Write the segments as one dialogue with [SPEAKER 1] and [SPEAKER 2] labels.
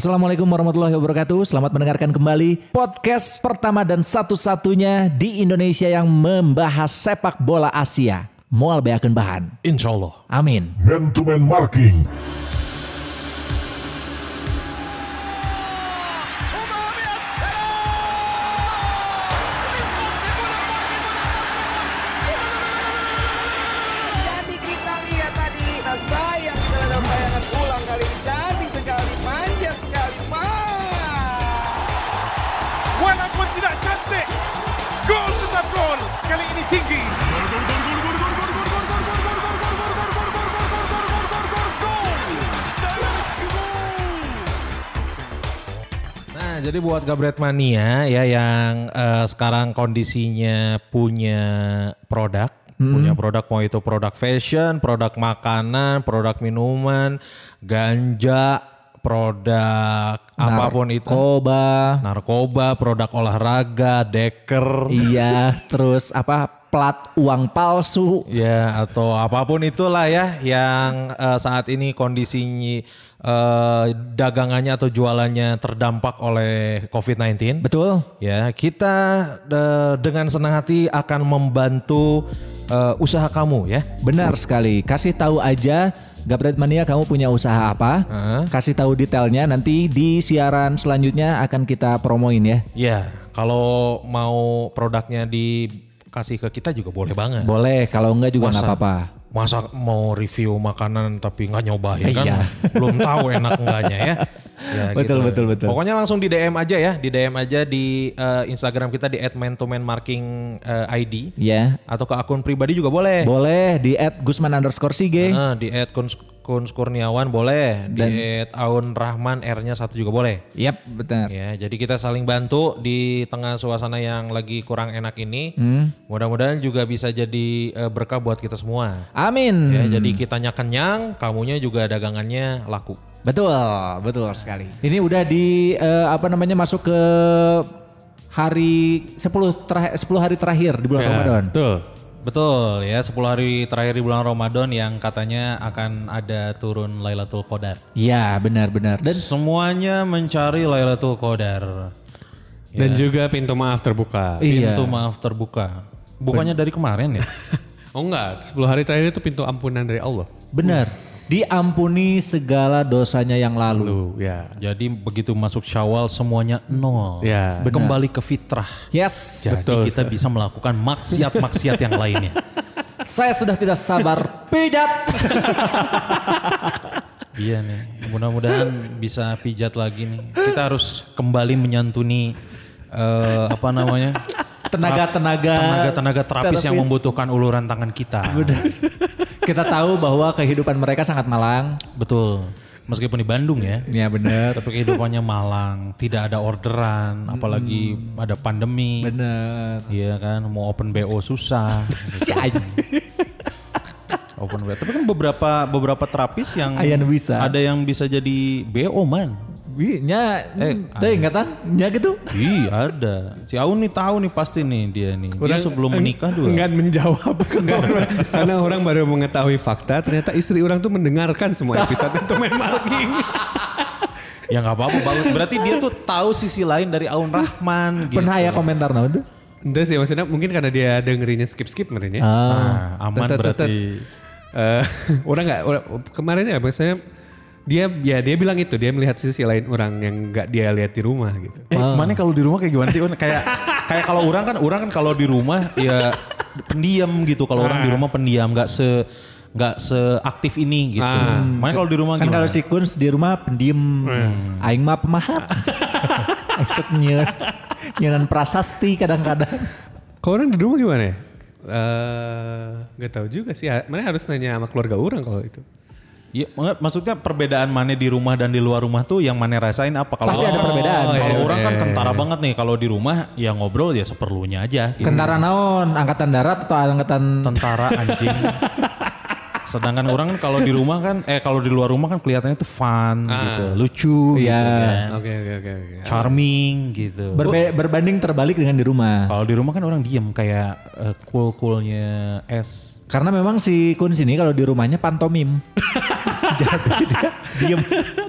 [SPEAKER 1] Assalamualaikum warahmatullahi wabarakatuh. Selamat mendengarkan kembali podcast pertama dan satu-satunya di Indonesia yang membahas sepak bola Asia. Mual beakeun bahan.
[SPEAKER 2] Insya Allah.
[SPEAKER 1] Amin.
[SPEAKER 3] Man to man marking.
[SPEAKER 4] Jadi kita lihat tadi nah, sayang sekali dalam bayangan ulang kali ini cantik sekali, manja sekali, mah.
[SPEAKER 5] Walaupun tidak cantik, gol tetap gol. Kali ini tinggi.
[SPEAKER 2] Nah, jadi buat Gabret Mania ya yang eh, sekarang kondisinya punya produk,
[SPEAKER 1] Hmm.
[SPEAKER 2] punya produk mau itu produk fashion, produk makanan, produk minuman, ganja, produk apapun itu,
[SPEAKER 1] Koba.
[SPEAKER 2] narkoba, produk olahraga, deker,
[SPEAKER 1] Iya, terus apa plat uang palsu.
[SPEAKER 2] Ya atau apapun itulah ya yang eh, saat ini kondisinya eh, dagangannya atau jualannya terdampak oleh COVID-19.
[SPEAKER 1] Betul?
[SPEAKER 2] Ya kita eh, dengan senang hati akan membantu eh, usaha kamu ya.
[SPEAKER 1] Benar sekali. Kasih tahu aja Gabret Mania kamu punya usaha apa?
[SPEAKER 2] Heeh.
[SPEAKER 1] Kasih tahu detailnya nanti di siaran selanjutnya akan kita promoin ya.
[SPEAKER 2] Ya kalau mau produknya dikasih ke kita juga boleh banget.
[SPEAKER 1] Boleh, kalau enggak juga nggak
[SPEAKER 2] Masa?
[SPEAKER 1] apa-apa.
[SPEAKER 2] Masa mau review makanan tapi nggak nyobain kan?
[SPEAKER 1] Iya.
[SPEAKER 2] Belum tahu enak enggaknya ya. Ya,
[SPEAKER 1] Betul, betul, betul.
[SPEAKER 2] Pokoknya langsung di DM aja ya, di DM aja di eh, Instagram kita di @man2manmarking eh, ID
[SPEAKER 1] Ya.
[SPEAKER 2] atau ke akun pribadi
[SPEAKER 1] Eh.
[SPEAKER 2] juga boleh.
[SPEAKER 1] Boleh di at Gusman underscore Sige.
[SPEAKER 2] Eh, di @kunskurniawan boleh, di @aunrahman R-nya satu juga boleh.
[SPEAKER 1] Yap, benar.
[SPEAKER 2] Ya, jadi kita saling bantu di tengah suasana yang lagi kurang enak ini. Mudah-mudahan juga bisa jadi eh, berkah buat kita semua.
[SPEAKER 1] Amin.
[SPEAKER 2] Ya, jadi kitanya kenyang, kamunya juga dagangannya laku.
[SPEAKER 1] Betul, betul sekali. Ini udah di eh, apa namanya masuk ke hari 10 terakhir 10 hari terakhir di
[SPEAKER 2] Ya.
[SPEAKER 1] bulan Ramadan.
[SPEAKER 2] Betul. Betul ya, 10 hari terakhir di bulan Ramadan yang katanya akan ada turun Lailatul Qadar.
[SPEAKER 1] Iya, benar-benar. Dan
[SPEAKER 2] Semuanya mencari Lailatul Qadar. Ya.
[SPEAKER 6] Dan juga pintu maaf terbuka.
[SPEAKER 1] Iya.
[SPEAKER 2] Pintu maaf terbuka. Bukannya dari kemarin ya?
[SPEAKER 6] Oh enggak, 10 hari terakhir itu pintu ampunan dari Allah.
[SPEAKER 1] benar. Diampuni segala dosanya yang lalu.
[SPEAKER 6] Lu ya.
[SPEAKER 2] Jadi begitu masuk Syawal semuanya nol.
[SPEAKER 6] Ya.
[SPEAKER 2] Kembali ke fitrah.
[SPEAKER 1] Yes.
[SPEAKER 2] Jadi kita bisa melakukan maksiat-maksiat yang lainnya.
[SPEAKER 1] Saya sudah tidak sabar pijat.
[SPEAKER 2] Iya nih, mudah-mudahan bisa pijat lagi nih. Kita harus kembali menyantuni eh, apa namanya
[SPEAKER 1] Tenaga-tenaga
[SPEAKER 2] tenaga-tenaga terapis, yang membutuhkan uluran tangan kita.
[SPEAKER 1] Kita tahu bahwa kehidupan mereka sangat malang.
[SPEAKER 2] Betul. Meskipun di Bandung ya,
[SPEAKER 1] Ya benar.
[SPEAKER 2] tapi kehidupannya malang, tidak ada orderan, apalagi ada pandemi.
[SPEAKER 1] Benar.
[SPEAKER 2] Iya kan, mau open BO susah.
[SPEAKER 1] Si anjing.
[SPEAKER 2] open BO. Tapi kan beberapa beberapa terapis yang
[SPEAKER 1] Ayan bisa.
[SPEAKER 2] ada yang bisa jadi BO man.
[SPEAKER 1] Bi- Nya, eh, ingatan, nya gitu.
[SPEAKER 2] Iya ada. Si Aun nih tahu nih pasti nih dia nih. Dia sebelum menikah dulu.
[SPEAKER 6] Enggak menjawab. Enggak, karena orang baru mengetahui fakta, ternyata istri orang tuh mendengarkan semua episode itu main marking.
[SPEAKER 2] Ya nggak apa-apa. Bang. Berarti dia tuh tahu sisi lain dari Aun Rahman. Gitu.
[SPEAKER 1] Pernah ya komentar naon tuh?
[SPEAKER 6] Enggak sih, maksudnya mungkin karena dia dengerinnya skip-skip meren ya.
[SPEAKER 2] Nah,
[SPEAKER 1] Ah.
[SPEAKER 2] aman
[SPEAKER 6] Tetet, tetet.
[SPEAKER 2] berarti.
[SPEAKER 6] Eh, orang nggak orang- kemarin ya maksudnya dia ya dia bilang itu dia melihat sisi lain orang yang nggak dia lihat di rumah gitu.
[SPEAKER 2] Eh,
[SPEAKER 1] Ah.
[SPEAKER 2] mana kalau di rumah kayak gimana sih? Un? Kayak kayak kalau orang kan orang kan kalau di rumah ya pendiam gitu. Kalau orang di rumah pendiam nggak se nggak seaktif ini gitu. Mana kalau di rumah
[SPEAKER 1] Kan
[SPEAKER 2] gimana?
[SPEAKER 1] kalau si Kuns di rumah pendiem, aing mah pemahat. Masuk nyeun. Nyeunan prasasti kadang-kadang.
[SPEAKER 6] Kalau orang di rumah gimana ya? Eh, nggak tahu juga sih. Ha- Mana harus nanya sama keluarga orang kalau itu.
[SPEAKER 2] Ya, mak- maksudnya perbedaan mana di rumah dan di luar rumah tuh yang mana rasain apa? Kalau
[SPEAKER 1] Pasti ada
[SPEAKER 2] orang-
[SPEAKER 1] perbedaan.
[SPEAKER 2] Kalau
[SPEAKER 6] iya,
[SPEAKER 2] orang kan
[SPEAKER 6] iya,
[SPEAKER 2] kentara banget nih. Kalau di rumah ya ngobrol ya seperlunya aja. Gitu.
[SPEAKER 1] Kentara naon, angkatan darat atau angkatan
[SPEAKER 2] Tentara anjing. Sedangkan orang kan kalau di rumah kan, eh kalau di luar rumah kan kelihatannya tuh fun gitu, lucu,
[SPEAKER 1] Iya.
[SPEAKER 2] gitu kan.
[SPEAKER 6] Oke oke oke. oke.
[SPEAKER 2] charming gitu.
[SPEAKER 1] berbe- berbanding terbalik dengan di rumah.
[SPEAKER 2] Kalau di rumah kan orang diem kayak eh, cool-coolnya es.
[SPEAKER 1] Karena memang si Kun sini kalau di rumahnya pantomim.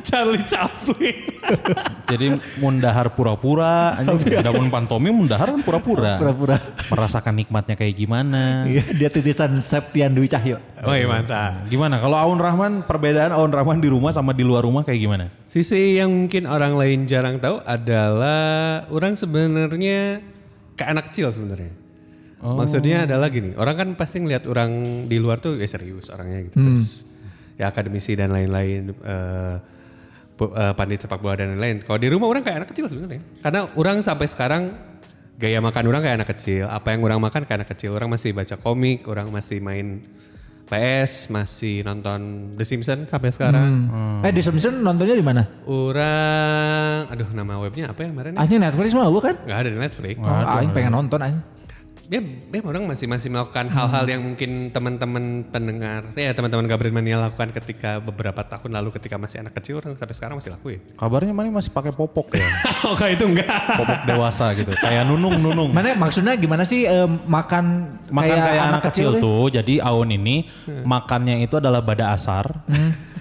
[SPEAKER 6] Charlie Chaplin.
[SPEAKER 2] Jadi mundahar pura-pura, anjing. Adapun pantomim mundahar kan pura-pura.
[SPEAKER 1] Pura-pura.
[SPEAKER 2] Merasakan nikmatnya kayak gimana.
[SPEAKER 1] Iya, dia titisan Septian Dwi Cahyo.
[SPEAKER 6] Oh iya mantap.
[SPEAKER 2] Gimana kalau Aun Rahman perbedaan Aun Rahman di rumah sama di luar rumah kayak gimana?
[SPEAKER 6] Sisi yang mungkin orang lain jarang tahu adalah orang sebenarnya ke anak kecil sebenarnya. Maksudnya adalah gini, orang kan pasti ngelihat orang di luar tuh ya serius orangnya gitu. Terus ya akademisi dan lain-lain eh, pu- eh, pandit sepak bola dan lain-lain. Kalau di rumah orang kayak anak kecil sebenarnya. Karena orang sampai sekarang gaya makan orang kayak anak kecil, apa yang orang makan kayak anak kecil. Orang masih baca komik, orang masih main PS, masih nonton The Simpsons sampai sekarang.
[SPEAKER 1] Eh, The Simpsons nontonnya di mana?
[SPEAKER 6] Orang, aduh nama webnya apa ya kemarin? ya?
[SPEAKER 1] Akhirnya Netflix mah gua kan.
[SPEAKER 6] Nggak ada di Netflix.
[SPEAKER 1] Ah, aing pengen nonton aing.
[SPEAKER 6] Dia, dia orang masih masih melakukan hal-hal yang mungkin teman-teman pendengar, ya teman-teman Gabriel Mania lakukan ketika beberapa tahun lalu ketika masih anak kecil orang sampai sekarang masih lakuin.
[SPEAKER 2] Kabarnya mana masih pakai popok ya?
[SPEAKER 6] Oke Oh, itu enggak.
[SPEAKER 2] popok dewasa gitu. Kayak nunung-nunung.
[SPEAKER 1] Mana maksudnya gimana sih eh, makan,
[SPEAKER 2] Makan kayak, anak, kecil, tuh. Jadi Aun ini
[SPEAKER 6] Hmm.
[SPEAKER 2] makannya itu adalah bada asar.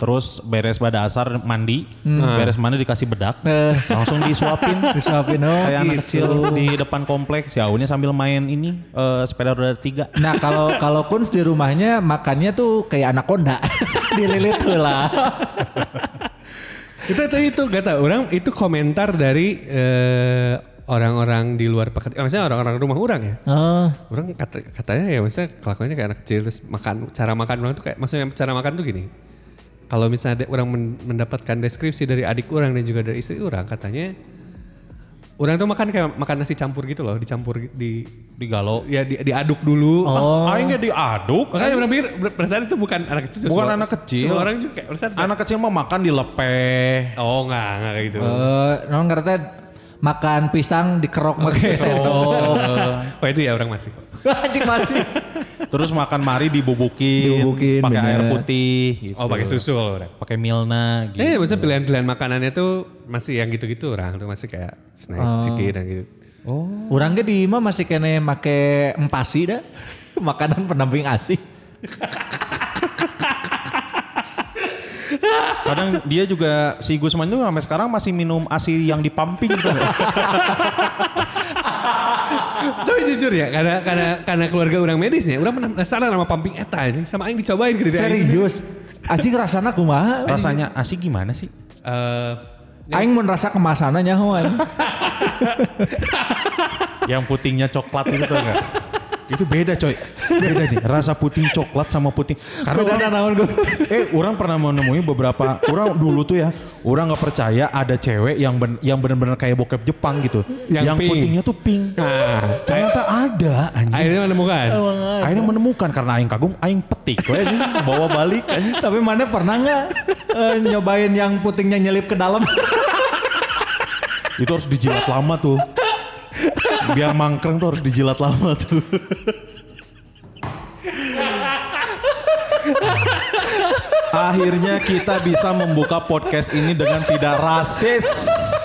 [SPEAKER 2] Terus beres bada asar mandi.
[SPEAKER 6] Hmm.
[SPEAKER 2] Beres mandi dikasih bedak.
[SPEAKER 1] Eh.
[SPEAKER 2] Langsung disuapin.
[SPEAKER 1] Disuapin, oh
[SPEAKER 2] Kayak anak
[SPEAKER 1] gitu.
[SPEAKER 2] kecil di depan kompleks. Si Aunnya sambil main ini eh, sepeda roda tiga.
[SPEAKER 1] Nah kalau kalau Kun di rumahnya makannya tuh kayak anak konda dililit lah.
[SPEAKER 6] itu itu itu gak tau orang itu komentar dari eh, orang-orang di luar pekerja, maksudnya orang-orang rumah orang ya.
[SPEAKER 2] Oh.
[SPEAKER 6] orang kata, katanya ya maksudnya kelakuannya kayak anak kecil terus makan cara makan orang tuh kayak maksudnya cara makan tuh gini kalau misalnya ada orang men- mendapatkan deskripsi dari adik orang dan juga dari istri orang katanya orang tuh makan kayak makan nasi campur gitu loh dicampur gi- di
[SPEAKER 2] Digalok.
[SPEAKER 6] ya di- diaduk dulu
[SPEAKER 2] Oh. Aing gak diaduk.
[SPEAKER 6] makanya orang pikir ber- perasaan itu bukan anak kecil
[SPEAKER 2] Bukan
[SPEAKER 6] semua-
[SPEAKER 2] anak kecil.
[SPEAKER 6] semua orang juga kayak perasaan
[SPEAKER 2] Nah, Anak kecil mah makan di lepeh.
[SPEAKER 6] oh enggak enggak kayak gitu
[SPEAKER 1] Eh, non ngerti makan pisang dikerok pakai sendok.
[SPEAKER 6] oh itu ya orang masih kok
[SPEAKER 1] Anjing masih.
[SPEAKER 2] Terus makan mari dibubukin,
[SPEAKER 1] Dibubukin,
[SPEAKER 2] pakai air
[SPEAKER 1] bener.
[SPEAKER 2] putih, gitu.
[SPEAKER 6] oh pakai susu kalau orang
[SPEAKER 2] pakai Milna, gitu.
[SPEAKER 6] Eh, maksudnya pilihan-pilihan makanannya tuh masih yang gitu-gitu orang tuh masih kayak snack,
[SPEAKER 2] Oh.
[SPEAKER 6] ciki dan gitu.
[SPEAKER 1] Orang ge Oh. di imah masih kene make empasi dah. Makanan pendamping ASI.
[SPEAKER 2] Eh, Kadang dia juga si Gusman itu sampai sekarang masih minum asi yang dipamping gitu.
[SPEAKER 6] Tapi jujur ya, karena karena karena keluarga orang medisnya, orang pernah penasaran sama pumping eta anjing, sama aing dicobain gitu ke diri aing sendiri.
[SPEAKER 1] Serius. Anjing rasana kumaha?
[SPEAKER 2] Rasanya asi gimana sih?
[SPEAKER 6] Eh,
[SPEAKER 1] Aing mau ngerasa kemasannya nyahoan.
[SPEAKER 2] Yang putihnya coklat itu tuh enggak? itu beda coy beda nih rasa puting coklat sama puting karena
[SPEAKER 1] Beda
[SPEAKER 2] orang, eh orang pernah menemui beberapa orang dulu tuh ya orang nggak percaya ada cewek yang ben, yang benar-benar kayak bokep Jepang gitu
[SPEAKER 6] Yang
[SPEAKER 2] yang,
[SPEAKER 6] pink.
[SPEAKER 2] putingnya tuh pink
[SPEAKER 6] Nah.
[SPEAKER 2] ternyata ada anjing
[SPEAKER 6] akhirnya kan? menemukan.
[SPEAKER 2] Akhirnya menemukan karena aing kagum, aing petik we anjing, bawa balik anjing.
[SPEAKER 1] Tapi mana pernah nggak eh, nyobain yang putingnya nyelip ke dalam?
[SPEAKER 2] Itu harus dijilat lama tuh. Biar mangkreng tuh harus dijilat lama tuh. Akhirnya kita bisa membuka podcast ini dengan tidak rasis.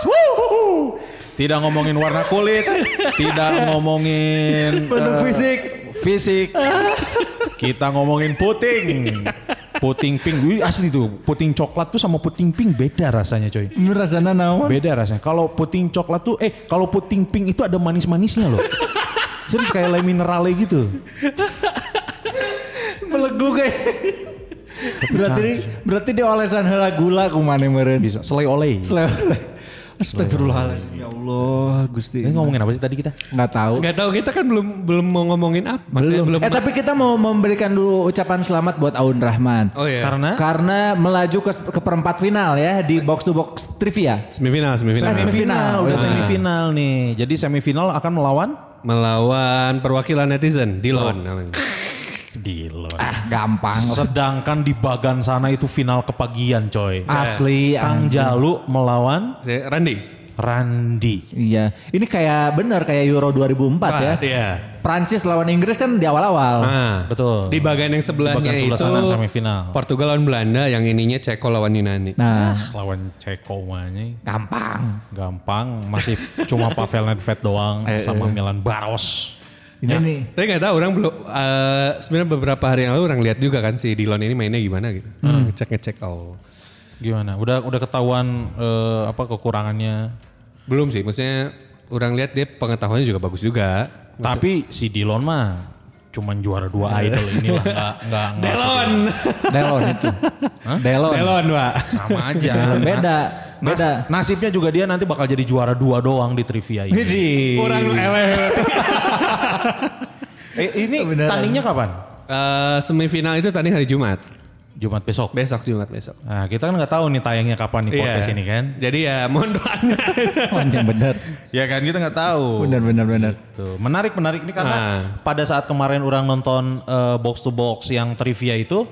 [SPEAKER 2] Wuhu. Tidak ngomongin warna kulit, tidak ngomongin eh, fisik. Kita ngomongin puting. Puting pink. Wih, asli tuh, puting coklat tuh sama puting pink beda rasanya, coy.
[SPEAKER 1] Ini rasanya naon?
[SPEAKER 2] Beda rasanya. Kalau puting coklat tuh eh kalau puting pink itu ada manis-manisnya loh. Serius kayak lem minerale gitu.
[SPEAKER 1] Melegu kayak. berarti di, berarti dia olesan heula gula kumane meureun.
[SPEAKER 2] Bisa selai oleh.
[SPEAKER 1] Selain Astagfirullahaladzim ya Allah Gusti.
[SPEAKER 2] Ini ngomongin apa sih tadi kita?
[SPEAKER 1] Nggak tahu.
[SPEAKER 6] Gak tahu kita kan belum belum mau ngomongin apa. Maksudnya belum.
[SPEAKER 1] Eh tapi kita mau memberikan dulu ucapan selamat buat Aun Rahman.
[SPEAKER 6] oh iya.
[SPEAKER 2] Karena
[SPEAKER 1] Karena melaju ke, ke perempat final ya di box to box trivia.
[SPEAKER 6] semifinal, semifinal.
[SPEAKER 1] Semifinal.
[SPEAKER 2] udah
[SPEAKER 1] Nah.
[SPEAKER 2] semifinal nih. Jadi semifinal akan melawan
[SPEAKER 6] Melawan perwakilan netizen di lawan namanya.
[SPEAKER 2] Dilo.
[SPEAKER 6] Ah,
[SPEAKER 1] Gampang.
[SPEAKER 2] Sedangkan di bagan sana itu final kepagian coy.
[SPEAKER 1] Asli.
[SPEAKER 2] Kang
[SPEAKER 1] anjing.
[SPEAKER 2] Jalu melawan
[SPEAKER 6] Saya- Randy.
[SPEAKER 2] Randi.
[SPEAKER 1] Iya. Ini kayak bener kayak Euro 2004 ya.
[SPEAKER 6] Ah, Iya.
[SPEAKER 1] Prancis lawan Inggris kan di awal-awal.
[SPEAKER 6] Nah,
[SPEAKER 2] Betul.
[SPEAKER 6] Di bagian yang sebelahnya
[SPEAKER 2] Di bagian sebelah
[SPEAKER 6] itu
[SPEAKER 2] sana semifinal.
[SPEAKER 6] Portugal lawan Belanda, yang ininya Ceko lawan Yunani.
[SPEAKER 1] Nah,
[SPEAKER 2] Lawan Ceko mana?
[SPEAKER 1] gampang. Eh,
[SPEAKER 2] Gampang, masih cuma Pavel Nedved doang sama Milan Baros.
[SPEAKER 1] Ini
[SPEAKER 6] Ya.
[SPEAKER 1] nih.
[SPEAKER 6] Tapi nggak tahu orang belum. eh, Sebenarnya beberapa hari yang lalu orang lihat juga kan si Dilon ini mainnya gimana gitu.
[SPEAKER 2] Hmm.
[SPEAKER 6] Ngecek ngecek oh
[SPEAKER 2] Gimana? Udah udah ketahuan eh, apa kekurangannya.
[SPEAKER 6] belum sih. Maksudnya orang lihat dia pengetahuannya juga bagus juga.
[SPEAKER 2] Tapi si Dilon mah cuman juara dua idol inilah nggak nggak nggak-
[SPEAKER 6] Delon,
[SPEAKER 1] Delon itu.
[SPEAKER 2] Oh.
[SPEAKER 1] Delon.
[SPEAKER 6] Delon pak.
[SPEAKER 2] sama aja. Nah,
[SPEAKER 1] Beda,
[SPEAKER 2] Nas-
[SPEAKER 1] beda.
[SPEAKER 2] nasibnya juga dia nanti bakal jadi juara dua doang di trivia ini.
[SPEAKER 1] Widih.
[SPEAKER 6] Orang eleh.
[SPEAKER 2] Eh, ini
[SPEAKER 1] Beneran.
[SPEAKER 2] tandingnya kapan?
[SPEAKER 6] Eh, semifinal itu tadi hari Jumat.
[SPEAKER 2] Jumat besok.
[SPEAKER 6] Besok Jumat besok.
[SPEAKER 2] Nah, kita kan nggak tahu nih tayangnya kapan nih podcast
[SPEAKER 6] Iya.
[SPEAKER 2] ini kan.
[SPEAKER 6] Jadi ya mohon doanya.
[SPEAKER 1] Anjing bener.
[SPEAKER 2] Ya kan kita nggak tahu.
[SPEAKER 1] Bener bener bener.
[SPEAKER 2] Tuh, menarik menarik ini karena
[SPEAKER 1] Ah.
[SPEAKER 6] Nah.
[SPEAKER 2] pada saat kemarin orang nonton eh, box to box yang trivia itu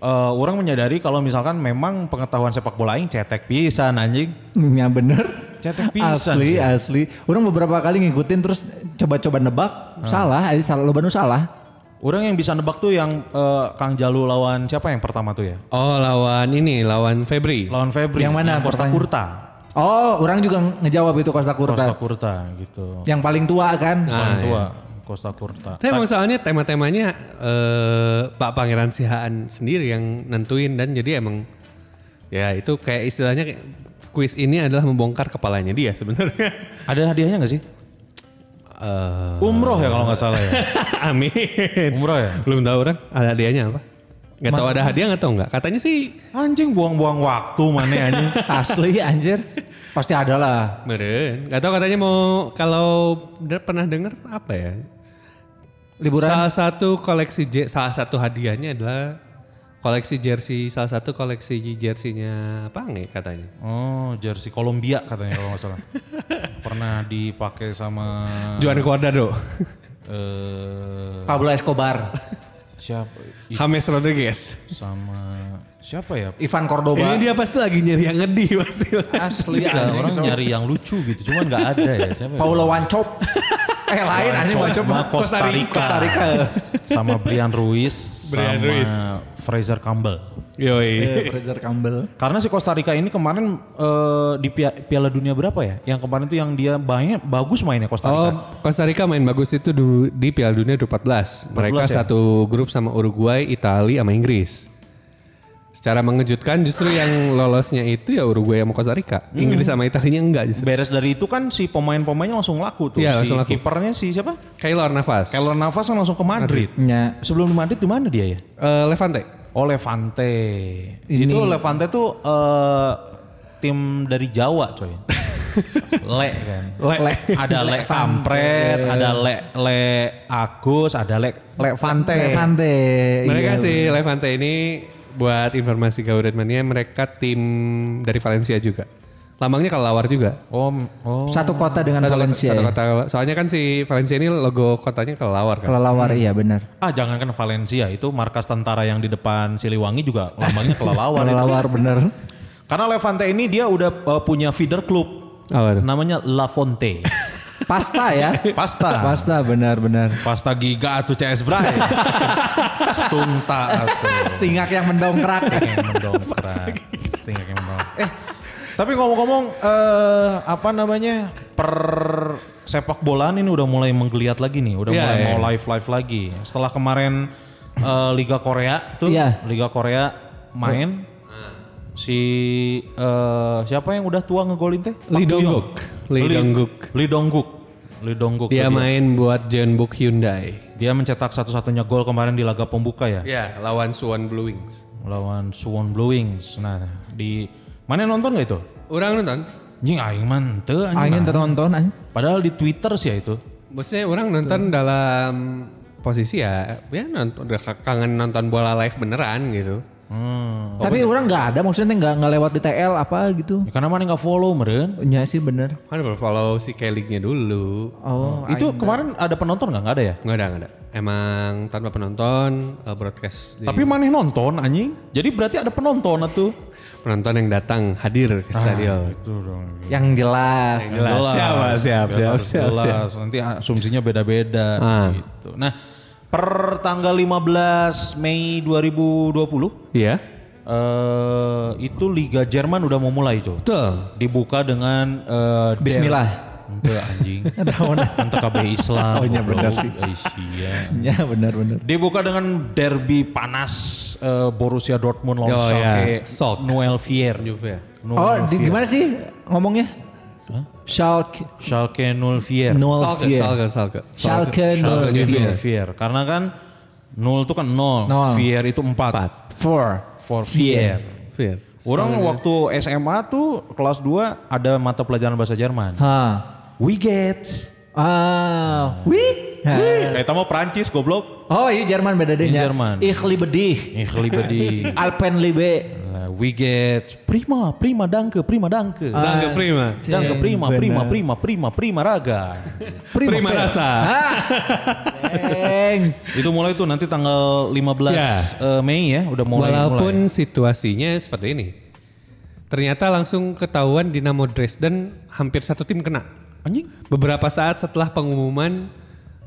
[SPEAKER 2] eh, orang menyadari kalau misalkan memang pengetahuan sepak bola aing cetek pisan anjing.
[SPEAKER 1] Ya bener.
[SPEAKER 2] Cetek pisan
[SPEAKER 1] Asli
[SPEAKER 2] sih.
[SPEAKER 1] asli. Orang beberapa kali ngikutin terus coba-coba nebak
[SPEAKER 6] Ah.
[SPEAKER 1] salah, eh, salah Lobanu salah.
[SPEAKER 2] Orang yang bisa nebak tuh yang eh, Kang Jalu lawan siapa yang pertama tuh ya?
[SPEAKER 6] Oh lawan ini lawan Febri.
[SPEAKER 2] Lawan Febri.
[SPEAKER 1] Yang mana
[SPEAKER 2] Costa
[SPEAKER 1] pertanyaan?
[SPEAKER 2] Curta.
[SPEAKER 1] Oh, orang juga ngejawab itu Costa Curta.
[SPEAKER 2] Costa Curta gitu.
[SPEAKER 1] Yang paling tua kan.
[SPEAKER 2] Orang tua Costa Curta.
[SPEAKER 6] Tapi emang soalnya tema-temanya eh, Pak Pangeran Sihaan sendiri yang nentuin dan jadi emang ya itu kayak istilahnya kayak kuis ini adalah membongkar kepalanya dia sebenarnya.
[SPEAKER 2] Ada hadiahnya nggak sih?
[SPEAKER 6] Eh,
[SPEAKER 2] Umroh ya kalau nggak salah ya.
[SPEAKER 6] Amin.
[SPEAKER 2] Umroh ya.
[SPEAKER 6] Belum tahu kan ada hadiahnya apa? Gak tahu ada hadiah atau enggak. Katanya sih
[SPEAKER 2] Anjing buang-buang waktu mana anjing.
[SPEAKER 6] Ah.
[SPEAKER 1] Asli anjir. Pasti ada lah.
[SPEAKER 6] meren. Gak tahu katanya mau kalau de- pernah dengar apa ya?
[SPEAKER 1] Liburan.
[SPEAKER 6] Salah satu koleksi je- salah satu hadiahnya adalah koleksi jersey salah satu koleksi jersinya Pange katanya.
[SPEAKER 2] Oh, jersey Kolombia katanya kalau nggak salah. Pernah dipakai sama
[SPEAKER 6] Juan Cuadrado.
[SPEAKER 2] eh
[SPEAKER 1] Pablo Escobar,
[SPEAKER 2] siapa i-
[SPEAKER 6] James Rodriguez.
[SPEAKER 2] sama siapa ya?
[SPEAKER 1] Ivan Cordoba.
[SPEAKER 6] Ini dia Iya, pasti lagi nyari yang ngedi pasti.
[SPEAKER 1] asli
[SPEAKER 2] Ada
[SPEAKER 1] anjing.
[SPEAKER 2] orang nyari yang lucu gitu, cuman nggak ada ya. Siapa ya?
[SPEAKER 1] Paulo Wancop. eh lain anjing
[SPEAKER 2] Coba
[SPEAKER 1] Wancop.
[SPEAKER 2] Costa Rica.
[SPEAKER 1] Costa Rica.
[SPEAKER 2] sama Brian Ruiz,
[SPEAKER 6] Brian
[SPEAKER 2] sama
[SPEAKER 6] Ruiz.
[SPEAKER 2] Fraser Campbell.
[SPEAKER 6] Yoi.
[SPEAKER 1] Fraser Campbell.
[SPEAKER 2] Karena si Costa Rica ini kemarin eh, di Pia- Piala Dunia berapa ya? Yang kemarin tuh yang dia banyak bagus mainnya Costa Rica.
[SPEAKER 6] Oh, Costa Rica main bagus itu du- di Piala Dunia 14.
[SPEAKER 2] 14 ya?
[SPEAKER 6] Mereka satu grup sama Uruguay, Italia, sama Inggris. Secara mengejutkan justru yang lolosnya itu ya Uruguay sama Costa Rica.
[SPEAKER 2] Hmm.
[SPEAKER 6] Inggris sama Italinya enggak justru.
[SPEAKER 2] Beres dari itu kan si pemain-pemainnya langsung laku tuh.
[SPEAKER 6] Iya,
[SPEAKER 2] si
[SPEAKER 6] langsung laku.
[SPEAKER 2] kipernya si siapa?
[SPEAKER 6] Keylor Navas.
[SPEAKER 2] Keylor Navas kan langsung ke Madrid.
[SPEAKER 1] Ya.
[SPEAKER 2] Sebelum di Madrid di mana dia ya?
[SPEAKER 6] Eh, Levante.
[SPEAKER 2] Oh Levante. Itu Levante tuh eh, tim dari Jawa coy. le kan.
[SPEAKER 6] Le.
[SPEAKER 2] Ada Le Kampret, ada Le Le Agus, ada Le Levante.
[SPEAKER 1] Levante.
[SPEAKER 6] Mereka
[SPEAKER 1] iya.
[SPEAKER 6] sih Levante ini buat informasi Garuda Mania mereka tim dari Valencia juga. Lambangnya kelelawar juga.
[SPEAKER 2] Om, oh.
[SPEAKER 1] Satu kota dengan
[SPEAKER 6] Satu kota-
[SPEAKER 1] Valencia.
[SPEAKER 6] satu
[SPEAKER 1] ya.
[SPEAKER 6] kota, soalnya kan si Valencia ini logo kotanya kelelawar kan.
[SPEAKER 1] Kelelawar iya benar.
[SPEAKER 2] Ah jangan kan Valencia itu markas tentara yang di depan Siliwangi juga lambangnya
[SPEAKER 1] Oh,
[SPEAKER 2] kelelawar. itu.
[SPEAKER 1] Kelelawar benar.
[SPEAKER 2] Karena Levante ini dia udah eh, punya feeder club
[SPEAKER 6] Apa tuh?
[SPEAKER 2] namanya La Fonte.
[SPEAKER 1] Pasta ya.
[SPEAKER 2] Pasta.
[SPEAKER 1] Pasta benar-benar.
[SPEAKER 2] Pasta giga atau CS Bray. Stunta atau
[SPEAKER 1] Tingak yang mendongkrak.
[SPEAKER 2] yang mendongkrak. Stingak yang mendongkrak. Eh, tapi ngomong-ngomong eh, apa namanya? Per sepak bolaan ini udah mulai menggeliat lagi nih, udah
[SPEAKER 6] Iya,
[SPEAKER 2] mulai
[SPEAKER 6] iya.
[SPEAKER 2] mau live-live lagi. Setelah kemarin eh, Liga Korea tuh,
[SPEAKER 1] Iya.
[SPEAKER 2] Liga Korea main si eh, siapa yang udah tua ngegolin teh? Park
[SPEAKER 6] Lee
[SPEAKER 2] Ji-yong.
[SPEAKER 6] Dong-guk. Lee
[SPEAKER 2] Lee-
[SPEAKER 6] Dong-guk.
[SPEAKER 2] Lee Dong-guk. Lee Dong-guk.
[SPEAKER 6] Dia
[SPEAKER 2] tuh
[SPEAKER 6] main buat Jeonbuk Hyundai.
[SPEAKER 2] Dia mencetak satu-satunya gol kemarin di laga pembuka ya,
[SPEAKER 6] Ya, lawan Suwon Blue Wings.
[SPEAKER 2] lawan Suwon Blue Wings. Nah, di mana yang nonton nggak itu?
[SPEAKER 6] Orang nonton?
[SPEAKER 2] Anjing aing man, teu anjing.
[SPEAKER 1] Angin tertonton anjing.
[SPEAKER 2] Padahal di Twitter sih ya itu.
[SPEAKER 6] Maksudnya orang nonton dalam posisi ya, ya nonton, udah kangen nonton bola live beneran gitu.
[SPEAKER 1] Tapi orang nggak ada maksudnya nggak nggak lewat di TL apa gitu.
[SPEAKER 2] Ya, karena mana nggak follow meren.
[SPEAKER 1] Iya sih benar.
[SPEAKER 6] Kan baru follow si K-League-nya dulu.
[SPEAKER 1] Oh,
[SPEAKER 2] itu kemarin ada penonton nggak? Nggak ada ya?
[SPEAKER 6] Nggak ada, nggak ada. Emang tanpa penonton, eh, broadcast. di-
[SPEAKER 2] Tapi mana nonton anjing. Jadi berarti ada penonton atuh.
[SPEAKER 6] penonton yang datang hadir ke
[SPEAKER 2] Ya,
[SPEAKER 6] stadion.
[SPEAKER 2] Itu dong.
[SPEAKER 1] yang jelas.
[SPEAKER 6] Jelas. Siap, siap, siap,
[SPEAKER 2] harus
[SPEAKER 6] siap,
[SPEAKER 2] jelas. Nanti asumsinya beda-beda
[SPEAKER 6] Ah.
[SPEAKER 2] gitu. Nah, per tanggal 15 Mei 2020
[SPEAKER 6] Iya.
[SPEAKER 2] eh itu Liga Jerman udah mau mulai tuh.
[SPEAKER 6] Betul.
[SPEAKER 2] Dibuka dengan eh, der-
[SPEAKER 1] Bismillah.
[SPEAKER 2] Ente anjing.
[SPEAKER 1] Raonan.
[SPEAKER 2] Ente KB
[SPEAKER 1] Oh,
[SPEAKER 2] Islam.
[SPEAKER 1] iya benar
[SPEAKER 2] goblok.
[SPEAKER 1] sih.
[SPEAKER 2] Eh, sia.
[SPEAKER 1] Ya benar-benar.
[SPEAKER 2] Dibuka dengan derby panas eh, Borussia Dortmund lawan
[SPEAKER 6] Oh,
[SPEAKER 2] Schalke.
[SPEAKER 6] iya. Schalke.
[SPEAKER 2] Noel Fier.
[SPEAKER 6] Juve ya.
[SPEAKER 2] Noel
[SPEAKER 1] Oh, di,
[SPEAKER 2] Fier.
[SPEAKER 1] gimana sih ngomongnya? Schalke,
[SPEAKER 2] Schalke Noel Fier.
[SPEAKER 1] Noel
[SPEAKER 6] Salke,
[SPEAKER 1] Fier.
[SPEAKER 6] Salke, Salke.
[SPEAKER 1] Schalke
[SPEAKER 2] Schalke
[SPEAKER 1] Noel
[SPEAKER 2] Noel
[SPEAKER 1] Fier.
[SPEAKER 2] Fier. Karena kan Nol itu kan nol,
[SPEAKER 1] Nol.
[SPEAKER 2] Fier itu empat.
[SPEAKER 1] Four.
[SPEAKER 2] For Fier.
[SPEAKER 6] Fier.
[SPEAKER 2] Orang waktu SMA tuh kelas 2 ada mata pelajaran bahasa Jerman.
[SPEAKER 1] Ha.
[SPEAKER 2] We get.
[SPEAKER 1] Ah, wi. Ha.
[SPEAKER 2] Eh, itu mah Prancis goblok.
[SPEAKER 1] Oh, iya Jerman Iya. beda deh.
[SPEAKER 2] Ini Jerman.
[SPEAKER 1] Ich liebe dich.
[SPEAKER 2] Ich liebe dich.
[SPEAKER 1] Alpenliebe.
[SPEAKER 2] Uh, we get prima, prima danke, prima danke.
[SPEAKER 1] Ah,
[SPEAKER 6] Danke prima.
[SPEAKER 1] cing,
[SPEAKER 2] danke prima, prima,
[SPEAKER 1] bener.
[SPEAKER 2] prima, prima, prima raga.
[SPEAKER 6] Prima
[SPEAKER 1] Fair.
[SPEAKER 6] rasa.
[SPEAKER 1] Ah. Eng.
[SPEAKER 2] Itu mulai tuh nanti tanggal 15
[SPEAKER 6] Ya.
[SPEAKER 2] eh, Mei ya, udah mulai mulai.
[SPEAKER 6] Walaupun situasinya seperti ini. Ternyata langsung ketahuan Dinamo Dresden hampir satu tim kena.
[SPEAKER 2] anjing
[SPEAKER 6] Beberapa saat setelah pengumuman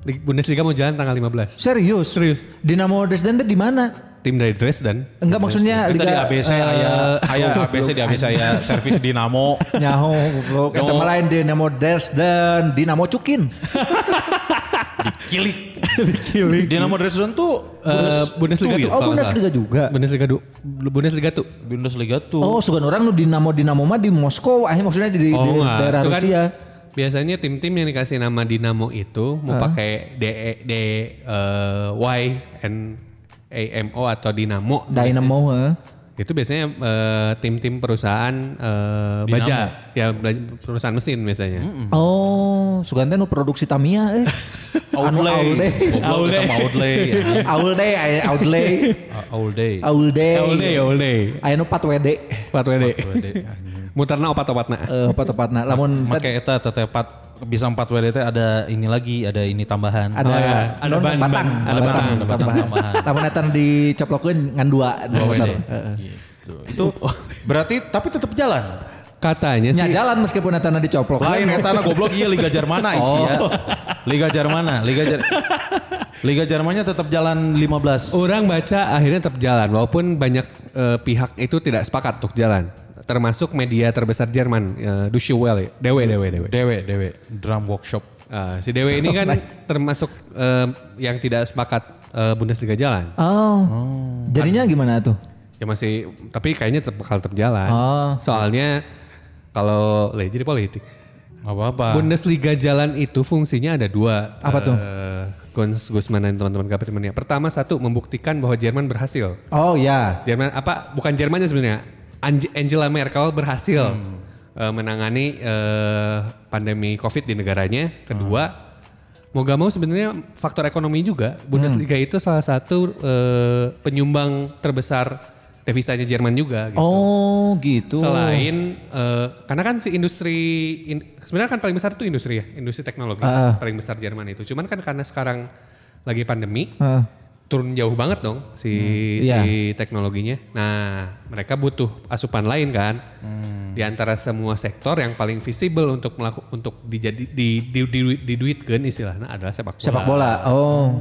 [SPEAKER 6] Lig- Bundesliga mau jalan tanggal 15.
[SPEAKER 1] Serius.
[SPEAKER 6] Serius.
[SPEAKER 1] Dinamo Dresden tuh di mana?
[SPEAKER 6] Tim dari Dresden. Kan
[SPEAKER 1] Enggak maksudnya
[SPEAKER 2] Kita di
[SPEAKER 1] liga
[SPEAKER 2] ABC
[SPEAKER 1] eh,
[SPEAKER 2] aya aya ABC di ABC aya servis Dinamo.
[SPEAKER 1] Nyaho goblok. Eta mah lain Dinamo Dresden, Dinamo Cukin.
[SPEAKER 2] Kilik. Dinamo Dresden tuh
[SPEAKER 6] Eh, Bundesliga
[SPEAKER 2] tuh,
[SPEAKER 6] tuh.
[SPEAKER 2] ya?
[SPEAKER 1] Oh,
[SPEAKER 6] kalau nggak
[SPEAKER 1] Bundesliga
[SPEAKER 6] salah.
[SPEAKER 1] juga.
[SPEAKER 6] Bundesliga du, Bundesliga tuh.
[SPEAKER 2] Bundesliga tuh.
[SPEAKER 1] Oh, sugan orang nu Dinamo Dinamo mah di Moskow, akhirnya maksudnya di, di
[SPEAKER 6] nggak.
[SPEAKER 1] daerah
[SPEAKER 6] Itu kan
[SPEAKER 1] Rusia.
[SPEAKER 6] biasanya tim-tim yang dikasih nama Dinamo itu mau pakai D E, D eh, Y N A M O atau Dinamo.
[SPEAKER 1] Dynamo, heeh.
[SPEAKER 6] Itu biasanya eh, tim-tim perusahaan eh,
[SPEAKER 2] Dinamo.
[SPEAKER 6] baja, ya bela- perusahaan mesin biasanya.
[SPEAKER 1] Oh, sugan teh nu produksi Tamiya eh. Anu Aulde.
[SPEAKER 2] Goblok, kita mah Outlay. anjing.
[SPEAKER 6] Oh.
[SPEAKER 1] Aulde, aya Aulde.
[SPEAKER 2] Outlay.
[SPEAKER 1] Aulde.
[SPEAKER 6] Olde, olde.
[SPEAKER 1] Aya nu 4WD.
[SPEAKER 6] Patwede.
[SPEAKER 2] Outlay, anjing.
[SPEAKER 6] Muterna opat-opatna.
[SPEAKER 1] Eh, tepatna lamun tet-
[SPEAKER 2] Make eta teteh pat- bisa 4 WDT ada ini lagi, ada ini tambahan.
[SPEAKER 1] ada
[SPEAKER 6] Oh, iya. Ada
[SPEAKER 1] non-
[SPEAKER 6] ban,
[SPEAKER 1] batang, ada
[SPEAKER 6] ban. Ada
[SPEAKER 1] batang,
[SPEAKER 2] batang, ada batang
[SPEAKER 1] tambahan.
[SPEAKER 2] tambahan.
[SPEAKER 1] Lamun eta diceplokeun ngan dua.
[SPEAKER 2] Oh,
[SPEAKER 1] Nah,
[SPEAKER 6] iya.
[SPEAKER 1] Bener. Eh,
[SPEAKER 2] ini. Gitu. Itu berarti tapi tetap jalan.
[SPEAKER 6] Katanya
[SPEAKER 1] Nya
[SPEAKER 6] sih
[SPEAKER 1] jalan meskipun eta dicoplok.
[SPEAKER 2] Lain etana goblok iya Liga Jermana isi ya.
[SPEAKER 1] Oh.
[SPEAKER 2] Liga Jermana, Liga Jer Liga Jermannya tetap jalan 15.
[SPEAKER 6] Orang baca akhirnya tetap jalan walaupun banyak eh, pihak itu tidak sepakat untuk jalan. Termasuk media terbesar Jerman, eh, Deutsche Welle, Dewe, Dewe, Dewe.
[SPEAKER 2] Dewe, Dewe, drum workshop.
[SPEAKER 6] Eh, si Dewe ini kan termasuk eh, yang tidak sepakat eh, Bundesliga jalan.
[SPEAKER 1] Oh. Jadinya gimana tuh?
[SPEAKER 6] Ya masih tapi kayaknya tetap bakal tetap jalan.
[SPEAKER 1] Oh.
[SPEAKER 6] Soalnya kalau leh, jadi politik.
[SPEAKER 2] Gak apa-apa.
[SPEAKER 6] Bundesliga jalan itu fungsinya ada dua.
[SPEAKER 1] Apa tuh?
[SPEAKER 6] Eh, Gons Gusman dan teman-teman Gabriel Pertama satu membuktikan bahwa Jerman berhasil.
[SPEAKER 1] Oh ya.
[SPEAKER 6] Jerman apa bukan Jermannya sebenarnya Ange- Angela Merkel berhasil
[SPEAKER 1] Hmm.
[SPEAKER 6] eh, menangani eh, pandemi COVID di
[SPEAKER 1] Hmm.
[SPEAKER 6] negaranya. Kedua, mau gak mau sebenarnya faktor ekonomi juga.
[SPEAKER 1] Hmm.
[SPEAKER 6] Bundesliga itu salah satu eh, penyumbang terbesar devisanya Jerman juga. Gitu.
[SPEAKER 1] Oh gitu.
[SPEAKER 6] Selain eh, karena kan si industri in- sebenarnya kan paling besar itu industri ya, industri teknologi
[SPEAKER 1] Ah.
[SPEAKER 6] paling besar Jerman itu. Cuman kan karena sekarang lagi pandemi,
[SPEAKER 1] Heeh.
[SPEAKER 6] turun jauh banget dong si si
[SPEAKER 1] iya.
[SPEAKER 6] teknologinya. Nah, mereka butuh asupan lain kan. Di antara semua sektor yang paling visible untuk melaku, untuk dijadi di, di, di- diduitkan istilahnya adalah sepak bola.
[SPEAKER 1] Sepak bola. Oh.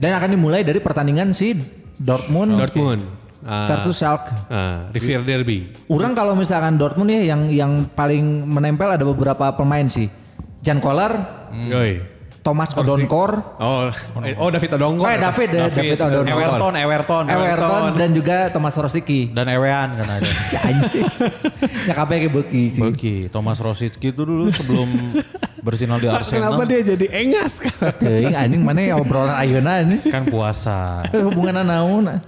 [SPEAKER 1] Dan akan dimulai dari pertandingan si Dortmund
[SPEAKER 6] Dortmund Ah,
[SPEAKER 1] versus Schalke.
[SPEAKER 6] ah, Rivier Derby.
[SPEAKER 1] Orang kalau misalkan Dortmund ya yang yang paling menempel ada beberapa pemain sih. Jan Koller,
[SPEAKER 6] Yoi.
[SPEAKER 1] Thomas Odonkor,
[SPEAKER 6] Oh, eh, oh David Odongo.
[SPEAKER 1] Oh, ya, David, David, David Odonkor.
[SPEAKER 2] Everton, Everton,
[SPEAKER 1] Everton dan juga Thomas Rosicky.
[SPEAKER 2] dan Ewean kan ada.
[SPEAKER 1] Si anjing. ya kabeh ge beuki sih.
[SPEAKER 2] Oke, Thomas Rosicky itu dulu sebelum bersinar di
[SPEAKER 6] Kenapa
[SPEAKER 2] Arsenal
[SPEAKER 6] dia jadi engas sekarang?
[SPEAKER 1] Teuing anjing mana ya obrolan ayeuna anjing.
[SPEAKER 2] kan puasa.
[SPEAKER 1] Hubunganna naon?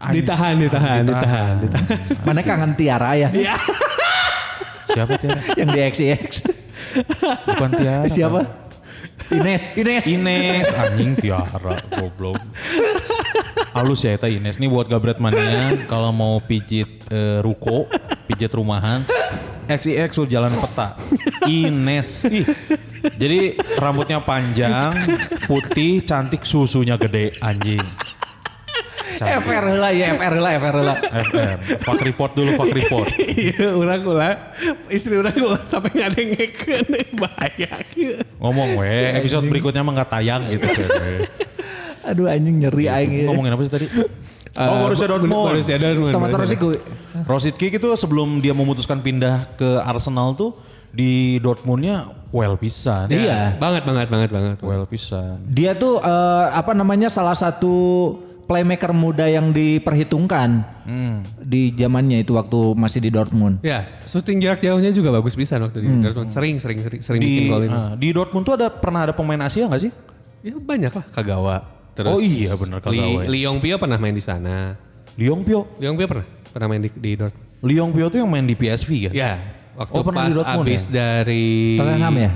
[SPEAKER 6] Ditahan, ditahan, ditahan, ditahan.
[SPEAKER 1] Mana kangen Tiara ya?
[SPEAKER 2] Siapa Tiara?
[SPEAKER 1] yang di XX.
[SPEAKER 2] Bukan Tiara.
[SPEAKER 1] Siapa? Ines, Ines.
[SPEAKER 2] Ines anjing Tiara goblok. Halus ya eta Ines nih buat gabret mania kalau mau pijit eh, ruko, pijit rumahan. XIX lu jalan peta. Ines. Ih. Jadi rambutnya panjang, putih, cantik, susunya gede anjing. Cantik.
[SPEAKER 1] FR heula ya, FR heula, FR heula.
[SPEAKER 2] FM. Fuck report dulu, fuck report.
[SPEAKER 6] Iya, orang ulah istri orang ulah sampai nggak ada yang ngeken, bahaya. kieu.
[SPEAKER 2] Ngomong weh, episode berikutnya mah nggak tayang gitu. weh.
[SPEAKER 1] Aduh anjing nyeri aing. ieu.
[SPEAKER 2] Ngomongin apa sih tadi?
[SPEAKER 6] Eh,
[SPEAKER 2] Oh, Borussia Dortmund.
[SPEAKER 6] Ah, Borussia Dortmund.
[SPEAKER 1] Thomas
[SPEAKER 6] Borussia
[SPEAKER 1] Rosicky.
[SPEAKER 2] Rosicky itu sebelum dia memutuskan pindah ke Arsenal tuh di Dortmundnya well pisan.
[SPEAKER 1] Iya.
[SPEAKER 6] Banget banget banget banget.
[SPEAKER 2] Well pisan.
[SPEAKER 1] Dia tuh eh, apa namanya salah satu playmaker muda yang diperhitungkan di zamannya itu waktu masih di Dortmund.
[SPEAKER 6] Ya, shooting jarak jauhnya juga bagus bisa waktu di Dortmund. Sering sering sering, sering
[SPEAKER 2] Hmm. Di,
[SPEAKER 6] bikin gol itu.
[SPEAKER 2] ah, di Dortmund tuh ada pernah ada pemain Asia nggak sih?
[SPEAKER 6] Ya banyak lah Kagawa. Terus
[SPEAKER 2] Oh iya, bener, Kagawa ya.
[SPEAKER 6] Li, Lee Yong Pio pernah main di sana.
[SPEAKER 2] Liong Pio.
[SPEAKER 6] Lee Yong Pio pernah pernah main di, di Dortmund.
[SPEAKER 2] Liong Pio tuh yang main di PSV kan?
[SPEAKER 6] Ya, waktu
[SPEAKER 2] Oh, pernah
[SPEAKER 6] pas
[SPEAKER 2] di Dortmund
[SPEAKER 6] abis dari
[SPEAKER 1] Tottenham ya?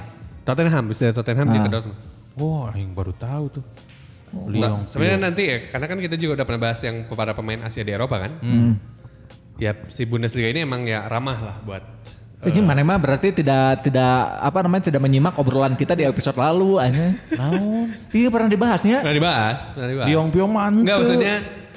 [SPEAKER 6] Tottenham, abis dari Tottenham dia ke
[SPEAKER 2] Ah,
[SPEAKER 6] Dortmund.
[SPEAKER 2] Wah, yang baru tahu tuh.
[SPEAKER 6] Sa-
[SPEAKER 2] oh, Liong Pio.
[SPEAKER 6] Sebenarnya nanti ya, karena kan kita juga udah pernah bahas yang para pemain Asia di Eropa kan.
[SPEAKER 2] Hmm.
[SPEAKER 1] Hmm.
[SPEAKER 6] Ya si Bundesliga ini emang ya ramah lah buat.
[SPEAKER 1] Itu Eh, mana mah berarti tidak tidak apa namanya tidak menyimak obrolan kita di episode lalu aja.
[SPEAKER 2] Naon?
[SPEAKER 1] iya pernah dibahasnya.
[SPEAKER 6] Pernah dibahas, pernah dibahas.
[SPEAKER 2] Liong Pio mantep.
[SPEAKER 6] Enggak maksudnya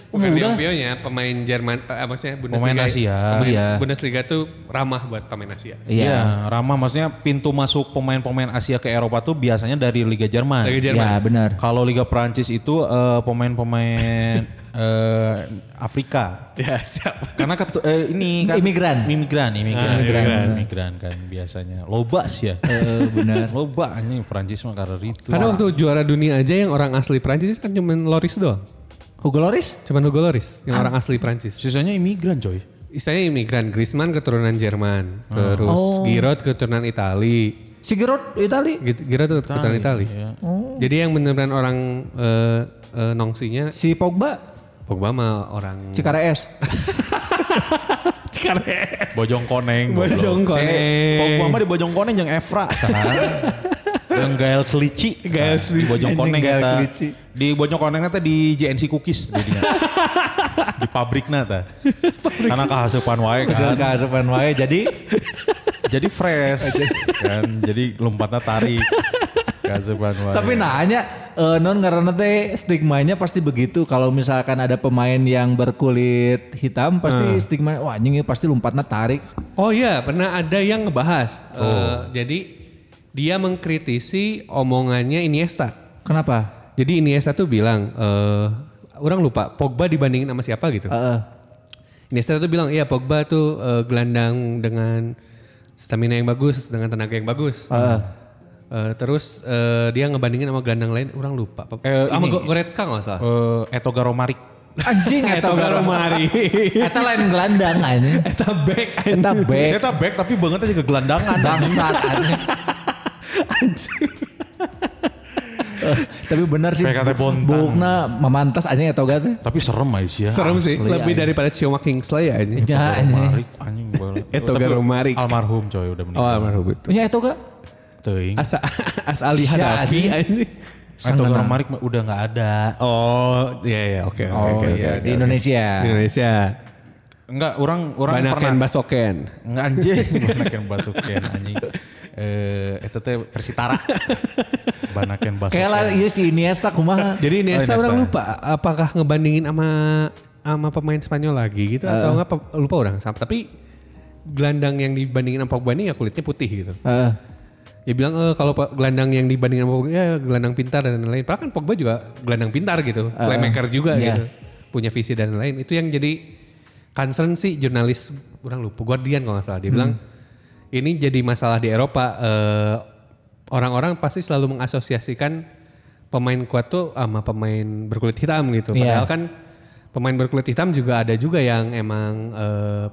[SPEAKER 6] bukan
[SPEAKER 1] Udah.
[SPEAKER 6] Liong Pio-nya, pemain Jerman, eh, maksudnya Bundesliga.
[SPEAKER 2] Pemain Asia.
[SPEAKER 6] pemain
[SPEAKER 1] Iya.
[SPEAKER 6] Bundesliga tuh ramah buat pemain Asia.
[SPEAKER 2] Iya,
[SPEAKER 1] Iya.
[SPEAKER 2] Rama maksudnya pintu masuk pemain-pemain Asia ke Eropa tuh biasanya dari Liga Jerman.
[SPEAKER 6] Liga Jerman.
[SPEAKER 1] Iya benar.
[SPEAKER 2] Kalau Liga Prancis itu eh, pemain-pemain eh, Afrika.
[SPEAKER 6] Ya, siap.
[SPEAKER 2] Karena ketu- eh, ini kan
[SPEAKER 1] Imigran.
[SPEAKER 2] imigran, imigran,
[SPEAKER 1] Ah, imigran.
[SPEAKER 2] imigran, imigran kan biasanya. Lobas ya.
[SPEAKER 1] Eh, benar.
[SPEAKER 2] Loba ini Prancis mah karena itu.
[SPEAKER 6] Karena waktu juara dunia aja yang orang asli Prancis kan cuman Loris doang.
[SPEAKER 1] Hugo Loris?
[SPEAKER 6] Cuman Hugo Loris yang orang asli Prancis.
[SPEAKER 2] sisanya imigran coy.
[SPEAKER 6] Istilahnya imigran, Griezmann keturunan Jerman, terus Giroud keturunan Itali.
[SPEAKER 1] Sigurd Itali?
[SPEAKER 6] Gitu- Giroud keturunan Itali. Oh. Jadi yang beneran orang eh, eh, nongsinya
[SPEAKER 1] Si Pogba?
[SPEAKER 6] Pogba mah orang
[SPEAKER 1] Cikarees?
[SPEAKER 2] Bojong koneng. goblok.
[SPEAKER 6] Bojong koneng.
[SPEAKER 2] Cek, Pogba mah di bojong koneng yang Evra. Eh. Kan? yang gael kelici. Gael Di bojong koneng
[SPEAKER 1] Gael
[SPEAKER 2] eta.
[SPEAKER 1] Kelici.
[SPEAKER 2] Di bojong koneng eta di JNC Cookies jadinya. di pabrikna ta. Karena kahasupan wae kan.
[SPEAKER 1] Kasupan wae jadi
[SPEAKER 2] Jadi fresh kan. Jadi lompatnya tarik. Kahasupan wae.
[SPEAKER 1] Tapi nanya eh, non karena teh stigmanya pasti begitu kalau misalkan ada pemain yang berkulit hitam pasti stigma wah anjing ini pasti lompatnya tarik.
[SPEAKER 6] Oh iya, pernah ada yang ngebahas.
[SPEAKER 1] Oh.
[SPEAKER 6] Eh, jadi dia mengkritisi omongannya Iniesta.
[SPEAKER 1] Kenapa?
[SPEAKER 6] Jadi Iniesta tuh bilang, eh orang lupa Pogba dibandingin sama siapa gitu.
[SPEAKER 1] Heeh.
[SPEAKER 6] Iniesta tuh bilang, iya Pogba tuh eh, gelandang dengan stamina yang bagus, dengan tenaga yang bagus.
[SPEAKER 1] Ah.
[SPEAKER 6] Eh, terus eh, dia ngebandingin sama gelandang lain, orang lupa. Pe-
[SPEAKER 2] Eh,
[SPEAKER 6] sama
[SPEAKER 2] ini.
[SPEAKER 6] Go- Goretzka nggak salah.
[SPEAKER 2] Eh, Eto Garomarik.
[SPEAKER 1] Anjing Oh. eta
[SPEAKER 6] Mari.
[SPEAKER 1] Eta lain gelandang anjing.
[SPEAKER 6] Eta back.
[SPEAKER 1] Eta
[SPEAKER 2] Saya
[SPEAKER 1] back
[SPEAKER 2] tak back tapi banget aja ke gelandangan.
[SPEAKER 1] bangsat anjing. Eh, tapi benar sih.
[SPEAKER 2] PKT Bontang.
[SPEAKER 1] Bukna memantas ya, anjing eta oga teh.
[SPEAKER 2] Tapi serem aja. ya.
[SPEAKER 6] Serem sih,
[SPEAKER 1] Asli,
[SPEAKER 6] lebih
[SPEAKER 1] anjing.
[SPEAKER 6] daripada Cioma Kingsley ya ini.
[SPEAKER 1] Ya anjing.
[SPEAKER 2] Marik anjing banget.
[SPEAKER 6] Eto
[SPEAKER 2] Tapi
[SPEAKER 6] Garomarik.
[SPEAKER 2] Almarhum coy udah meninggal.
[SPEAKER 6] Oh, almarhum itu.
[SPEAKER 1] Punya ya, eta oga?
[SPEAKER 2] Teuing.
[SPEAKER 6] As, as Ali
[SPEAKER 1] Sia,
[SPEAKER 6] Hadafi
[SPEAKER 1] anjing.
[SPEAKER 6] ini.
[SPEAKER 2] Eto Garomarik mah udah nggak ada.
[SPEAKER 6] Oh, iya iya oke oke
[SPEAKER 1] Oh
[SPEAKER 6] oke,
[SPEAKER 1] iya
[SPEAKER 6] oke,
[SPEAKER 1] di
[SPEAKER 6] oke.
[SPEAKER 1] Indonesia.
[SPEAKER 6] Di Indonesia.
[SPEAKER 2] Enggak, orang orang
[SPEAKER 6] Banaken
[SPEAKER 2] pernah
[SPEAKER 6] Basoken.
[SPEAKER 2] Enggak anjing, Banaken Basuken anjing. Eh eta teh Persitara. Banaken Basuken.
[SPEAKER 1] Kayak lah ieu si Iniesta kumaha.
[SPEAKER 6] Jadi Iniesta
[SPEAKER 2] Iniesta.
[SPEAKER 6] orang lupa apakah ngebandingin sama sama pemain Spanyol lagi gitu atau enggak pe- lupa orang Sam- tapi gelandang yang dibandingin sama Pogba ini ya kulitnya putih gitu.
[SPEAKER 1] Heeh.
[SPEAKER 6] Dia bilang eh, kalau pe- gelandang yang dibandingin sama Pogba ya gelandang pintar dan lain-lain. Padahal kan Pogba juga gelandang pintar gitu, playmaker juga
[SPEAKER 1] iya.
[SPEAKER 6] gitu. Punya visi dan lain-lain. Itu yang jadi concern sih jurnalis kurang lupa Guardian kalau nggak salah
[SPEAKER 1] Hmm.
[SPEAKER 6] dia bilang ini jadi masalah di Eropa Eh, orang-orang pasti selalu mengasosiasikan pemain kuat tuh sama pemain berkulit hitam gitu.
[SPEAKER 1] Iya.
[SPEAKER 6] Padahal kan pemain berkulit hitam juga ada juga yang emang eh,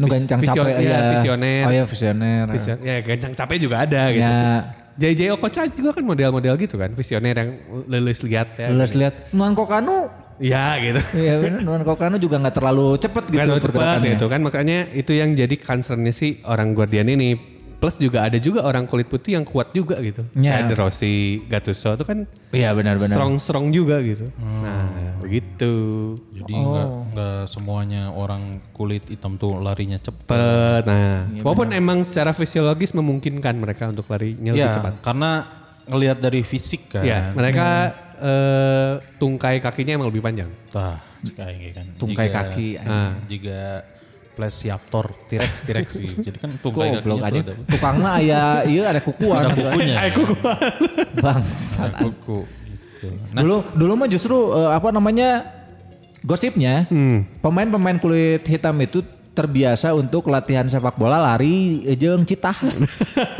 [SPEAKER 1] Nu
[SPEAKER 6] vis-
[SPEAKER 1] gancang
[SPEAKER 6] visio-
[SPEAKER 1] capek
[SPEAKER 6] iya,
[SPEAKER 1] ya.
[SPEAKER 6] visioner.
[SPEAKER 1] Oh iya visioner.
[SPEAKER 6] Vision, ya gancang capek juga ada gitu.
[SPEAKER 1] Ya.
[SPEAKER 6] JJ Okocha juga kan model-model gitu kan, visioner yang lulus lihat ya.
[SPEAKER 1] Lulus
[SPEAKER 6] gini.
[SPEAKER 1] lihat Nuan Kokanu.
[SPEAKER 6] Ya gitu.
[SPEAKER 1] Iya bener Nuan Kokanu juga nggak terlalu cepet gitu
[SPEAKER 6] Gak terlalu cepat
[SPEAKER 1] pergerakannya.
[SPEAKER 6] gitu kan, makanya itu yang jadi concernnya sih orang Guardian ini. Plus juga ada juga orang kulit putih yang kuat juga gitu.
[SPEAKER 1] Ya.
[SPEAKER 6] Kayak De Rossi, Gattuso itu kan
[SPEAKER 1] Iya benar-benar. Hmm.
[SPEAKER 6] strong-strong juga gitu. Nah begitu.
[SPEAKER 2] Jadi enggak
[SPEAKER 1] Oh.
[SPEAKER 2] enggak semuanya orang kulit hitam tuh larinya cepet.
[SPEAKER 6] Cepet, nah.
[SPEAKER 1] Iya,
[SPEAKER 6] Walaupun emang secara fisiologis memungkinkan mereka untuk larinya lebih
[SPEAKER 2] Iya,
[SPEAKER 6] cepat.
[SPEAKER 2] karena ngelihat dari
[SPEAKER 1] Iya.
[SPEAKER 2] fisik kan.
[SPEAKER 6] Ya, mereka eh, tungkai kakinya emang lebih panjang.
[SPEAKER 2] Tah, jika ini kan.
[SPEAKER 1] Tungkai
[SPEAKER 2] Jika-
[SPEAKER 1] kaki, anjing.
[SPEAKER 2] Ah, jika plesiaptor, T-Rex, T-Rex sih. Jadi kan tungkai
[SPEAKER 1] Goblok
[SPEAKER 2] kakinya
[SPEAKER 1] aja.
[SPEAKER 2] tuh ada.
[SPEAKER 1] Tukang mah aya iya ada kukuan.
[SPEAKER 2] Ada kukunya. Ada kukuan.
[SPEAKER 1] Bangsat.
[SPEAKER 2] Kuku. Gitu. Nah,
[SPEAKER 1] Dulu dulu mah
[SPEAKER 6] Hmm.
[SPEAKER 2] Hmm.
[SPEAKER 1] justru eh, apa namanya gosipnya pemain-pemain kulit hitam itu terbiasa untuk latihan sepak bola lari eh, jeung citahan.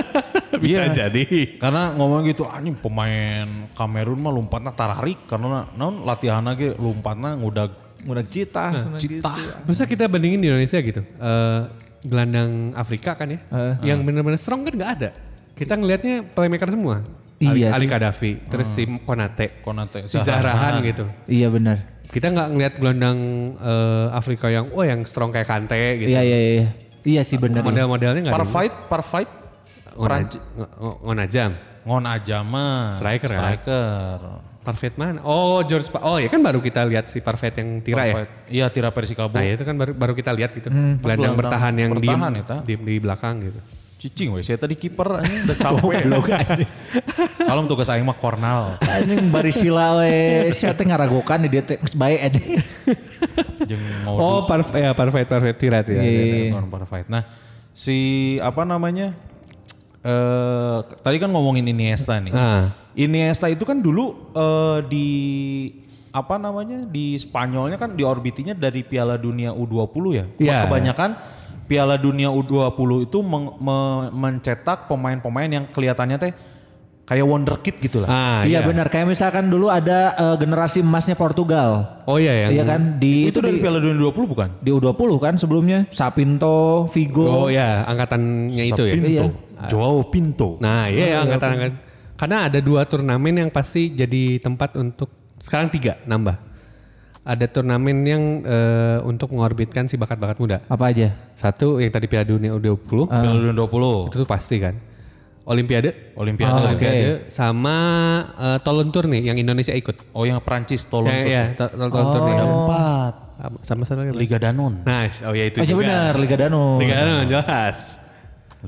[SPEAKER 6] Bisa
[SPEAKER 2] Iya.
[SPEAKER 6] jadi.
[SPEAKER 2] Karena ngomong gitu, anjing pemain Kamerun mah lompatnya tararik karena non latihan lagi lompatnya ngudag
[SPEAKER 1] Udah citah sebenarnya
[SPEAKER 2] cita.
[SPEAKER 1] gitu.
[SPEAKER 6] Masa kita bandingin di Indonesia gitu? Eh, gelandang Afrika kan ya,
[SPEAKER 1] Heeh.
[SPEAKER 6] yang benar-benar strong kan nggak ada. Kita ngelihatnya playmaker semua.
[SPEAKER 1] Iya sih.
[SPEAKER 6] Ali, Ali
[SPEAKER 1] Hmm.
[SPEAKER 6] Kadafi, terus si Konate,
[SPEAKER 2] Konate,
[SPEAKER 6] si Zahrahan gitu.
[SPEAKER 1] Iya benar.
[SPEAKER 6] Kita nggak ngelihat gelandang eh, Afrika yang, oh yang strong kayak Kante gitu.
[SPEAKER 1] Iya iya iya. Iya sih benar. ya.
[SPEAKER 6] Model-modelnya nggak. ada.
[SPEAKER 2] Parfight, parfight.
[SPEAKER 6] Ngona- Ngo- Ngo- Ngonajam,
[SPEAKER 2] Ngon aja mah.
[SPEAKER 6] Striker kan?
[SPEAKER 2] Striker.
[SPEAKER 6] Parfait mana? Oh George, Pa- oh ya kan baru kita lihat si Parfait yang tira ya.
[SPEAKER 2] Parfait. Iya, tira Persikabo.
[SPEAKER 6] Nah itu kan baru baru kita lihat gitu.
[SPEAKER 1] Hmm.
[SPEAKER 6] Gelandang
[SPEAKER 2] Gelandang
[SPEAKER 6] bertahan yang diem,
[SPEAKER 2] bertahan, ya, Eta.
[SPEAKER 6] diem di belakang gitu.
[SPEAKER 2] Cicing weh, saya tadi kiper anjing udah capek. Kalau tugas aing mah kornal.
[SPEAKER 1] Anjing barisila we. Sia teh ngaragokan di dia teh geus bae aja.
[SPEAKER 2] Jeung mau
[SPEAKER 6] Oh Parfait, ya Parfait, Parfait tira ya.
[SPEAKER 1] Iya.
[SPEAKER 2] Korban Parfait. Nah, si apa namanya? Eh tadi kan ngomongin Iniesta nih.
[SPEAKER 6] Ah.
[SPEAKER 2] Iniesta itu kan dulu eh, di apa namanya? di Spanyolnya kan diorbitinya dari Piala Dunia U20 ya.
[SPEAKER 6] Iya.
[SPEAKER 2] Kebanyakan Piala Dunia U20 itu meng- me- mencetak pemain-pemain yang kelihatannya teh kayak wonderkid gitu lah.
[SPEAKER 6] Ah,
[SPEAKER 1] Iya benar. Kayak misalkan dulu ada eh, generasi emasnya Portugal.
[SPEAKER 6] Oh iya yang
[SPEAKER 1] Iya kan di
[SPEAKER 2] itu
[SPEAKER 1] di,
[SPEAKER 2] dari Piala Dunia U20 bukan?
[SPEAKER 1] di U20 kan sebelumnya Sapinto,
[SPEAKER 6] Oh
[SPEAKER 1] Vigo.
[SPEAKER 6] ya angkatannya itu ya.
[SPEAKER 1] Iya.
[SPEAKER 2] Joao Pinto.
[SPEAKER 6] Nah iya ya angkatan angkatan. Karena ada dua turnamen yang pasti jadi tempat untuk sekarang tiga nambah. Ada turnamen yang eh, untuk mengorbitkan si bakat-bakat muda.
[SPEAKER 1] Apa aja?
[SPEAKER 6] Satu yang tadi Piala Dunia U20
[SPEAKER 2] Piala Dunia U20.
[SPEAKER 6] itu tuh pasti kan. Olimpiade,
[SPEAKER 2] Olimpiade.
[SPEAKER 1] Oh, oke.
[SPEAKER 6] Olimpiade sama eh, Tolon Tour nih yang Indonesia ikut.
[SPEAKER 2] Oh yang Prancis tolong.
[SPEAKER 6] Ya, ya, to- to- Tolon
[SPEAKER 1] Oh, iya.
[SPEAKER 6] Tour nih.
[SPEAKER 2] Ada empat.
[SPEAKER 6] Sama satu lagi.
[SPEAKER 2] Liga Danon.
[SPEAKER 6] Nice. Oh ya itu
[SPEAKER 1] Oh iya
[SPEAKER 6] juga.
[SPEAKER 1] benar Liga Dano.
[SPEAKER 6] Liga Danon, jelas.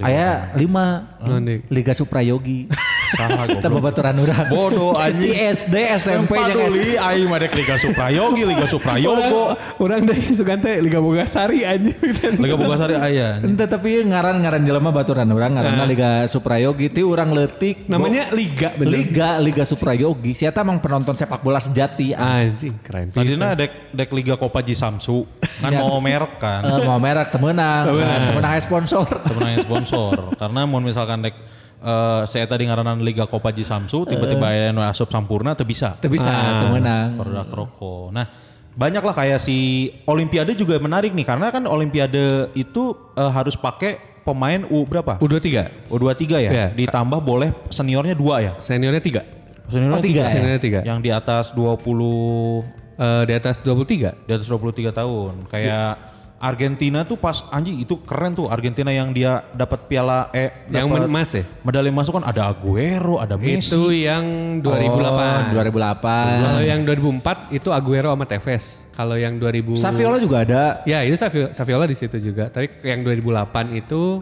[SPEAKER 1] Aya lima
[SPEAKER 6] Nondik.
[SPEAKER 1] Liga Suprayogi.
[SPEAKER 2] Saha
[SPEAKER 1] Kita
[SPEAKER 2] Oh, goblok.
[SPEAKER 1] babaturan urang.
[SPEAKER 2] Bodoh, anjing.
[SPEAKER 1] Di SD, SMP
[SPEAKER 2] Tempat
[SPEAKER 6] ya,
[SPEAKER 1] jeung
[SPEAKER 2] dulu, aing mah dek Liga Suprayogi, Liga Suprayogo.
[SPEAKER 6] Orang, orang dari Sugante Liga Bogasari aja.
[SPEAKER 2] Liga Bogasari ah, iya. aya.
[SPEAKER 1] Ente tapi ngaran-ngaran jelema baturan orang
[SPEAKER 2] Eh.
[SPEAKER 1] ngaranna Liga Suprayogi ti urang leutik.
[SPEAKER 6] Namanya Liga
[SPEAKER 1] Bo-
[SPEAKER 6] bener.
[SPEAKER 1] Liga Liga Suprayogi. Siapa emang penonton sepak bola sejati. Ah.
[SPEAKER 6] Anjing keren.
[SPEAKER 2] Tadinya nah dek dek Liga Kopaji Samsu. Kan
[SPEAKER 1] Ya.
[SPEAKER 2] mau
[SPEAKER 1] Eh,
[SPEAKER 2] merek kan.
[SPEAKER 1] mau merek temenang,
[SPEAKER 6] Temenang.
[SPEAKER 1] Nah, temenang aya sponsor.
[SPEAKER 2] Temen aing sponsor. Karena mau misalkan dek eh saya tadi ngaranan Liga Kopaji Samsu tiba-tiba
[SPEAKER 1] Eh.
[SPEAKER 2] aya nu asup Sampurna teu bisa.
[SPEAKER 1] Teu bisa
[SPEAKER 2] Ah.
[SPEAKER 1] temenang.
[SPEAKER 2] produk rokok. Nah, banyak lah kayak si Olimpiade juga menarik nih karena kan Olimpiade itu eh, harus pakai pemain U berapa?
[SPEAKER 6] U23.
[SPEAKER 2] U23 ya.
[SPEAKER 6] Iya.
[SPEAKER 2] Ditambah boleh seniornya dua ya.
[SPEAKER 6] Seniornya 3.
[SPEAKER 2] Seniornya
[SPEAKER 1] Oh, tiga ya?
[SPEAKER 6] Seniornya tiga. Eh,
[SPEAKER 2] Yang di atas 20
[SPEAKER 6] di atas 23.
[SPEAKER 2] di atas 23 tahun. Kayak
[SPEAKER 6] Iya.
[SPEAKER 2] Argentina tuh pas anjing itu keren tuh Argentina yang dia dapat piala eh
[SPEAKER 6] Yang
[SPEAKER 2] dapat
[SPEAKER 6] emas ya?
[SPEAKER 2] Medali emas tuh kan ada Aguero, ada Messi.
[SPEAKER 6] Itu Hmm. yang 2008.
[SPEAKER 1] Oh, 2008.
[SPEAKER 6] Kalau yang 2004 itu Aguero sama Tevez. Kalau yang 2000
[SPEAKER 1] Saviola juga ada.
[SPEAKER 6] Ya, itu Savio- Saviola di situ juga. Tapi yang 2008 itu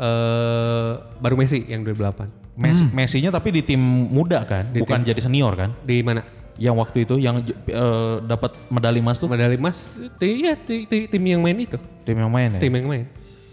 [SPEAKER 6] eh baru Messi yang 2008.
[SPEAKER 2] Messi, Messinya tapi di tim muda kan, bukan jadi senior kan?
[SPEAKER 6] Di mana?
[SPEAKER 2] yang waktu itu yang j- eh, dapat medali emas tuh
[SPEAKER 6] Medali emas ti- ya, ti- ti- tim yang main itu.
[SPEAKER 2] tim yang main ya.
[SPEAKER 6] Tim yang main.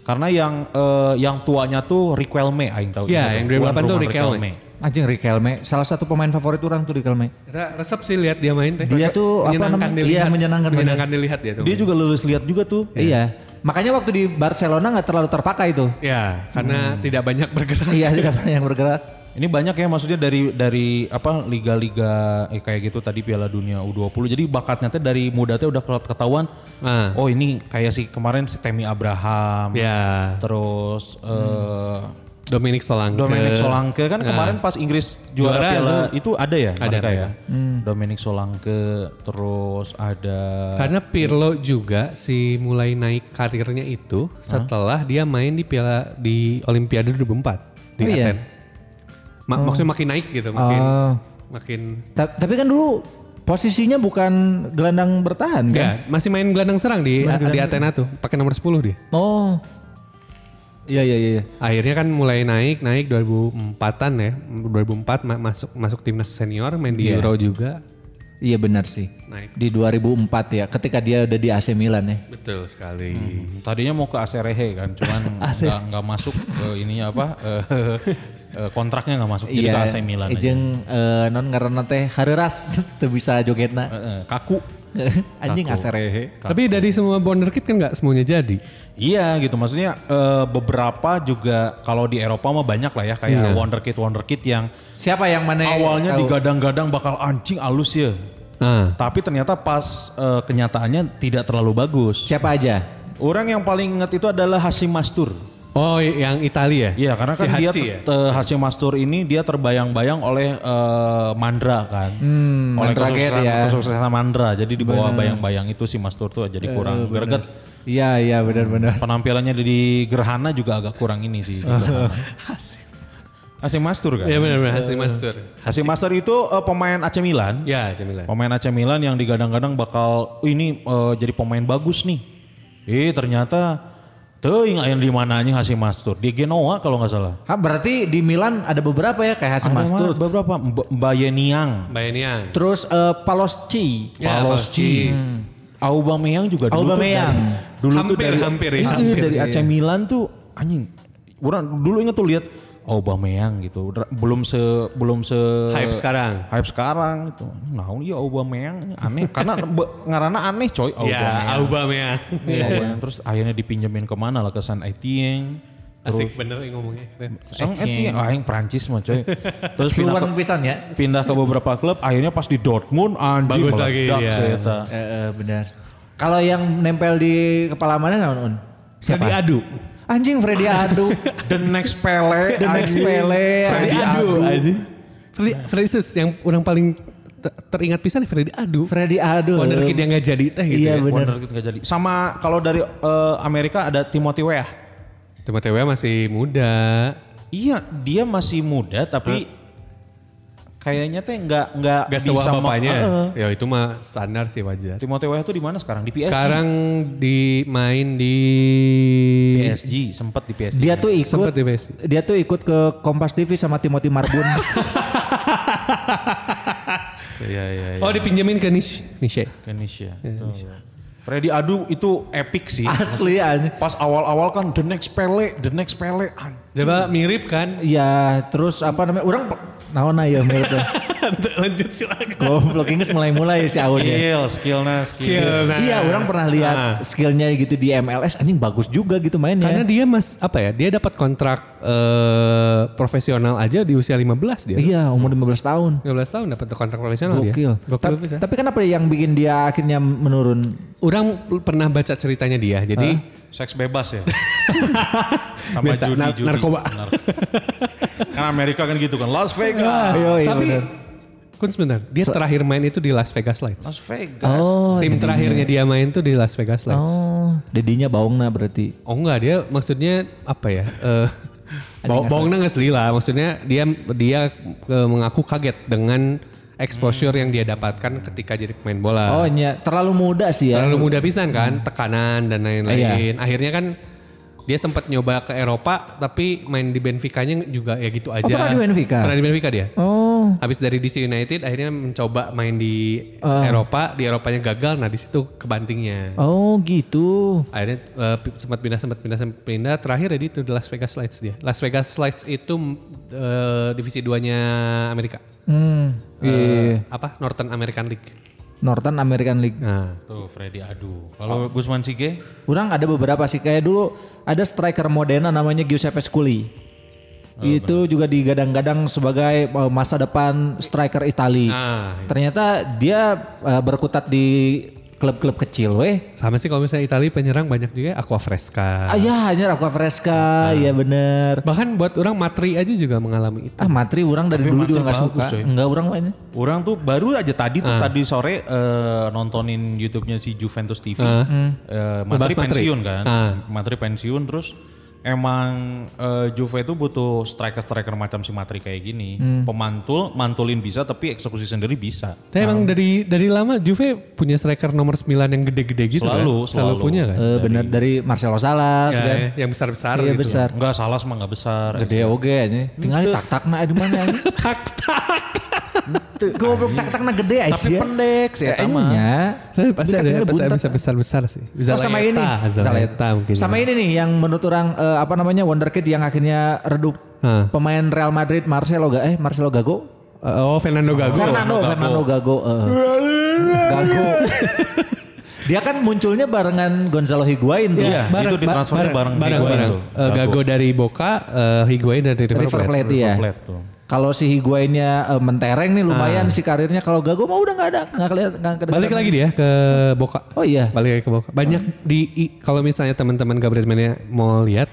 [SPEAKER 2] Karena yang eh, yang tuanya tuh Riquelme aing tahu. Ingat
[SPEAKER 6] Iya, yang
[SPEAKER 2] ya.
[SPEAKER 6] 2008 tuh
[SPEAKER 2] Juan Roman
[SPEAKER 6] Riquelme.
[SPEAKER 1] Anjing Riquelme, salah satu pemain favorit orang tuh Riquelme.
[SPEAKER 6] Kita resep sih lihat dia main teh.
[SPEAKER 1] Dia tuh apa namanya? Iya,
[SPEAKER 6] dilihat.
[SPEAKER 1] menyenangkan,
[SPEAKER 6] menyenangkan dilihat dia tuh.
[SPEAKER 2] Dia juga lulus lihat juga tuh.
[SPEAKER 1] Iya. Makanya waktu di Barcelona nggak terlalu terpakai tuh.
[SPEAKER 6] ya, karena tidak banyak bergerak.
[SPEAKER 1] Iya, tidak banyak yang bergerak.
[SPEAKER 2] Ini banyak ya maksudnya dari dari apa liga-liga eh, kayak gitu tadi Piala Dunia U20. Jadi bakatnya teh dari muda teh udah ketahuan.
[SPEAKER 6] Ah.
[SPEAKER 2] Oh, ini kayak si kemarin si Temi Abraham.
[SPEAKER 6] Ya,
[SPEAKER 2] Terus eh
[SPEAKER 6] Hmm. Dominic Solanke.
[SPEAKER 2] Dominic Solanke kan kemarin pas Inggris juara,
[SPEAKER 6] Nah. Juara
[SPEAKER 2] Piala
[SPEAKER 6] tuh.
[SPEAKER 2] itu ada ya
[SPEAKER 6] Ada,
[SPEAKER 2] mereka
[SPEAKER 6] ada.
[SPEAKER 2] ya. Dominic Solanke terus ada
[SPEAKER 6] Karena Pirlo juga si mulai naik karirnya itu setelah dia main di Piala di Olimpiade 2004 di
[SPEAKER 1] Oh iya?
[SPEAKER 6] Aten. Ma- Maksudnya makin naik gitu, makin
[SPEAKER 1] Oh.
[SPEAKER 6] makin
[SPEAKER 1] Ta- tapi kan dulu posisinya bukan gelandang bertahan kan?
[SPEAKER 6] ya, masih main gelandang serang di di Athena tuh, pakai nomor 10 dia.
[SPEAKER 1] Oh. Iya iya iya.
[SPEAKER 6] Akhirnya kan mulai naik, naik 2004-an ya. 2004 ma- masuk masuk timnas senior, main di Euro juga.
[SPEAKER 1] Iya benar sih.
[SPEAKER 6] Naik.
[SPEAKER 1] Di 2004 ya, ketika dia udah di AC Milan ya.
[SPEAKER 6] Betul sekali.
[SPEAKER 2] tadinya mau ke Acerehe kan cuman nggak nggak masuk eh, ininya apa eh, eh, kontraknya nggak masuk jadi
[SPEAKER 6] Iya.
[SPEAKER 1] Iya.
[SPEAKER 2] ke AC Milan aja.
[SPEAKER 1] Jeung eh, non karena teh hareras teu bisa jogetna.
[SPEAKER 2] Eh, eh, kaku
[SPEAKER 1] Anjing ya. aserehe.
[SPEAKER 6] Tapi dari semua Bonder Kit kan nggak semuanya jadi.
[SPEAKER 2] Iya gitu maksudnya eh, beberapa juga kalau di Eropa mah banyak lah ya kayak wonderkid wonderkid yang
[SPEAKER 1] Siapa yang mana
[SPEAKER 2] awalnya
[SPEAKER 1] tahu?
[SPEAKER 2] digadang-gadang bakal anjing alus ya.
[SPEAKER 6] Nah,
[SPEAKER 2] Tapi ternyata pas eh, kenyataannya tidak terlalu bagus.
[SPEAKER 1] Siapa aja?
[SPEAKER 2] Orang yang paling inget itu adalah Hasim Mastur.
[SPEAKER 6] oh y- yang Italia.
[SPEAKER 2] Iya karena
[SPEAKER 6] Si
[SPEAKER 2] kan dia
[SPEAKER 6] Hachi
[SPEAKER 2] te-
[SPEAKER 6] ya?
[SPEAKER 2] te- Hasim Mastur ini dia terbayang-bayang oleh eh, Mandra kan. oleh
[SPEAKER 1] Mandra
[SPEAKER 2] kesuksesan,
[SPEAKER 1] Gate ya.
[SPEAKER 2] kesuksesan Mandra. Jadi di bawah bayang-bayang itu si Mastur tuh jadi kurang greget.
[SPEAKER 1] Iya iya benar-benar.
[SPEAKER 2] Hmm. Penampilannya di Gerhana juga agak kurang ini sih. Hasim Mastur kan?
[SPEAKER 6] Iya benar-benar Hasil Master.
[SPEAKER 2] Hasim Mastur itu eh, pemain AC Milan.
[SPEAKER 1] Iya.
[SPEAKER 6] Ya, Cemilan.
[SPEAKER 2] Pemain AC Milan yang digadang-gadang bakal "Oh, ini eh, jadi pemain bagus nih. Eh ternyata teuing yang di mananya Hasim Mastur. Di Genoa kalau nggak salah.
[SPEAKER 1] Hah, berarti di Milan ada beberapa ya kayak Hasim
[SPEAKER 2] Ada
[SPEAKER 1] Mastur.
[SPEAKER 2] mah beberapa Mb- Bayeniang,
[SPEAKER 6] Mbak Niang.
[SPEAKER 1] Terus eh, Palosci.
[SPEAKER 6] Ya,
[SPEAKER 2] Palosci, Hmm. Aubameyang juga dulu
[SPEAKER 1] Aubameyang.
[SPEAKER 2] tuh dari, dulu tuh
[SPEAKER 6] Hampir,
[SPEAKER 2] dari
[SPEAKER 6] hampir ya.
[SPEAKER 2] Iya,
[SPEAKER 6] Hampir,
[SPEAKER 2] dari AC Milan tuh anjing. Orang dulu inget tuh lihat Aubameyang gitu. Ra- Belum se belum se
[SPEAKER 6] Hype sekarang.
[SPEAKER 2] hype sekarang gitu. Naon ya Aubameyang aneh karena be- ngarana aneh coy
[SPEAKER 6] Ya,
[SPEAKER 2] Aubameyang.
[SPEAKER 6] Aubameyang.
[SPEAKER 2] Aubameyang. Terus akhirnya dipinjemin kemana lah ke San Etienne. Terus
[SPEAKER 6] Asik bener nih ngomongnya. Keren.
[SPEAKER 2] San Etienne, ah yang Prancis mah coy. Terus pindah
[SPEAKER 1] Keluar
[SPEAKER 2] ke
[SPEAKER 1] pisan ya.
[SPEAKER 2] pindah ke beberapa klub akhirnya pas di Dortmund anjing
[SPEAKER 6] Bagus lagi,
[SPEAKER 2] meledak
[SPEAKER 6] iya.
[SPEAKER 2] si eta.
[SPEAKER 1] Eh, eh, benar. Kalau yang nempel di kepala mana naon Un? Siapa?
[SPEAKER 6] Freddy Adu.
[SPEAKER 1] Anjing Freddy Adu.
[SPEAKER 2] The next Pele
[SPEAKER 1] The next
[SPEAKER 2] anjing.
[SPEAKER 1] Pele,
[SPEAKER 2] Freddy
[SPEAKER 1] anjing.
[SPEAKER 2] Adu
[SPEAKER 6] Aji. Freddy, Freddy Sus, yang orang paling te- teringat pisan Freddy Adu.
[SPEAKER 1] Freddy Adu.
[SPEAKER 6] Wonderkid yang nggak jadi teh gitu.
[SPEAKER 1] Iya,
[SPEAKER 6] ya.
[SPEAKER 1] bener.
[SPEAKER 2] Wonder Kid nggak jadi sama kalau dari eh, Amerika ada Timothy Weah
[SPEAKER 6] Cuma TW masih muda.
[SPEAKER 2] iya dia masih muda tapi kayaknya teh nggak nggak
[SPEAKER 6] Gak sewa
[SPEAKER 2] ma-
[SPEAKER 6] bapaknya.
[SPEAKER 2] Heeh.
[SPEAKER 6] Ya itu mah standar sih wajar.
[SPEAKER 2] Timothy Weah tuh di mana sekarang di PSG
[SPEAKER 6] Sekarang di main di
[SPEAKER 2] PSG sempat di PSG
[SPEAKER 1] Dia tuh ikut
[SPEAKER 6] Sempet ya, di PSG.
[SPEAKER 1] dia tuh ikut ke Kompas TV sama Timothy Marbun.
[SPEAKER 2] iya iya iya
[SPEAKER 6] Oh dipinjemin ke Nish Nishe.
[SPEAKER 2] Kenisha Freddy Adu itu epic sih
[SPEAKER 1] Asli anjing.
[SPEAKER 2] pas awal-awal kan the next Pele the next Pele anjing.
[SPEAKER 6] Coba mirip kan?
[SPEAKER 1] Iya, terus apa namanya? Orang naon ya mirip.
[SPEAKER 6] Lanjut silakan.
[SPEAKER 1] Goblok ingus mulai-mulai si Aun ya.
[SPEAKER 2] skill
[SPEAKER 6] Iya,
[SPEAKER 2] skillnya skill.
[SPEAKER 6] nah.
[SPEAKER 1] Iya, orang pernah lihat skillnya gitu di MLS, anjing bagus juga gitu mainnya.
[SPEAKER 6] Karena dia mas apa ya? Dia dapat kontrak eh, profesional aja di usia 15 dia.
[SPEAKER 1] iya, umur 15 tahun.
[SPEAKER 6] 15 tahun dapat kontrak profesional
[SPEAKER 1] Gokil.
[SPEAKER 6] dia. Gokil.
[SPEAKER 1] Ta-
[SPEAKER 6] pisan.
[SPEAKER 1] Tapi kenapa yang bikin dia akhirnya menurun?
[SPEAKER 6] Orang pernah baca ceritanya dia. Jadi
[SPEAKER 2] Seks bebas ya. Sama
[SPEAKER 6] Biasa, nar-
[SPEAKER 2] judi-judi.
[SPEAKER 6] narkoba.
[SPEAKER 2] Nar- kan Amerika kan gitu kan. Las Vegas.
[SPEAKER 1] Yoi,
[SPEAKER 6] Iya. tapi
[SPEAKER 1] bener.
[SPEAKER 6] kun sebentar, dia terakhir main itu di Las Vegas Lights.
[SPEAKER 2] Las Vegas.
[SPEAKER 1] oh,
[SPEAKER 6] Tim terakhirnya dia main tuh di Las Vegas Lights.
[SPEAKER 1] oh, dedinya baungna berarti.
[SPEAKER 6] Oh enggak dia maksudnya apa ya? Eh bohong bohongnya nggak selila. Maksudnya dia dia eh, mengaku kaget dengan exposure yang dia dapatkan ketika jadi pemain bola.
[SPEAKER 1] Hmm. Oh, iya, terlalu muda sih ya.
[SPEAKER 6] Ah. Terlalu muda pisan kan, tekanan dan
[SPEAKER 1] Iya.
[SPEAKER 6] lain-lain. Akhirnya kan dia sempat nyoba ke Eropa tapi main di Benfica-nya juga ya gitu
[SPEAKER 1] Oh,
[SPEAKER 6] aja.
[SPEAKER 1] pernah di Benfica?
[SPEAKER 6] Pernah di Benfica dia.
[SPEAKER 1] Oh,
[SPEAKER 6] Habis dari DC United akhirnya mencoba main di Eropa, di Eropanya gagal. Nah, di situ kebantingnya
[SPEAKER 1] oh gitu.
[SPEAKER 6] akhirnya eh, pi- sempat pindah sempat pindah sempat pindah terakhir jadi itu di Las Vegas Lights dia Las Vegas Lights itu mm, eh, divisi duanya Amerika
[SPEAKER 1] Hmm,
[SPEAKER 6] Eh,
[SPEAKER 1] iya.
[SPEAKER 6] apa Northern American League
[SPEAKER 1] Northern American League.
[SPEAKER 6] nah
[SPEAKER 2] Tuh Freddy Adu. Kalau Gusman Sige?
[SPEAKER 1] Orang ada beberapa sih kayak dulu ada striker Modena namanya Giuseppe Scully.
[SPEAKER 6] Oh,
[SPEAKER 1] itu juga digadang-gadang sebagai uh, masa depan striker Itali.
[SPEAKER 6] Ah,
[SPEAKER 1] Ternyata dia uh, berkutat di klub-klub kecil weh.
[SPEAKER 6] sama sih kalau misalnya Italia penyerang banyak juga ya, Aqua Fresca
[SPEAKER 1] Ah ya hanya Aqua
[SPEAKER 6] Ah.
[SPEAKER 1] Fresca, ya bener.
[SPEAKER 6] bahkan buat orang Matri aja juga mengalami itu
[SPEAKER 1] Ah Matri orang dari dulu
[SPEAKER 2] Matri
[SPEAKER 1] juga nggak
[SPEAKER 2] bagus,
[SPEAKER 1] suka.
[SPEAKER 2] coy.
[SPEAKER 1] Enggak orang mainnya.
[SPEAKER 2] Orang tuh baru aja tadi
[SPEAKER 6] Ah.
[SPEAKER 2] tuh tadi sore eh, nontonin YouTube-nya si Juventus TV. Eh, Matri
[SPEAKER 6] Ah. Hmm. Ngebahas Matri.
[SPEAKER 2] pensiun kan.
[SPEAKER 6] Ah.
[SPEAKER 2] Matri pensiun terus emang eh, Juve itu butuh striker-striker macam si Matri kayak gini.
[SPEAKER 6] Hmm.
[SPEAKER 2] Pemantul, mantulin bisa tapi eksekusi sendiri bisa.
[SPEAKER 6] tapi emang dari dari lama Juve punya striker nomor 9 yang gede-gede gitu
[SPEAKER 2] Selalu,
[SPEAKER 6] kan? selalu
[SPEAKER 2] selalu.
[SPEAKER 6] punya kan
[SPEAKER 1] Eh, bener dari Marcelo Salas
[SPEAKER 6] Ya,
[SPEAKER 1] kan.
[SPEAKER 6] ya, yang besar-besar
[SPEAKER 1] Iya
[SPEAKER 6] gitu
[SPEAKER 1] besar.
[SPEAKER 2] Enggak salah mah enggak besar.
[SPEAKER 1] Gede oge aja. Tinggal tak-tak na di mana aja. tak-tak. Goblok tak-tak na gede ya. aja.
[SPEAKER 2] Tapi pendek sih, eta mah.
[SPEAKER 1] Enya.
[SPEAKER 6] saya pasti
[SPEAKER 1] Dekat
[SPEAKER 6] ada
[SPEAKER 1] dengan
[SPEAKER 6] pasti
[SPEAKER 1] buntet.
[SPEAKER 6] bisa besar-besar sih bisa
[SPEAKER 1] kan Oh, sama ini.
[SPEAKER 6] Zaleta mungkin ya.
[SPEAKER 1] Sama ini nih yang menurut orang eh, apa namanya wonderkid yang akhirnya redup
[SPEAKER 6] Hah.
[SPEAKER 1] pemain Real Madrid Marcelo Ga eh Marcelo Gago.
[SPEAKER 6] Uh, Oh Fernando Gago.
[SPEAKER 1] Fernando Fernando Gago. eh. Gago. Dia kan munculnya barengan Gonzalo Higuain tuh.
[SPEAKER 2] Iya, itu ditransfernya bareng Higuain
[SPEAKER 6] bareng.
[SPEAKER 2] tuh.
[SPEAKER 6] Eh, Gago.
[SPEAKER 2] Gago.
[SPEAKER 6] dari Boca, eh, Higuain dari River,
[SPEAKER 1] River
[SPEAKER 6] Plate.
[SPEAKER 1] Plate ya.
[SPEAKER 2] Flat tuh.
[SPEAKER 1] Kalau si Higuainnya eh, mentereng nih lumayan si karirnya. Kalau Gago mah udah nggak ada nggak kelihatan nggak kedengeran.
[SPEAKER 6] Balik lagi dia ke Boca.
[SPEAKER 2] Nah.
[SPEAKER 1] Oh iya.
[SPEAKER 6] Balik lagi ke Boca. Banyak di i- kalau misalnya teman-teman Gabriel Mania mau lihat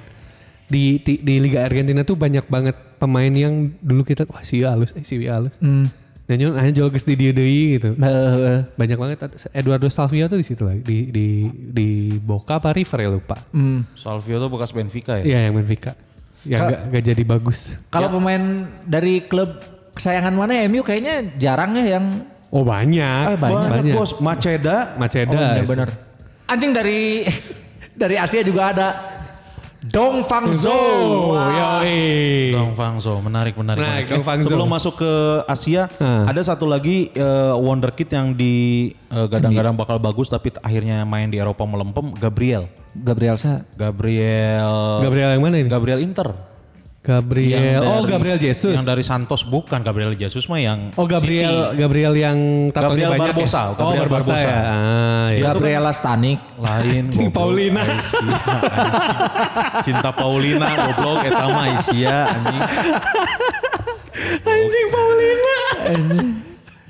[SPEAKER 6] di, di di Liga Argentina tuh banyak banget pemain yang dulu kita wah si halus, eh, si halus. Hmm. Nyanyon hanya jolges di dia deui gitu.
[SPEAKER 1] Eh,
[SPEAKER 6] Banyak banget Eduardo Salvia tuh di situ lagi di di di Boca apa River ya lupa.
[SPEAKER 1] hmm.
[SPEAKER 2] Salvio tuh bekas Benfica ya.
[SPEAKER 6] Iya yang Benfica. Yang gak, gak jadi bagus.
[SPEAKER 1] Kalau pemain dari klub kesayangan mana MU kayaknya jarang ya yang
[SPEAKER 6] Oh banyak.
[SPEAKER 1] Eh, banyak.
[SPEAKER 2] bos. Maceda. Oh, iya,
[SPEAKER 6] Maceda. iya.
[SPEAKER 1] bener
[SPEAKER 6] itu.
[SPEAKER 1] bener. Anjing dari dari Asia juga ada Dong Fang Zhou.
[SPEAKER 6] Oh, yoi.
[SPEAKER 2] Dong Fangzo, menarik menarik.
[SPEAKER 6] Menarik,
[SPEAKER 2] menarik.
[SPEAKER 6] Dong
[SPEAKER 2] Eh,
[SPEAKER 6] Fangzo.
[SPEAKER 2] Sebelum masuk ke Asia,
[SPEAKER 6] Hmm.
[SPEAKER 2] ada satu lagi eh, wonderkid yang di eh, gadang-gadang
[SPEAKER 6] Iya.
[SPEAKER 2] bakal bagus tapi t- akhirnya main di Eropa melempem, Gabriel.
[SPEAKER 1] Gabriel Sa.
[SPEAKER 2] Gabriel
[SPEAKER 6] Gabriel yang mana ini?
[SPEAKER 2] Gabriel Inter.
[SPEAKER 6] Gabriel.
[SPEAKER 2] Yang
[SPEAKER 6] oh
[SPEAKER 2] dari-
[SPEAKER 6] Gabriel Jesus.
[SPEAKER 2] Yang dari Santos bukan Gabriel Jesus mah yang
[SPEAKER 6] Oh Gabriel Gabriel yang
[SPEAKER 2] Gabriel
[SPEAKER 6] tatonya banyak
[SPEAKER 2] Barbosa,
[SPEAKER 6] ya?
[SPEAKER 2] Gabriel
[SPEAKER 6] oh Barbosa,
[SPEAKER 2] Barbosa.
[SPEAKER 6] ya. Ah, iya.
[SPEAKER 1] Gabriela Stanik.
[SPEAKER 2] City. lain
[SPEAKER 6] Cing
[SPEAKER 2] goblok.
[SPEAKER 6] Paulina.
[SPEAKER 2] Ay, sia, anjing. Cinta Paulina goblok eta mah ay, sia anjing.
[SPEAKER 6] Anjing Paulina.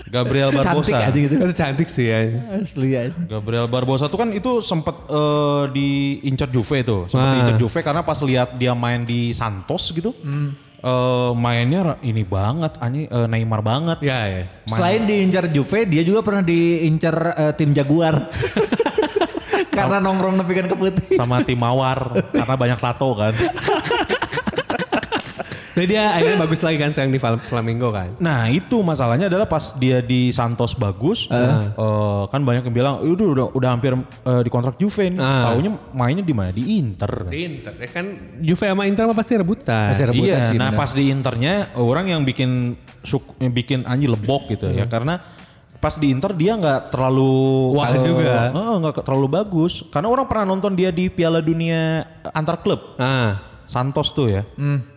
[SPEAKER 2] Gabriel Barbosa.
[SPEAKER 1] Cantik aja gitu.
[SPEAKER 6] Itu cantik sih ya.
[SPEAKER 1] Asli aja.
[SPEAKER 2] Gabriel Barbosa tuh kan itu sempat diincar Juve tuh, sempat
[SPEAKER 6] Wah.
[SPEAKER 2] diincar Juve karena pas lihat dia main di Santos gitu,
[SPEAKER 6] Hmm.
[SPEAKER 2] eh, mainnya ra- ini banget, ani eh, Neymar banget.
[SPEAKER 6] Ya ya.
[SPEAKER 1] Selain diincar Juve, dia juga pernah diincar eh, tim Jaguar. Karena nongkrong kan nepikan ke putih.
[SPEAKER 2] Sama tim Mawar karena banyak tato kan.
[SPEAKER 6] Jadi dia akhirnya bagus lagi kan sekarang di Flam- Flamingo kan.
[SPEAKER 2] Nah itu masalahnya adalah pas dia di Santos bagus,
[SPEAKER 6] Ah.
[SPEAKER 2] eh, kan banyak yang bilang, udah udah, udah hampir eh, dikontrak Juve nih.
[SPEAKER 6] Ah.
[SPEAKER 2] Taunya mainnya di mana? Di Inter.
[SPEAKER 6] Di Inter ya kan Juve sama Inter mah pasti rebutan.
[SPEAKER 1] Pasti rebutan.
[SPEAKER 2] Iya,
[SPEAKER 1] sih,
[SPEAKER 2] nah
[SPEAKER 1] benar.
[SPEAKER 2] pas di internya orang yang bikin suk, yang bikin anjing lebok gitu ya
[SPEAKER 6] Iya.
[SPEAKER 2] karena pas di inter dia nggak terlalu
[SPEAKER 6] Wah
[SPEAKER 2] eh,
[SPEAKER 6] juga.
[SPEAKER 2] eh, nggak ke- terlalu bagus karena orang pernah nonton dia di Piala Dunia antar klub
[SPEAKER 6] Ah.
[SPEAKER 2] Santos tuh ya.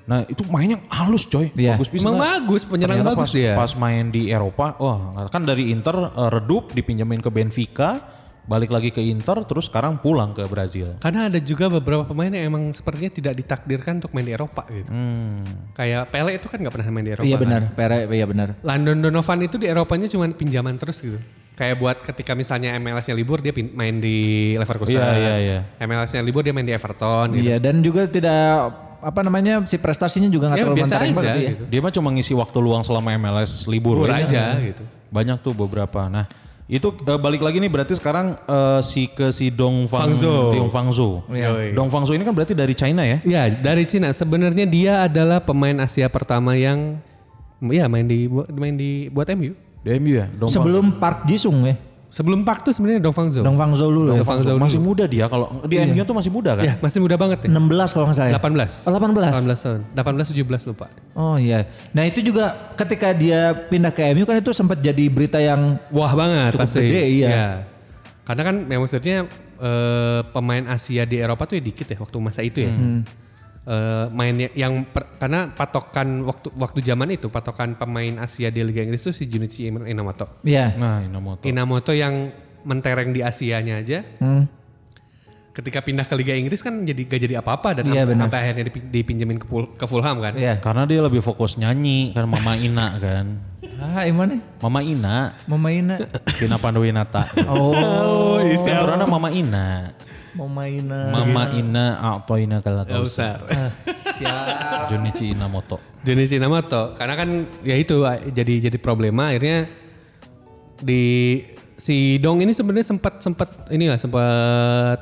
[SPEAKER 2] Nah itu mainnya halus coy,
[SPEAKER 1] Iya.
[SPEAKER 2] bagus pisan.
[SPEAKER 6] Hmm. Emang
[SPEAKER 2] Nah,
[SPEAKER 6] bagus, penyerang
[SPEAKER 2] ternyata
[SPEAKER 6] bagus
[SPEAKER 2] pas,
[SPEAKER 6] dia.
[SPEAKER 2] Pas main di Eropa, wah kan dari Inter eh, redup dipinjemin ke Benfica, balik lagi ke Inter, terus sekarang pulang ke Brazil.
[SPEAKER 6] Karena ada juga beberapa pemain yang emang sepertinya tidak ditakdirkan untuk main di Eropa gitu.
[SPEAKER 2] Hmm.
[SPEAKER 6] Kayak Pele itu kan nggak pernah main di Eropa.
[SPEAKER 1] Iya
[SPEAKER 6] kan.
[SPEAKER 1] benar, Pere, iya benar.
[SPEAKER 6] Landon Donovan itu di Eropanya cuma pinjaman terus gitu. Kayak buat ketika misalnya MLS-nya libur dia pin- main di Leverkusen.
[SPEAKER 2] Iya, iya, iya.
[SPEAKER 6] MLS-nya libur dia main di Everton gitu.
[SPEAKER 1] Iya dan juga tidak apa namanya si prestasinya juga nggak
[SPEAKER 6] Ya,
[SPEAKER 1] terlalu
[SPEAKER 6] biasa
[SPEAKER 1] mentereng
[SPEAKER 6] aja
[SPEAKER 1] banget ya.
[SPEAKER 6] gitu.
[SPEAKER 2] Dia mah cuma ngisi waktu luang selama MLS libur,
[SPEAKER 6] Libur aja, gitu.
[SPEAKER 2] Banyak tuh beberapa. Nah, itu eh, balik lagi nih berarti sekarang eh, si ke si Dong Fang,
[SPEAKER 6] Fangzhou. Iya.
[SPEAKER 2] Dong Fangzhou.
[SPEAKER 6] Yoi.
[SPEAKER 2] Dong Fangzhou ini kan berarti dari China ya?
[SPEAKER 6] Ya, dari Cina sebenarnya dia adalah pemain Asia pertama yang ya main di bu- main di buat MU.
[SPEAKER 2] Di MU ya? Dong Fang-
[SPEAKER 1] Sebelum Park Jisung ya,
[SPEAKER 6] Sebelum Park tuh sebenarnya Dong Fangzhou.
[SPEAKER 1] Dong Fang Zhou dulu ya.
[SPEAKER 6] Dong Fang Zhou
[SPEAKER 2] masih
[SPEAKER 6] dulu. Iya.
[SPEAKER 2] muda dia kalau di MU tuh masih muda kan?
[SPEAKER 6] Ya, masih muda banget ya.
[SPEAKER 1] 16 kalau nggak salah. ya?
[SPEAKER 6] 18.
[SPEAKER 1] Oh, 18.
[SPEAKER 6] 18 tahun. 18 17 lupa.
[SPEAKER 1] Oh iya. Nah itu juga ketika dia pindah ke MU kan itu sempat jadi berita yang
[SPEAKER 6] Wah
[SPEAKER 1] Cukup
[SPEAKER 6] banget pasti.
[SPEAKER 1] gede, iya.
[SPEAKER 6] Karena kan ya maksudnya eh, pemain Asia di Eropa tuh ya dikit ya waktu masa itu ya.
[SPEAKER 1] Hmm.
[SPEAKER 6] Eh, mainnya yang per- karena patokan waktu waktu zaman itu patokan pemain Asia di Liga Inggris tuh si Junichi In- Inamoto.
[SPEAKER 1] ya
[SPEAKER 2] Nah, Inamoto.
[SPEAKER 6] Inamoto yang mentereng di Asianya aja.
[SPEAKER 1] hmm.
[SPEAKER 6] Ketika pindah ke Liga Inggris kan jadi gak jadi apa-apa dan
[SPEAKER 1] Iya,
[SPEAKER 6] sampai
[SPEAKER 1] benar.
[SPEAKER 6] sampai akhirnya dipi- dipinjemin ke, Pul- ke Fulham kan.
[SPEAKER 1] ya.
[SPEAKER 2] Karena dia lebih fokus nyanyi kan Mama Ina kan.
[SPEAKER 1] Ah gimana?
[SPEAKER 2] Mama Ina,
[SPEAKER 1] Memaina.
[SPEAKER 2] Vina Panduwinata.
[SPEAKER 1] Oh,
[SPEAKER 2] Kan orangnya Mama Ina.
[SPEAKER 1] Memaina.
[SPEAKER 2] Mama Ina Atoina kalau
[SPEAKER 6] Gak usah.
[SPEAKER 1] Ah,
[SPEAKER 2] Junichi Inamoto.
[SPEAKER 6] Junichi Inamoto karena kan ya itu ah, jadi jadi problema akhirnya di si Dong ini sebenarnya sempat sempat inilah sempat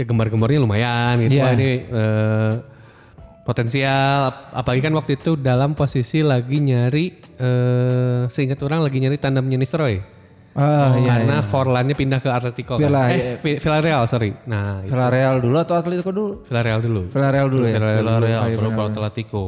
[SPEAKER 6] ya gemar-gemarnya lumayan gitu
[SPEAKER 1] Iya.
[SPEAKER 6] Wah, ini eh, potensial Ap- apalagi kan waktu itu dalam posisi lagi nyari eh seingat orang lagi nyari tandemnya Nisroy
[SPEAKER 1] Ah iya.
[SPEAKER 6] karena Forlannya pindah ke Atletico kan.
[SPEAKER 1] Villa, iya,
[SPEAKER 6] eh Vi- Villarreal sorry nah itu.
[SPEAKER 1] Villarreal dulu atau Atletico dulu?
[SPEAKER 6] Villarreal dulu
[SPEAKER 1] Villarreal dulu ya.
[SPEAKER 2] Villarreal, Pro Atletico.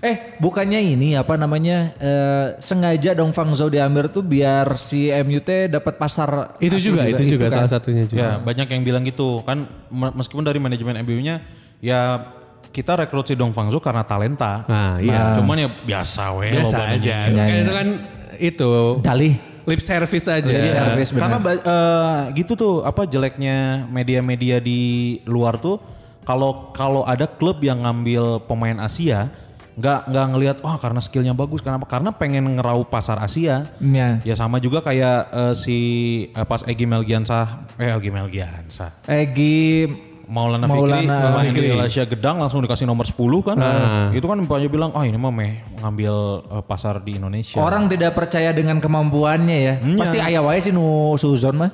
[SPEAKER 1] Eh, bukannya ini apa namanya eh, sengaja dong Fang Zhou diambil tuh biar si MUT dapat pasar.
[SPEAKER 6] itu
[SPEAKER 1] asli
[SPEAKER 6] juga, itu juga
[SPEAKER 1] kan.
[SPEAKER 6] salah satunya juga
[SPEAKER 2] Ya, banyak yang bilang gitu. Kan me- meskipun dari manajemen MU-nya ya kita rekrut si Dong Fangzhou karena talenta.
[SPEAKER 6] Nah, iya.
[SPEAKER 2] Cuman ya biasa we
[SPEAKER 1] Iya,
[SPEAKER 2] lobanya.
[SPEAKER 6] biasa aja. Kan itu kan itu
[SPEAKER 1] Dalih.
[SPEAKER 6] lip service aja. Iya.
[SPEAKER 1] Lip service. Service, benar.
[SPEAKER 2] Karena ba- eh, gitu tuh apa jeleknya media-media di luar tuh kalau kalau ada klub yang ngambil pemain Asia nggak nggak ngelihat wah karena skillnya bagus kenapa karena pengen ngeraup pasar Asia
[SPEAKER 1] Ya.
[SPEAKER 2] ya sama juga kayak eh, si eh, pas Egy Melgiansah eh Egy Melgiansah
[SPEAKER 1] Eh, Egi
[SPEAKER 2] Maulana,
[SPEAKER 1] Maulana Ah.
[SPEAKER 2] Fikri, main di Malaysia Gedang langsung dikasih nomor 10 kan. Itu kan banyak bilang, oh ini mah meh ngambil eh, pasar di Indonesia.
[SPEAKER 1] orang tidak percaya dengan kemampuannya ya.
[SPEAKER 2] Iya.
[SPEAKER 1] Pasti ayah wae sih nu suzon mah.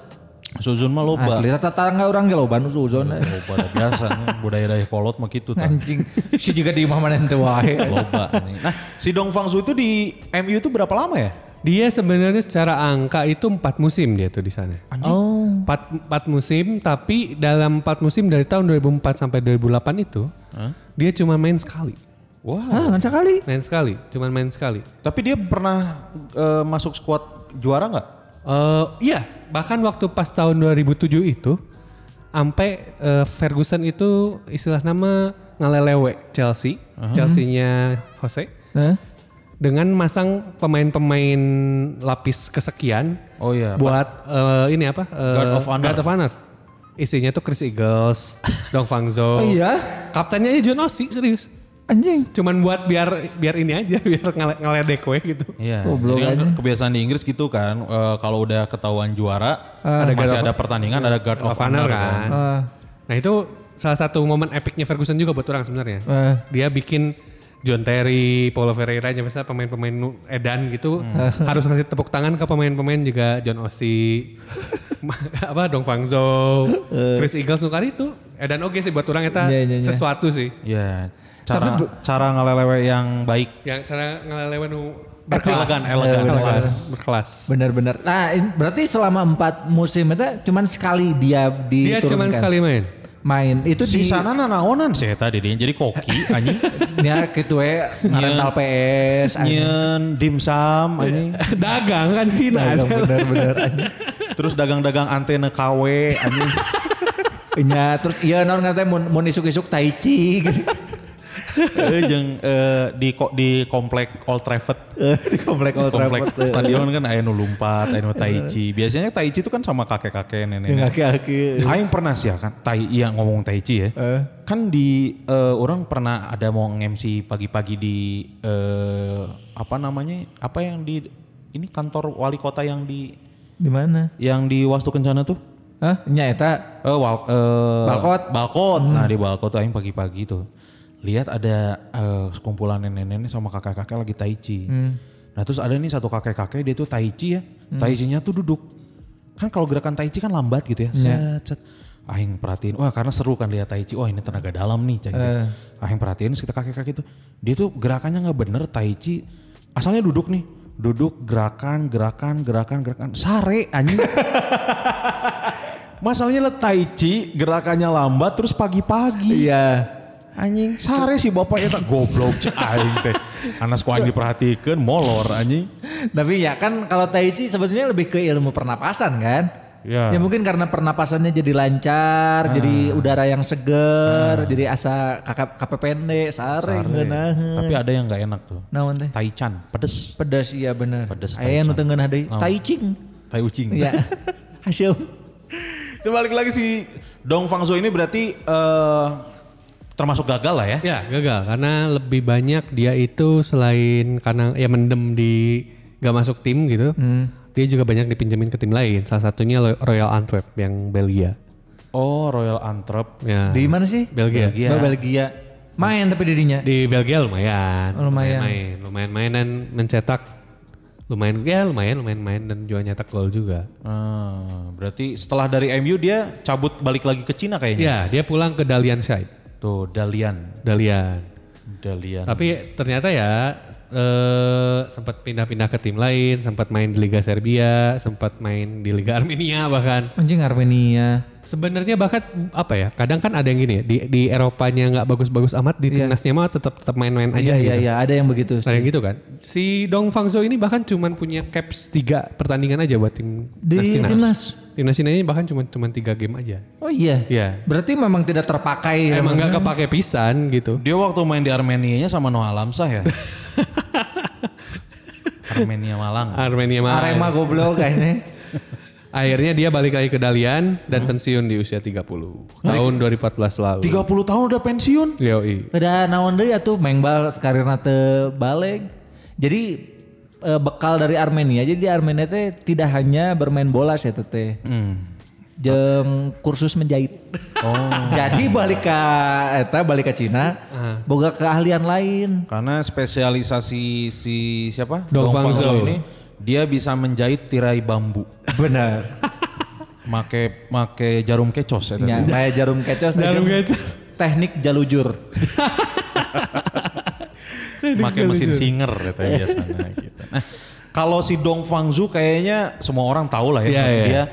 [SPEAKER 2] Suzun mah loba.
[SPEAKER 1] Asli tetangga orang ge loba nu suzon.
[SPEAKER 2] Loba dah biasa nih, budaya-budaya kolot mah gitu. Tan.
[SPEAKER 1] Anjing. Si juga di imah mana teu wae.
[SPEAKER 2] Loba nih. Nah, si Dong Fangsu itu di MU itu berapa lama ya?
[SPEAKER 6] Dia sebenarnya secara angka itu empat musim dia tuh di sana.
[SPEAKER 1] Oh.
[SPEAKER 6] Empat, empat musim, tapi dalam empat musim dari tahun 2004 sampai 2008 itu, dia cuma main sekali.
[SPEAKER 2] Wah.
[SPEAKER 1] Ah, kan sekali.
[SPEAKER 6] Main sekali, cuma main sekali.
[SPEAKER 2] Tapi dia pernah eh, masuk skuad juara nggak?
[SPEAKER 6] Eh, iya, bahkan waktu pas tahun 2007 itu, sampai eh, Ferguson itu istilah nama ngalelewe Chelsea, Chelsea-nya Jose,
[SPEAKER 1] Hah?
[SPEAKER 6] dengan masang pemain-pemain lapis kesekian
[SPEAKER 2] Oh iya.
[SPEAKER 6] buat eh, ini apa? Eh,
[SPEAKER 2] Guard of Honor.
[SPEAKER 6] Guard of Honor. Isinya tuh Chris Eagles, Dong Fangzo.
[SPEAKER 1] Oh iya?
[SPEAKER 6] Kaptennya aja John Ossie, serius.
[SPEAKER 1] Anjing.
[SPEAKER 6] Cuman buat biar biar ini aja, biar ngale- ngeledek we gitu.
[SPEAKER 2] Iya.
[SPEAKER 1] Goblok
[SPEAKER 2] Jadi kan
[SPEAKER 1] aja.
[SPEAKER 2] kebiasaan di Inggris gitu kan, eh, kalau udah ketahuan juara,
[SPEAKER 1] Ah.
[SPEAKER 2] ada masih ada pertandingan ada guard of honor kan.
[SPEAKER 1] Ah.
[SPEAKER 6] Nah itu salah satu momen epicnya Ferguson juga buat orang sebenarnya.
[SPEAKER 1] Eh.
[SPEAKER 6] Dia bikin John Terry, Paulo Ferreira, aja misalnya pemain-pemain nu- edan gitu
[SPEAKER 1] Hmm.
[SPEAKER 6] harus ngasih tepuk tangan ke pemain-pemain juga John Ossie, apa Dong Fangzo, Chris Eagles nu kali itu edan oke sih buat orang eta
[SPEAKER 1] Eh. Iya, iya, iya.
[SPEAKER 6] sesuatu sih
[SPEAKER 2] Iya. Cara cara ngelelewe yang baik.
[SPEAKER 6] yang cara ngelelewen nu
[SPEAKER 2] Elegan, elegan,
[SPEAKER 1] Elegan.
[SPEAKER 2] elegan.
[SPEAKER 6] berkelas.
[SPEAKER 1] Bener-bener. Nah, in- berarti selama empat musim itu cuman sekali dia
[SPEAKER 6] Dia
[SPEAKER 1] diturunkan.
[SPEAKER 6] cuman sekali main.
[SPEAKER 1] main. Itu di
[SPEAKER 2] Di sana nanaonan sih tadi dia jadi koki anjing.
[SPEAKER 1] ya gitu ya, rental PS.
[SPEAKER 2] Iya.
[SPEAKER 1] anjing. Iya.
[SPEAKER 2] Nyen dimsum anjing.
[SPEAKER 6] Dagang kan Cina.
[SPEAKER 1] Nah, Bener-bener. anjing.
[SPEAKER 2] Terus dagang-dagang antena KW anjing.
[SPEAKER 1] Ya, terus iya non katanya mun, mun isuk-isuk tai chi gitu.
[SPEAKER 2] Eh, jeung, eh, di ko- di komplek Old Trafford.
[SPEAKER 1] di komplek Old
[SPEAKER 2] komplek
[SPEAKER 1] Trafford. iya.
[SPEAKER 2] stadion kan aya nu lumpat, aya nu tai chi. Biasanya tai chi itu kan sama kakek-kakek
[SPEAKER 1] Yang
[SPEAKER 2] nenek.
[SPEAKER 1] aki-aki.
[SPEAKER 2] Aing pernah sih ya kan tai iya ngomong tai
[SPEAKER 1] iya.
[SPEAKER 2] chi ya.
[SPEAKER 1] Eh.
[SPEAKER 2] Kan di eh, orang pernah ada mau nge-MC pagi-pagi di eh, apa namanya? Apa yang di ini kantor wali kota yang di
[SPEAKER 1] Di mana?
[SPEAKER 2] yang di Wastu Kencana tuh?
[SPEAKER 1] Hah? Nya eta.
[SPEAKER 2] Eh, wal, eh,
[SPEAKER 1] Balkot.
[SPEAKER 2] Balkot. Nah di balkot tuh aing pagi-pagi tuh. Lihat ada eh, sekumpulan nenek-nenek sama kakek-kakek lagi tai chi. Nah terus ada nih satu kakek-kakek dia tuh tai chi ya. Tai chi-nya tuh duduk. Kan kalau gerakan tai chi kan lambat gitu ya. Set, set. Aing perhatiin, wah karena seru kan lihat tai chi. Wah ini tenaga dalam nih. Cah, gitu. Aing perhatiin kita kakek-kakek itu. Dia tuh gerakannya nggak bener tai chi. Asalnya duduk nih. Duduk gerakan, gerakan, gerakan, gerakan. Sare anjing. Masalahnya lah tai chi gerakannya lambat terus pagi-pagi.
[SPEAKER 1] Iya.
[SPEAKER 2] Anjing, sare si bapak eta goblok cek aing teh. Anas ku aing diperhatikeun molor anjing.
[SPEAKER 1] Tapi ya kan kalau tai chi sebetulnya lebih ke ilmu pernapasan kan?
[SPEAKER 2] Ya.
[SPEAKER 1] Ya mungkin karena pernapasannya jadi lancar, jadi udara yang seger, jadi asa kakap kapepende, sare ngeunah.
[SPEAKER 2] Tapi ada yang nggak enak tuh.
[SPEAKER 1] Naon teh?
[SPEAKER 2] Taichan, pedes.
[SPEAKER 1] Pedas iya bener.
[SPEAKER 2] Pedes
[SPEAKER 1] Aya
[SPEAKER 2] tai
[SPEAKER 1] nu
[SPEAKER 2] chan.
[SPEAKER 1] teu ngeunah deui,
[SPEAKER 2] Naon?
[SPEAKER 1] tai ching.
[SPEAKER 2] Tai ucing.
[SPEAKER 1] Iya. Hasil.
[SPEAKER 2] Itu balik lagi si Dong Fangzo ini berarti eh, termasuk gagal lah ya.
[SPEAKER 6] Ya gagal karena lebih banyak dia itu selain karena ya mendem di gak masuk tim gitu,
[SPEAKER 1] Hmm.
[SPEAKER 6] dia juga banyak dipinjemin ke tim lain. Salah satunya Lo- Royal Antwerp yang Belgia.
[SPEAKER 2] Oh, Royal Antwerp.
[SPEAKER 6] Ya.
[SPEAKER 1] Di mana sih?
[SPEAKER 6] Belgia.
[SPEAKER 2] Belgia.
[SPEAKER 1] Oh, Belgia. Main tapi dirinya.
[SPEAKER 6] Di Belgia lumayan.
[SPEAKER 1] Oh, lumayan.
[SPEAKER 6] Main, lumayan main dan mencetak lumayan ya lumayan lumayan main dan juga nyetak gol juga.
[SPEAKER 2] Ah, berarti setelah dari MU dia cabut balik lagi ke
[SPEAKER 1] Iya.
[SPEAKER 2] Cina kayaknya.
[SPEAKER 6] Ya dia pulang ke Dalian Shide.
[SPEAKER 2] Tuh, Dalian.
[SPEAKER 6] Dalian.
[SPEAKER 2] Dalian.
[SPEAKER 6] Tapi ternyata ya eh, sempat pindah-pindah ke tim lain, sempat main di Liga Serbia, sempat main di Liga Armenia bahkan.
[SPEAKER 1] Anjing Armenia.
[SPEAKER 6] Sebenarnya bahkan apa ya? Kadang kan ada yang gini ya, di di Eropanya nggak bagus-bagus amat di timnasnya mah tetap tetap main-main
[SPEAKER 1] Iya iya
[SPEAKER 6] aja gitu.
[SPEAKER 1] iya, ada yang begitu.
[SPEAKER 6] Nah,
[SPEAKER 1] sih.
[SPEAKER 6] yang gitu kan. Si Dong Fangzo ini bahkan cuman punya caps tiga pertandingan aja buat tim
[SPEAKER 1] Di
[SPEAKER 6] nas Cina.
[SPEAKER 1] timnas?
[SPEAKER 6] Timnas Cina ini bahkan cuma cuman tiga game aja.
[SPEAKER 1] Oh iya.
[SPEAKER 6] Iya.
[SPEAKER 1] Berarti memang tidak terpakai. ya,
[SPEAKER 6] Emang
[SPEAKER 1] maksudnya.
[SPEAKER 6] nggak kepake pisan gitu.
[SPEAKER 2] Dia waktu main di Armenia sama Noah Lamsah ya. Armenia Malang.
[SPEAKER 6] Armenia Malang.
[SPEAKER 1] Arema goblok kayaknya.
[SPEAKER 6] Akhirnya dia balik lagi ke Dalian dan pensiun di usia 30. Tahun 2014 lalu.
[SPEAKER 2] 30 tahun udah pensiun.
[SPEAKER 6] Yoi.
[SPEAKER 1] Udah naon deui atuh mengbal karirna teu baleg. Jadi eh, bekal dari Armenia. Jadi di Armenia teh tidak hanya bermain bola saya teh.
[SPEAKER 2] Hmm.
[SPEAKER 1] Jeng kursus menjahit. Oh. Jadi balik ke eta balik ke Cina, boga keahlian lain.
[SPEAKER 2] Karena spesialisasi si siapa?
[SPEAKER 6] Dong Fang
[SPEAKER 2] Fang
[SPEAKER 6] Zhou.
[SPEAKER 2] Zhou ini dia bisa menjahit tirai bambu.
[SPEAKER 1] Benar.
[SPEAKER 2] Make make jarum kecos ya.
[SPEAKER 6] Iya.
[SPEAKER 1] Ya,
[SPEAKER 2] tadi.
[SPEAKER 1] maya jarum kecos. jeung
[SPEAKER 6] Jarum kecos.
[SPEAKER 1] Teknik jalujur.
[SPEAKER 2] Make
[SPEAKER 6] Iya,
[SPEAKER 2] mesin singer ya tadi biasanya gitu. Nah, kalau si Dong Fangzu kayaknya semua orang tahu lah ya.
[SPEAKER 6] Iya,
[SPEAKER 2] Maksud
[SPEAKER 6] iya.
[SPEAKER 2] Dia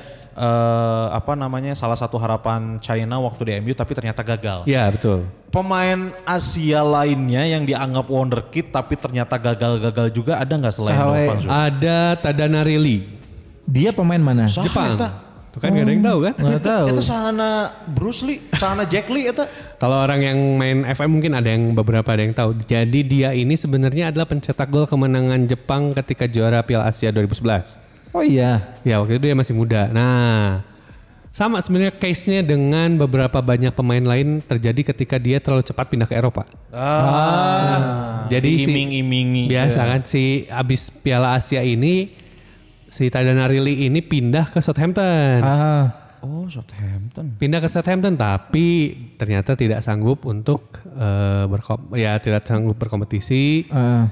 [SPEAKER 2] eh, apa namanya salah satu harapan China waktu di MU tapi ternyata gagal.
[SPEAKER 6] Ya betul.
[SPEAKER 2] Pemain Asia lainnya yang dianggap wonderkid tapi ternyata gagal-gagal juga ada nggak selain
[SPEAKER 1] Sahawe.
[SPEAKER 2] Dong Fangzu?
[SPEAKER 6] Ada Tadanarili.
[SPEAKER 1] Dia pemain mana?
[SPEAKER 2] Ah,
[SPEAKER 6] Jepang.
[SPEAKER 2] eta.
[SPEAKER 6] Tuh kan gak ada yang tahu kan?
[SPEAKER 1] Nggak tahu.
[SPEAKER 2] Itu sahana Bruce Lee, sahana Jack Lee itu.
[SPEAKER 6] Kalau orang yang main FM mungkin ada yang beberapa ada yang tahu. Jadi dia ini sebenarnya adalah pencetak gol kemenangan Jepang ketika juara Piala Asia 2011.
[SPEAKER 1] Oh iya.
[SPEAKER 6] Ya waktu itu dia masih muda. Nah, sama sebenarnya case-nya dengan beberapa banyak pemain lain terjadi ketika dia terlalu cepat pindah ke Eropa.
[SPEAKER 2] Ah.
[SPEAKER 6] Jadi si-
[SPEAKER 2] iming-imingi.
[SPEAKER 6] Biasa
[SPEAKER 1] Iya.
[SPEAKER 6] kan si abis Piala Asia ini si Tadanarili ini pindah ke Southampton.
[SPEAKER 1] Ah.
[SPEAKER 2] Oh, Southampton.
[SPEAKER 6] Pindah ke Southampton tapi ternyata tidak sanggup untuk eh, berkom ya tidak sanggup berkompetisi.
[SPEAKER 1] ah.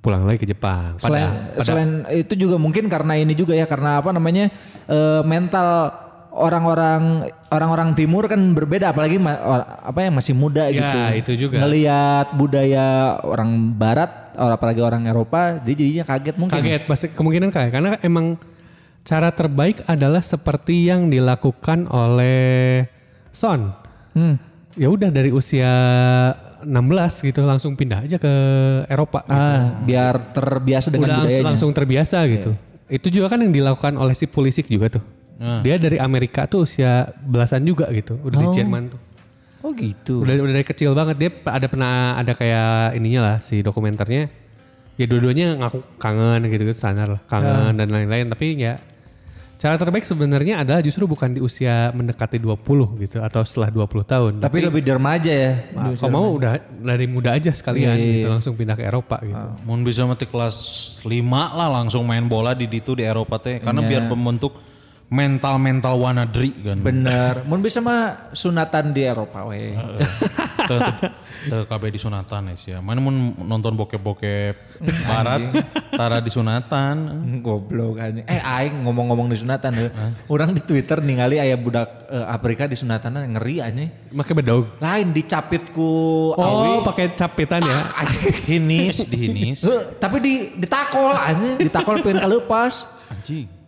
[SPEAKER 6] pulang lagi ke Jepang. Pada,
[SPEAKER 1] selain,
[SPEAKER 6] pada-
[SPEAKER 1] selain itu juga mungkin karena ini juga ya karena apa namanya eh, mental orang-orang orang-orang timur kan berbeda apalagi ma- or- apa yang masih muda
[SPEAKER 6] Ya,
[SPEAKER 1] gitu.
[SPEAKER 6] itu juga.
[SPEAKER 1] Ngelihat budaya orang barat or- apalagi orang Eropa dia jadinya kaget mungkin.
[SPEAKER 6] kaget pasti kemungkinan kaget karena emang cara terbaik adalah seperti yang dilakukan oleh Son.
[SPEAKER 1] Hmm.
[SPEAKER 6] Ya udah dari usia 16 gitu langsung pindah aja ke Eropa. gitu.
[SPEAKER 1] Ah, biar terbiasa dengan
[SPEAKER 6] Udah
[SPEAKER 1] budayanya. Iya,
[SPEAKER 6] langsung terbiasa gitu. Itu juga kan yang dilakukan oleh si Pulisic juga tuh.
[SPEAKER 1] Ah.
[SPEAKER 6] Dia dari Amerika tuh usia belasan juga gitu, udah di Jerman tuh.
[SPEAKER 1] Oh gitu.
[SPEAKER 6] Udah udah dari kecil banget dia pe- ada pernah ada kayak ininya lah si dokumenternya. Ya dua-duanya ngaku kangen gitu-gitu standar lah, kangen dan lain-lain tapi ya cara terbaik sebenarnya adalah justru bukan di usia mendekati 20 gitu atau setelah 20 tahun.
[SPEAKER 1] Tapi lebih dermaja ya.
[SPEAKER 6] Nah, kalau mau udah dari muda aja
[SPEAKER 1] Iya,
[SPEAKER 6] sekalian
[SPEAKER 1] Ah. iya,
[SPEAKER 6] gitu langsung pindah ke Eropa gitu.
[SPEAKER 2] Mau bisa mati kelas 5 lah langsung main bola di itu di Eropa teh karena biar pembentuk mental-mental wanadri kan.
[SPEAKER 1] Bener. Mun bisa mah sunatan di Eropa we.
[SPEAKER 2] Teu teu KB di sunatan ya sih. Mana mau nonton bokep-bokep barat tara di sunatan.
[SPEAKER 1] Goblok aja. Eh aing ngomong-ngomong di sunatan heuh. Orang di Twitter ningali aya budak eh, Afrika di sunatan eh, ngeri aja.
[SPEAKER 6] Pakai bedog.
[SPEAKER 1] Lain dicapit ku awi.
[SPEAKER 6] Oh, pakai capitan ya.
[SPEAKER 1] Anjing.
[SPEAKER 2] Hinis, dihinis.
[SPEAKER 1] Heuh, Eh, tapi di ditakol aja, ditakol pengen kalepas.
[SPEAKER 2] Anjing.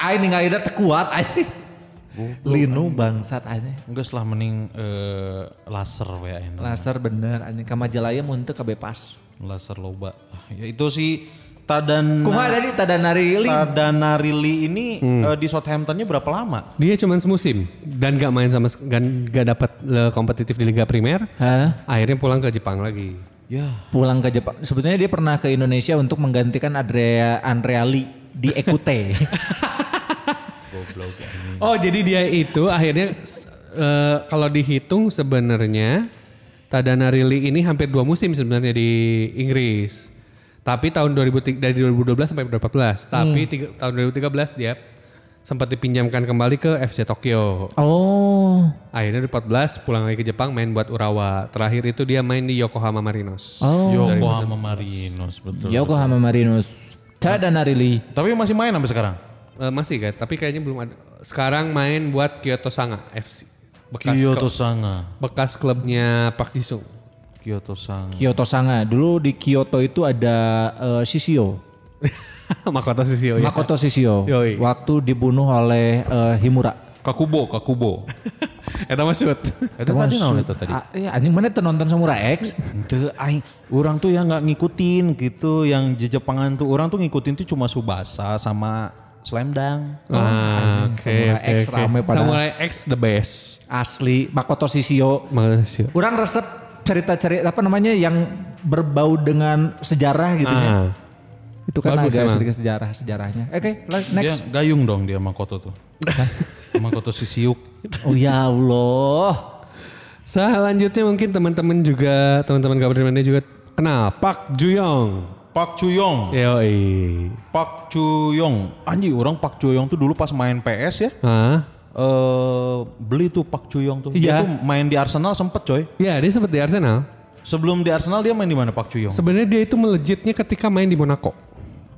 [SPEAKER 1] Aing ningali da teu kuat aja. Linu bangsat aja.
[SPEAKER 2] Enggak setelah mending eh, laser we enak.
[SPEAKER 1] Laser bener aja. Kamajalaya muntah kebepas.
[SPEAKER 2] Laser loba. Ah, Ya itu si Tadan
[SPEAKER 1] Kumaha tadi tadanari link.
[SPEAKER 2] Tadanarili ini eh, di Southamptonnya berapa lama?
[SPEAKER 6] Dia cuman semusim dan gak main sama sek- dan gak dapat eh, kompetitif di Liga Primer.
[SPEAKER 1] Hah?
[SPEAKER 6] Akhirnya pulang ke Jepang lagi.
[SPEAKER 2] Ya.
[SPEAKER 1] pulang ke Jepang. Sebetulnya dia pernah ke Indonesia untuk menggantikan Andrea Andrea Lee di Ekute.
[SPEAKER 6] Oh jadi dia itu akhirnya s- eh, kalau dihitung sebenarnya Tadanarili ini hampir dua musim sebenarnya di Inggris. Tapi tahun 2003 dari 2012 sampai 2014. Tapi tiga- tahun 2013 dia sempat dipinjamkan kembali ke FC Tokyo.
[SPEAKER 1] oh.
[SPEAKER 6] Akhirnya 2014 pulang lagi ke Jepang main buat Urawa. Terakhir itu dia main di Yokohama Marinos.
[SPEAKER 2] Yokohama Marinos betul.
[SPEAKER 1] Yokohama Marinos. Tadanari Lee.
[SPEAKER 2] Tapi masih main sampai sekarang.
[SPEAKER 6] Eh, masih kan? Tapi kayaknya belum ada. Sekarang main buat Kyoto Sanga FC. Bekas
[SPEAKER 2] Kyoto
[SPEAKER 6] klub-
[SPEAKER 2] Sanga.
[SPEAKER 6] bekas klubnya Pak Jisung.
[SPEAKER 2] Kyoto Sanga.
[SPEAKER 1] Kyoto Sanga. Dulu di Kyoto itu ada eh, Sisio.
[SPEAKER 6] Makoto
[SPEAKER 2] Oh,
[SPEAKER 6] Sisio
[SPEAKER 2] iya.
[SPEAKER 6] ya.
[SPEAKER 1] Makoto Sisio.
[SPEAKER 6] Yoi.
[SPEAKER 1] Waktu dibunuh oleh eh, Himura.
[SPEAKER 2] Kakubo, Kakubo.
[SPEAKER 6] Eta mah shoot.
[SPEAKER 2] Itu tadi naon itu tadi?
[SPEAKER 1] Ah, iya, anjing mana teu nonton Samurai X?
[SPEAKER 2] Ente, aing, orang tuh yang nggak ngikutin gitu, yang jejepangan tuh orang tuh ngikutin tuh cuma Subasa sama Slam Dunk.
[SPEAKER 6] Ah, oke
[SPEAKER 1] Samurai
[SPEAKER 6] oke
[SPEAKER 1] X
[SPEAKER 6] oke.
[SPEAKER 1] rame padahal.
[SPEAKER 6] Samurai X the best.
[SPEAKER 1] Asli Makoto Sisio.
[SPEAKER 6] Makoto Sisio.
[SPEAKER 1] Orang resep cerita-cerita apa namanya yang berbau dengan sejarah gitu ya.
[SPEAKER 6] Ah.
[SPEAKER 1] Itu kan
[SPEAKER 6] Bagus
[SPEAKER 1] ada
[SPEAKER 6] emang.
[SPEAKER 1] sedikit sejarah sejarahnya. Oke, la-
[SPEAKER 2] Dia
[SPEAKER 1] next.
[SPEAKER 2] gayung dong dia Makoto tuh. Makoto si siuk.
[SPEAKER 1] Oh ya Allah.
[SPEAKER 6] Selanjutnya mungkin teman-teman juga teman-teman Gabriel juga kenal Park Juyong.
[SPEAKER 2] Pak Chuyong.
[SPEAKER 6] Yoi.
[SPEAKER 2] Pak Chuyong. Anjir orang Pak Chuyong tuh dulu pas main PS ya.
[SPEAKER 6] Hah?
[SPEAKER 2] eh beli tuh Pak Chuyong tuh. Dia
[SPEAKER 1] Iya.
[SPEAKER 2] tuh main di Arsenal sempet coy.
[SPEAKER 6] Ya dia sempat di Arsenal.
[SPEAKER 2] Sebelum di Arsenal dia main di mana Pak Chuyong?
[SPEAKER 6] Sebenarnya dia itu melejitnya ketika main di Monaco.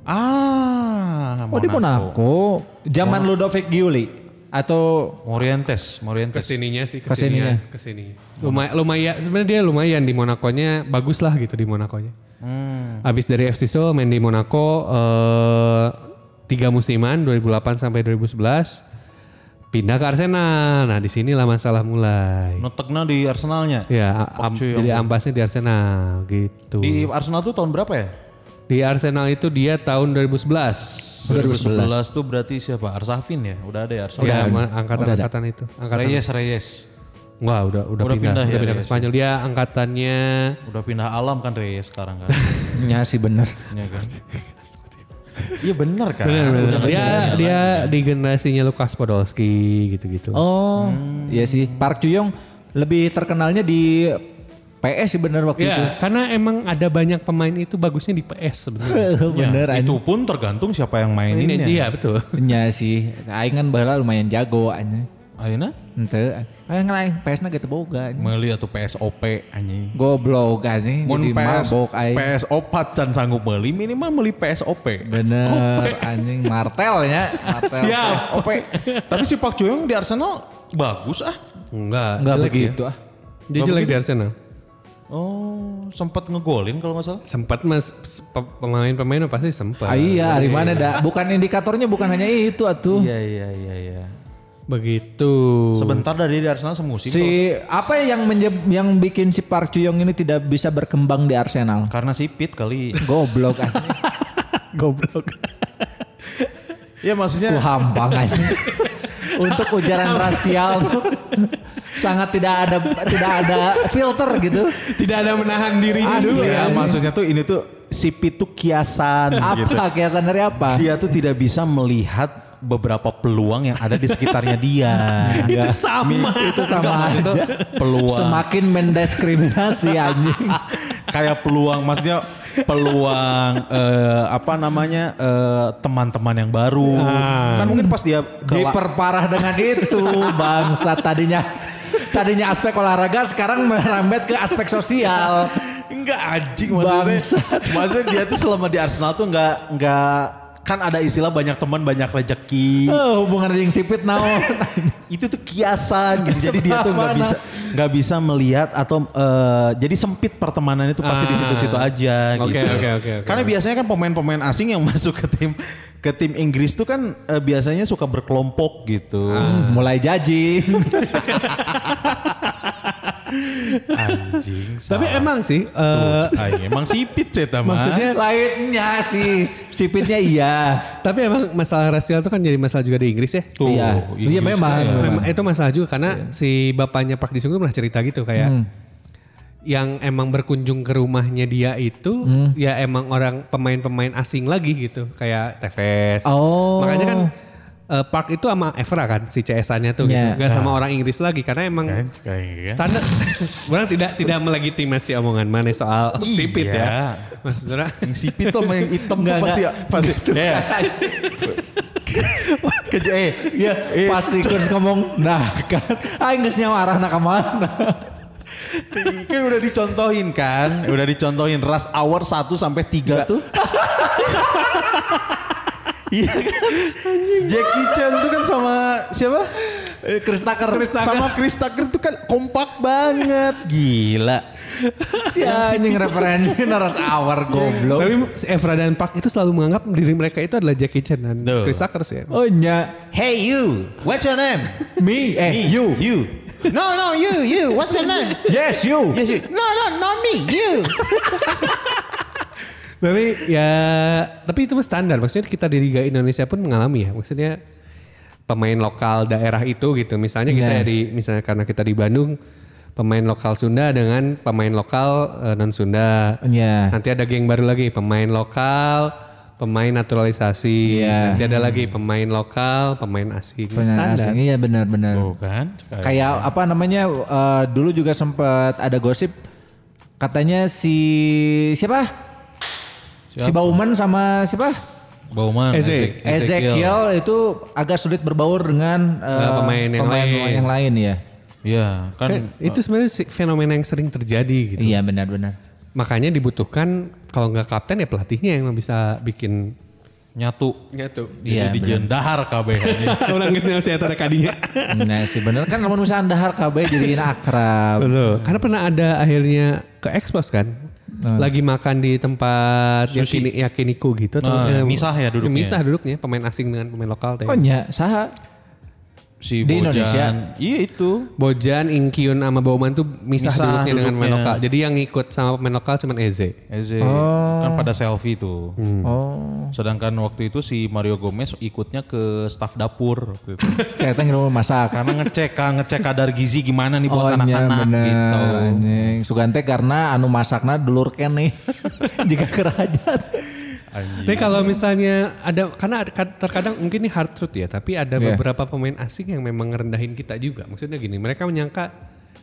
[SPEAKER 2] ah,
[SPEAKER 1] Oh di Monaco. Zaman Ludovic Giuli atau
[SPEAKER 2] Morientes, Morientes.
[SPEAKER 6] Kesininya sih,
[SPEAKER 1] kesininya.
[SPEAKER 6] kesininya. Kesini. Lumayan, lumayan. Sebenarnya dia lumayan di Monaco-nya bagus lah gitu di Monaco-nya. Abis dari FC Seoul main di Monaco eh, tiga musiman 2008 sampai 2011 pindah ke Arsenal. Nah di sinilah masalah mulai.
[SPEAKER 2] Netekna di Arsenalnya.
[SPEAKER 1] Iya.
[SPEAKER 6] Ya,
[SPEAKER 2] Pak
[SPEAKER 6] am-
[SPEAKER 2] Chuyong.
[SPEAKER 6] jadi ambasnya di Arsenal gitu.
[SPEAKER 2] Di
[SPEAKER 6] Di,
[SPEAKER 2] Arsenal tuh tahun berapa ya?
[SPEAKER 6] Arsenal itu dia tahun 2011.
[SPEAKER 2] 2011 tuh berarti siapa? Arsafin ya? Udah ada ya Arsafin.
[SPEAKER 1] Iya,
[SPEAKER 6] ya, ma- angkatan-angkatan itu. Angkatan.
[SPEAKER 2] Reyes, Reyes.
[SPEAKER 6] Wah, udah udah,
[SPEAKER 2] Udah
[SPEAKER 6] pindah,
[SPEAKER 2] pindah
[SPEAKER 6] udah
[SPEAKER 2] ya,
[SPEAKER 6] pindah ke
[SPEAKER 2] Reyes.
[SPEAKER 6] Spanyol. Dia angkatannya
[SPEAKER 2] Udah pindah alam kan Reyes sekarang kan.
[SPEAKER 1] ya sih bener.
[SPEAKER 2] Iya kan? Iya bener kan?
[SPEAKER 6] Benar,
[SPEAKER 2] Udah
[SPEAKER 6] benar.
[SPEAKER 2] nggak
[SPEAKER 6] Nah, Dia
[SPEAKER 2] jalan-jalan.
[SPEAKER 6] dia di generasinya Lukas Podolski gitu-gitu.
[SPEAKER 1] Oh, iya sih. Park Chuyong lebih terkenalnya di PS sih bener waktu itu.
[SPEAKER 6] Iya, karena emang ada banyak pemain itu bagusnya di PS
[SPEAKER 1] Iya,
[SPEAKER 6] sebenarnya.
[SPEAKER 2] Ya,
[SPEAKER 1] bener anjing.
[SPEAKER 2] Itu pun tergantung siapa yang ya.
[SPEAKER 6] Ini
[SPEAKER 2] maininnya.
[SPEAKER 6] dia betul.
[SPEAKER 1] Iya sih. Aing kan bahala lumayan jago anjing.
[SPEAKER 2] Ayeuna
[SPEAKER 1] Ente. Aing kan aing PS-na gitu boga anjing.
[SPEAKER 2] meuli atau PSOP anjing.
[SPEAKER 1] Goblok anjing
[SPEAKER 2] Mun
[SPEAKER 1] jadi
[SPEAKER 2] PS,
[SPEAKER 1] mabok aing.
[SPEAKER 2] PSOP can sanggup meuli minimal meuli PSOP.
[SPEAKER 1] Bener anjing martelnya, martel
[SPEAKER 6] Siap.
[SPEAKER 1] PSOP.
[SPEAKER 2] Tapi si Pak Joyong di Arsenal bagus ah.
[SPEAKER 6] Enggak,
[SPEAKER 1] Enggak
[SPEAKER 6] jelek
[SPEAKER 1] begitu
[SPEAKER 6] ya.
[SPEAKER 1] ah.
[SPEAKER 6] Dia jelek di Arsenal.
[SPEAKER 2] Oh, sempat ngegolin kalau nggak salah.
[SPEAKER 6] Sempat mas pe- pemain-pemain pasti sempat.
[SPEAKER 1] Ah, iya, hari mana dah? Bukan indikatornya bukan hanya itu atuh.
[SPEAKER 2] Iya iya iya iya.
[SPEAKER 6] Begitu.
[SPEAKER 2] Sebentar dari di Arsenal semusim tuh.
[SPEAKER 1] Si apa ya yang menye- yang bikin si Park Chuyong ini tidak bisa berkembang di Arsenal?
[SPEAKER 2] karena sipit kali.
[SPEAKER 1] Goblok anjing.
[SPEAKER 6] Goblok.
[SPEAKER 2] Iya
[SPEAKER 1] Ku
[SPEAKER 2] maksudnya
[SPEAKER 1] hampang anjing. Untuk ujaran rasial tuh sangat tidak ada tidak ada filter gitu.
[SPEAKER 6] Tidak ada menahan dirinya
[SPEAKER 1] Asli.
[SPEAKER 6] dulu.
[SPEAKER 1] Iya.
[SPEAKER 2] Iya, maksudnya tuh ini tuh sipit tuh kiasan gitu.
[SPEAKER 1] Apa kiasan dari apa?
[SPEAKER 2] Dia tuh tidak bisa melihat beberapa peluang yang ada di sekitarnya dia.
[SPEAKER 6] Itu sama.
[SPEAKER 1] itu sama
[SPEAKER 2] Maksudnya
[SPEAKER 1] aja.
[SPEAKER 2] peluang.
[SPEAKER 1] Semakin mendiskriminasi anjing.
[SPEAKER 2] kayak peluang maksudnya peluang eh, apa namanya eh, teman-teman yang baru kan mungkin pas dia ke la-
[SPEAKER 1] Diperparah dengan itu bangsa tadinya tadinya aspek olahraga sekarang merembet ke aspek sosial.
[SPEAKER 2] enggak anjing maksudnya
[SPEAKER 1] Bangsat.
[SPEAKER 2] maksudnya dia tuh selama di Arsenal tuh enggak enggak kan ada istilah banyak teman banyak rejeki
[SPEAKER 1] Oh, hubungan anjing sipit naon.
[SPEAKER 2] itu tuh kiasan gitu. jadi dia tuh nggak
[SPEAKER 1] Semana.
[SPEAKER 2] bisa nggak bisa melihat atau eh, jadi sempit pertemanannya tuh pasti di
[SPEAKER 6] Ah.
[SPEAKER 2] situ-situ aja
[SPEAKER 6] Oke,
[SPEAKER 2] gitu.
[SPEAKER 6] oke, oke, oke.
[SPEAKER 2] Karena biasanya kan pemain-pemain asing yang masuk ke tim ke tim Inggris tuh kan eh, biasanya suka berkelompok gitu.
[SPEAKER 6] Ah.
[SPEAKER 1] Hmm, Mulai jaji.
[SPEAKER 2] Anjing.
[SPEAKER 6] Tapi
[SPEAKER 2] salah.
[SPEAKER 6] emang sih. eh,
[SPEAKER 2] Tuh, aing emang sipit ah. ceta mah.
[SPEAKER 6] maksudnya.
[SPEAKER 1] Lainnya sih sipitnya iya.
[SPEAKER 6] Tapi emang masalah rasial itu kan jadi masalah juga di Inggris ya.
[SPEAKER 2] Tuh,
[SPEAKER 1] iya.
[SPEAKER 2] Inggris
[SPEAKER 1] Iya memang.
[SPEAKER 2] tuh ya.
[SPEAKER 1] memang.
[SPEAKER 6] Memang itu masalah juga karena si bapaknya Pak Jisung itu pernah cerita gitu kayak
[SPEAKER 1] Hmm.
[SPEAKER 2] Hmm.
[SPEAKER 6] yang emang berkunjung ke rumahnya dia itu ya emang orang pemain-pemain asing lagi gitu kayak Tevez.
[SPEAKER 1] Oh.
[SPEAKER 6] Makanya kan eh, Park itu sama Evra kan si CS-annya tuh
[SPEAKER 1] Iya.
[SPEAKER 6] gitu. Gak sama orang Inggris lagi karena emang
[SPEAKER 2] Kan, kayak-
[SPEAKER 6] standar orang tidak tidak melegitimasi omongan mana soal sipit
[SPEAKER 2] Iya.
[SPEAKER 6] ya. Maksudnya
[SPEAKER 2] Yang sipit tuh sama yang hitam tuh
[SPEAKER 1] Enggak,
[SPEAKER 2] pasti
[SPEAKER 1] enggak.
[SPEAKER 2] pasti. Iya. Keje eh,
[SPEAKER 1] Iya,
[SPEAKER 2] eh,
[SPEAKER 1] pas si Kurs ngomong, nah kan, aing geus nyawa arahna ka mana.
[SPEAKER 2] kan udah dicontohin kan, udah dicontohin ras hour 1 sampai 3 tuh. Iya kan? Jackie Chan tuh kan sama siapa?
[SPEAKER 1] Eh, Chris Tucker.
[SPEAKER 2] Sama Chris Tucker tuh kan kompak banget. Gila.
[SPEAKER 1] si Ya, anjing referensi naras
[SPEAKER 2] Eh,
[SPEAKER 1] hour goblok.
[SPEAKER 6] tapi si Evra dan Park itu selalu menganggap diri mereka itu adalah Jackie Chan dan
[SPEAKER 2] Tuh.
[SPEAKER 6] Chris Tucker sih.
[SPEAKER 1] Oh nya,
[SPEAKER 2] Hey you, what's your name?
[SPEAKER 1] me, eh
[SPEAKER 2] Me.
[SPEAKER 1] you,
[SPEAKER 2] You. No, no, you, you, what's your name?
[SPEAKER 1] yes you.
[SPEAKER 2] Yes, you. No, no, not me, you.
[SPEAKER 6] tapi ya tapi itu mah standar maksudnya kita di Liga Indonesia pun mengalami ya maksudnya pemain lokal daerah itu gitu misalnya kita
[SPEAKER 1] Iya.
[SPEAKER 6] ya di misalnya karena kita di Bandung pemain lokal Sunda dengan pemain lokal eh, non Sunda
[SPEAKER 1] Iya.
[SPEAKER 6] nanti ada geng baru lagi pemain lokal pemain naturalisasi,
[SPEAKER 1] Iya.
[SPEAKER 6] nanti ada lagi pemain lokal, pemain asing,
[SPEAKER 1] Pemain
[SPEAKER 6] standar.
[SPEAKER 1] asing iya benar-benar.
[SPEAKER 2] Tuh kan.
[SPEAKER 6] Iya.
[SPEAKER 2] Kayak
[SPEAKER 1] Kayak apa namanya eh, dulu juga sempat ada gosip katanya si siapa? Si Bauman sama siapa?
[SPEAKER 2] Bauman,
[SPEAKER 6] Eze.
[SPEAKER 2] Eze- Ezekiel.
[SPEAKER 1] Ezekiel itu agak sulit berbaur dengan eh,
[SPEAKER 6] Nah, pemain yang lain.
[SPEAKER 1] yang lain ya.
[SPEAKER 2] Iya, kan
[SPEAKER 6] Kan
[SPEAKER 1] Eh,
[SPEAKER 6] itu sebenarnya si- fenomena yang sering terjadi gitu.
[SPEAKER 1] Iya benar-benar.
[SPEAKER 6] Makanya dibutuhkan kalau nggak kapten ya pelatihnya yang bisa bikin
[SPEAKER 2] nyatu.
[SPEAKER 6] nyatu.
[SPEAKER 2] Jadi
[SPEAKER 1] Iya,
[SPEAKER 2] dijendahar kabeh.
[SPEAKER 6] Orang nggak sih ada kadinya.
[SPEAKER 1] Nah sih benar kan lamun misalnya dahar KB jadiin akrab.
[SPEAKER 6] Betul. Karena pernah ada akhirnya ke ekspos kan.
[SPEAKER 2] Nah.
[SPEAKER 6] Lagi makan di tempat yakini, yakiniku gitu. atau-
[SPEAKER 2] Nah,
[SPEAKER 6] eh,
[SPEAKER 2] misah ya duduknya.
[SPEAKER 6] Misah duduknya pemain asing dengan pemain lokal. Teh.
[SPEAKER 1] Oh nya saha?
[SPEAKER 2] si
[SPEAKER 1] Di
[SPEAKER 2] Bojan.
[SPEAKER 1] Indonesia.
[SPEAKER 2] Iya itu.
[SPEAKER 6] Bojan, Ingkyun sama Bauman tuh misah,
[SPEAKER 2] Misah
[SPEAKER 6] duduknya, dengan pemain
[SPEAKER 2] duduknya.
[SPEAKER 6] lokal. Jadi yang ngikut sama pemain lokal cuman Eze.
[SPEAKER 2] Eze. Kan pada selfie tuh.
[SPEAKER 1] Oh.
[SPEAKER 2] Sedangkan waktu itu si Mario Gomez ikutnya ke staf dapur waktu itu.
[SPEAKER 1] Saya tengah rumah masak.
[SPEAKER 2] Karena ngecek kan, ngecek kadar gizi gimana nih
[SPEAKER 1] Oh
[SPEAKER 2] buat
[SPEAKER 1] nya
[SPEAKER 2] anak-anak
[SPEAKER 1] benar. Iya.
[SPEAKER 2] gitu.
[SPEAKER 1] anjing. Sugante karena anu masakna dulur kene. Jika kerajat.
[SPEAKER 2] Iya.
[SPEAKER 6] Tapi kalau misalnya ada karena ada- kad- terkadang mungkin ini hard truth ya, tapi ada
[SPEAKER 1] Iya.
[SPEAKER 6] beberapa pemain asing yang memang ngerendahin kita juga. Maksudnya gini, mereka menyangka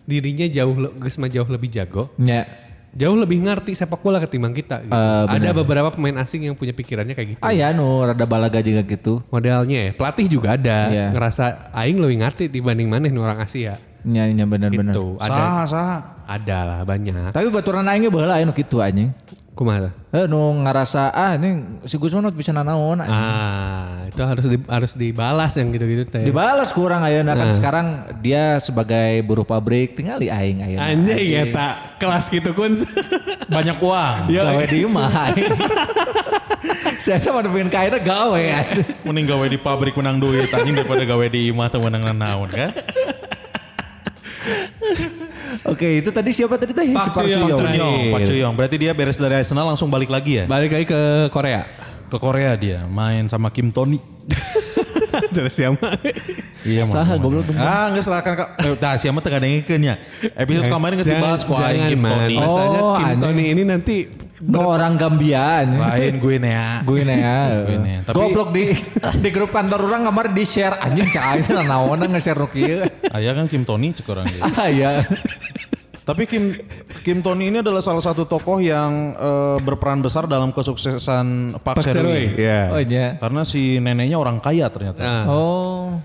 [SPEAKER 6] dirinya jauh le- geus mah jauh lebih jago,
[SPEAKER 1] Nya.
[SPEAKER 6] jauh lebih ngerti sepak bola ketimbang kita. gitu.
[SPEAKER 1] Eh,
[SPEAKER 6] ada beberapa pemain asing yang punya pikirannya kayak gitu.
[SPEAKER 1] Ah ya nu rada balaga juga gitu.
[SPEAKER 6] Modalnya ya, pelatih juga ada
[SPEAKER 1] Iya.
[SPEAKER 6] ngerasa aing lebih ngerti dibanding mana nih orang Asia.
[SPEAKER 1] Nya nya Iya, benar-benar.
[SPEAKER 6] Gitu, ada
[SPEAKER 2] Sah, Ah, sah.
[SPEAKER 6] ada lah banyak.
[SPEAKER 1] Tapi baturan aing ge baheula anu kitu anjing.
[SPEAKER 6] Kumaha?
[SPEAKER 1] Eh nu ngarasa ah ini si Gusman bisa nanaon. anjing.
[SPEAKER 6] Ah, itu harus di- harus dibalas yang gitu-gitu teh.
[SPEAKER 1] Dibalas kurang ayeuna kan sekarang dia sebagai buruh pabrik tinggali aing nah. ayeuna.
[SPEAKER 6] Anjing
[SPEAKER 1] Iya.
[SPEAKER 6] ya tak kelas gitu kun.
[SPEAKER 2] Banyak uang.
[SPEAKER 1] Gawe di imah aing. Saya tuh mau nemuin kainnya gawe anjing.
[SPEAKER 2] Mending gawe di pabrik menang duit anjing daripada gawe di imah atau menang naon kan.
[SPEAKER 1] Oke itu tadi siapa tadi teh?
[SPEAKER 6] Pak
[SPEAKER 1] Si Park
[SPEAKER 6] Cuyong.
[SPEAKER 1] Cuyong.
[SPEAKER 6] Betul.
[SPEAKER 2] Cuyong, Pak Cuyong. Berarti dia beres dari Arsenal langsung balik lagi ya?
[SPEAKER 6] Balik lagi ke Korea.
[SPEAKER 2] Ke Korea dia, main sama Kim Tony.
[SPEAKER 6] Terus siapa?
[SPEAKER 2] Iya,
[SPEAKER 1] Saha, goblok, goblok.
[SPEAKER 2] Ah, enggak salah kan. Eh, Tah, siapa tengah dengekeun ya. Episode
[SPEAKER 1] Eh,
[SPEAKER 2] kemarin geus dibahas ku aing Kim Tony.
[SPEAKER 1] Mas.
[SPEAKER 6] Masalahnya
[SPEAKER 1] Oh,
[SPEAKER 6] Kim
[SPEAKER 1] anjing.
[SPEAKER 6] Tony ini nanti
[SPEAKER 1] No orang Gambia anjing.
[SPEAKER 2] Lain gue nea.
[SPEAKER 1] Gue nih ya.
[SPEAKER 2] Gue nih, tapi-
[SPEAKER 1] Goblok di di grup kantor orang kamar di share anjing cai naon nge-share nu kieu.
[SPEAKER 2] Aya kan Kim Tony cek orang dia.
[SPEAKER 1] Ah ya.
[SPEAKER 2] Tapi Kim Kim Tony ini adalah salah satu tokoh yang eh, berperan besar dalam kesuksesan Pak,
[SPEAKER 6] Pak Serwi.
[SPEAKER 2] Serwi.
[SPEAKER 6] Iya.
[SPEAKER 1] Oh nya.
[SPEAKER 2] Karena si neneknya orang kaya ternyata.
[SPEAKER 6] Nah,
[SPEAKER 1] Oh.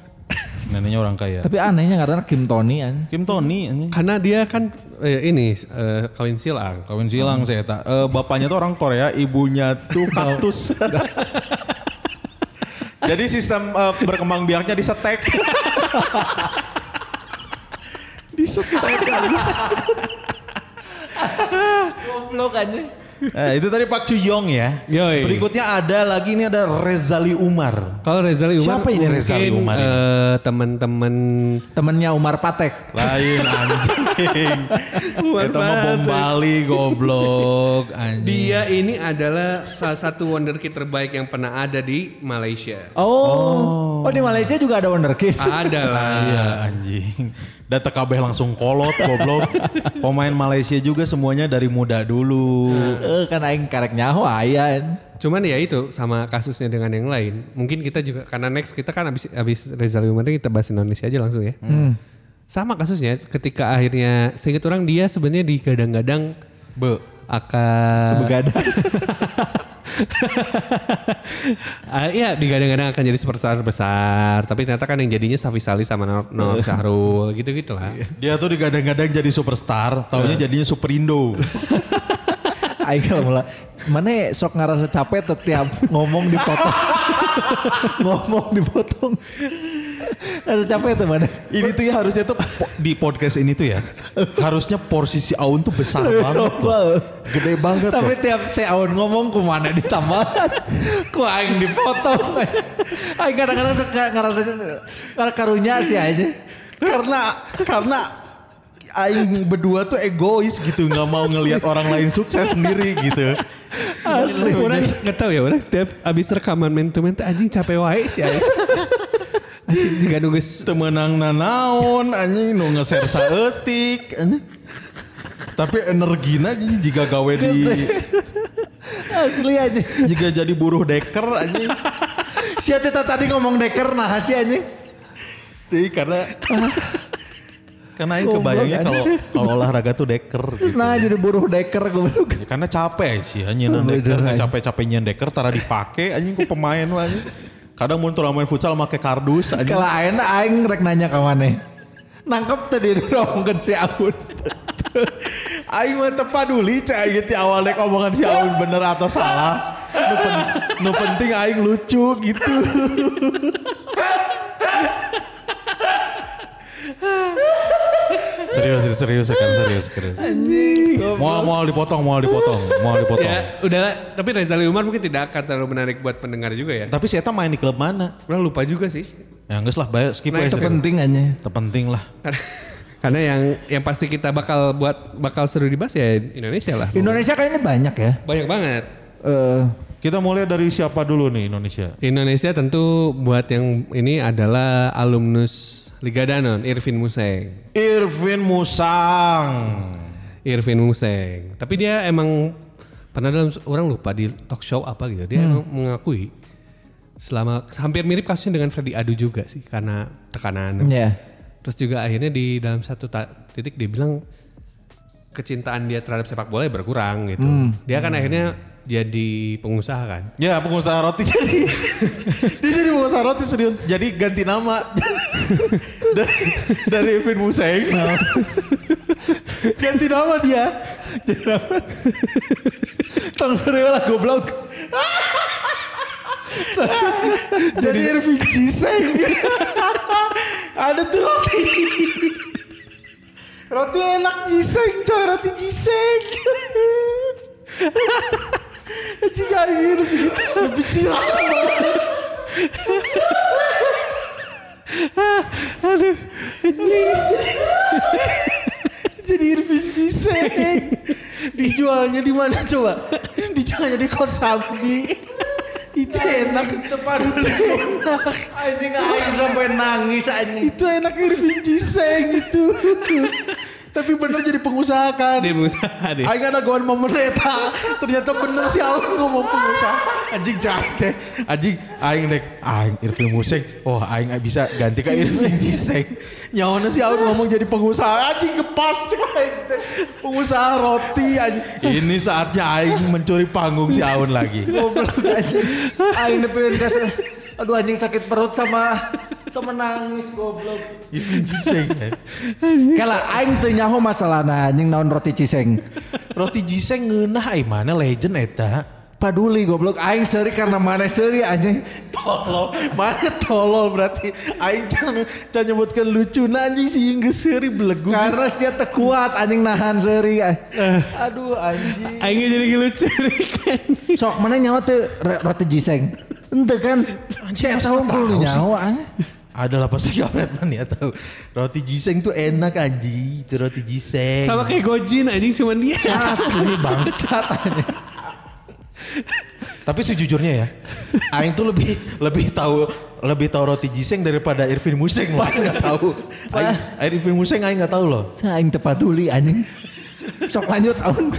[SPEAKER 2] Neneknya orang kaya.
[SPEAKER 1] Tapi anehnya karena Kim Tony anjing.
[SPEAKER 2] Kim Tony ini
[SPEAKER 6] karena dia kan eh, ini eh, kawin silang.
[SPEAKER 2] kawin silang saya tak. Eh, bapaknya tuh orang Korea, ibunya tuh kaktus. Jadi sistem eh, berkembang biaknya disetek. disetek.
[SPEAKER 1] Goblok anjing.
[SPEAKER 2] Eh, itu tadi Pak Cuyong ya.
[SPEAKER 6] Yoi.
[SPEAKER 2] Berikutnya ada lagi ini ada Rezali Umar.
[SPEAKER 6] Kalau Rezali Umar
[SPEAKER 2] Siapa ini Rezali
[SPEAKER 6] mungkin,
[SPEAKER 2] Umar ini?
[SPEAKER 6] eh, teman-teman
[SPEAKER 1] Temennya Umar Patek.
[SPEAKER 2] Lain anjing.
[SPEAKER 6] Umar
[SPEAKER 2] Itu mah bom
[SPEAKER 6] banget.
[SPEAKER 2] Bali goblok anjing.
[SPEAKER 6] dia ini adalah salah satu wonderkid terbaik yang pernah ada di Malaysia.
[SPEAKER 1] Oh. Ah. Oh, di Malaysia juga ada wonderkid.
[SPEAKER 6] Ada lah.
[SPEAKER 2] Iya anjing. Data kabeh langsung kolot goblok. Pemain Malaysia juga semuanya dari muda dulu.
[SPEAKER 1] Eh kan aing karek nyaho aya. anjing.
[SPEAKER 6] Cuman ya itu sama kasusnya dengan yang lain. Mungkin kita juga karena next kita kan abis abis Reza Lumari kita bahas Indonesia aja langsung ya. Sama kasusnya ketika akhirnya seingat orang dia sebenarnya digadang-gadang
[SPEAKER 2] Be.
[SPEAKER 6] akan
[SPEAKER 1] Begadang.
[SPEAKER 6] Ah, iya digadang-gadang akan jadi superstar besar. Tapi ternyata kan yang jadinya Safi Salih sama Nor, Nor Syahrul gitu-gitu lah.
[SPEAKER 2] Dia tuh digadang-gadang jadi superstar, taunya jadinya superindo.
[SPEAKER 1] Aing kalau mula mana ya, sok ngerasa capek setiap ngomong dipotong. ngomong dipotong. Ngerasa capek tuh mana?
[SPEAKER 2] ini tuh ya harusnya tuh po- di podcast ini tuh ya. Harusnya porsi si Aun tuh besar banget loh.
[SPEAKER 1] Global.
[SPEAKER 2] Gede banget
[SPEAKER 1] Tapi
[SPEAKER 2] loh.
[SPEAKER 1] tiap seaun ngomong ku mana ditambah. ku aing dipotong. Aing kadang-kadang suka ngerasa karunya sih aja.
[SPEAKER 2] Karena karena aing berdua tuh egois gitu, nggak mau ngelihat orang lain sukses sendiri gitu.
[SPEAKER 6] Asli orang nggak tahu ya orang tiap abis rekaman main to main tuh anjing capek wae sih. anjing. Anjing juga nunggu
[SPEAKER 2] temenang nanaon anjing nu nge-share saeutik anjing. Tapi energina jika gawe di
[SPEAKER 1] Asli aja.
[SPEAKER 2] Jika jadi buruh deker anjing.
[SPEAKER 1] Si Atita tadi ngomong deker nah si anjing.
[SPEAKER 2] Tih, karena karena aing
[SPEAKER 1] Goblok,
[SPEAKER 2] kebayangnya
[SPEAKER 1] anjing.
[SPEAKER 2] kalau kalau olahraga tuh deker
[SPEAKER 1] Terus
[SPEAKER 2] gitu.
[SPEAKER 1] nah jadi buruh deker goblok.
[SPEAKER 2] Ya, karena capek sih anjing
[SPEAKER 1] Oh,
[SPEAKER 2] nyeun deker, Nggak capek-capek nyeun deker tara dipake anjing ku pemain we, anjing. Kadang muncul main futsal make kardus anjing.
[SPEAKER 1] Kalau aing aing rek nanya ka maneh. Nangkep tadi ngomongkeun si Aun.
[SPEAKER 2] Aing mah teu paduli cai gitu awal dek omongan si Aun bener atau salah. Nu, pen- nu penting aing lucu gitu. serius serius akan serius serius. Mau mau dipotong, mau dipotong, mau dipotong.
[SPEAKER 6] Ya udah lah. tapi Rezali Umar mungkin tidak akan terlalu menarik buat pendengar juga ya.
[SPEAKER 2] Tapi si Eta main di klub mana?
[SPEAKER 6] Orang lupa juga sih.
[SPEAKER 2] Ya enggak lah, bayar skip
[SPEAKER 6] Nah,
[SPEAKER 2] aja. gitu.
[SPEAKER 1] Itu penting aja.
[SPEAKER 2] Terpenting lah.
[SPEAKER 6] Karena, karena yang yang pasti kita bakal buat bakal seru dibahas ya Indonesia lah.
[SPEAKER 1] Indonesia kayaknya banyak ya.
[SPEAKER 6] Banyak banget.
[SPEAKER 1] Eh,
[SPEAKER 2] Kita mulai dari siapa dulu nih Indonesia?
[SPEAKER 6] Indonesia tentu buat yang ini adalah alumnus Liga Danon, Irvin Museng.
[SPEAKER 2] Irvin Musang.
[SPEAKER 6] Irvin Museng. Tapi dia emang pernah dalam orang lupa di talk show apa gitu. Dia emang mengakui selama hampir mirip kasusnya dengan Freddy Adu juga sih karena tekanan.
[SPEAKER 1] ya.
[SPEAKER 6] Terus juga akhirnya di dalam satu ta- titik dia bilang kecintaan dia terhadap sepak bola ya berkurang gitu. Dia kan akhirnya jadi pengusaha kan.
[SPEAKER 2] Ya pengusaha roti jadi dia jadi pengusaha roti serius jadi ganti nama dari, dari Irvin Museng ganti nama dia jadi nama
[SPEAKER 1] Tong sore lah goblok.
[SPEAKER 2] jadi Irvin Ciseng ada tuh roti roti enak Ciseng coy roti Ciseng jika Irvin lebih cirang
[SPEAKER 1] Jadi Irvin Giseng. Dijualnya di mana coba? Dijualnya di Kosambi. Itu enak. Nah, Itu enak. Anjing aing sampai nangis anjing. Itu enak Irvin Giseng itu.
[SPEAKER 2] tapi bener jadi pengusaha kan
[SPEAKER 6] Dia pengusaha deh.
[SPEAKER 2] Aing ada gawan
[SPEAKER 1] eh,
[SPEAKER 2] memeneta. Ternyata bener si Aun ngomong pengusaha. Anjing jahit teh. Anjing aing dek aing Irfil Musik. Oh aing bisa ganti ke Irfil Jisek. Nyawana si Aun ngomong jadi pengusaha. Anjing ngepas cek aing teh. Pengusaha roti anjing. Ini saatnya aing mencuri panggung si Aun lagi.
[SPEAKER 1] Goblok anjing. Aing nepen tes. eh. Aduh anjing sakit perut sama sama nangis goblok.
[SPEAKER 2] Irfil Jisek.
[SPEAKER 1] Kalau aing teu nyaho masalahna anjing naon roti ciseng.
[SPEAKER 2] Roti Jisek ngeunah aing mana legend eh, eta.
[SPEAKER 1] Paduli goblok aing seuri karena mana seuri anjing.
[SPEAKER 2] tolol mana tolol berarti aing can can nyebutkan lucu nah, anjing sih geus seuri belegu
[SPEAKER 1] Karena sia teu kuat anjing nahan seuri. Eh. Aduh anjing.
[SPEAKER 6] Aingnya jadi lucu.
[SPEAKER 1] Sok mana nyawa teu re- roti giseng. Ente kan. Saya tahu perlu nyawa anjing.
[SPEAKER 2] adalah pasti kampret man ya tahu roti jiseng tuh enak anjing itu roti jiseng
[SPEAKER 6] Sama kayak Gojin anjing cuman dia.
[SPEAKER 1] Ya. Asli bangsat anjing.
[SPEAKER 2] tapi sejujurnya ya aing tuh lebih lebih tahu lebih tahu roti jiseng daripada Irvin Museng loh aing nggak tahu aing, aing Irvin Museng aing nggak tahu loh
[SPEAKER 1] Saya aing teu paduli anjing. Sok lanjut aun.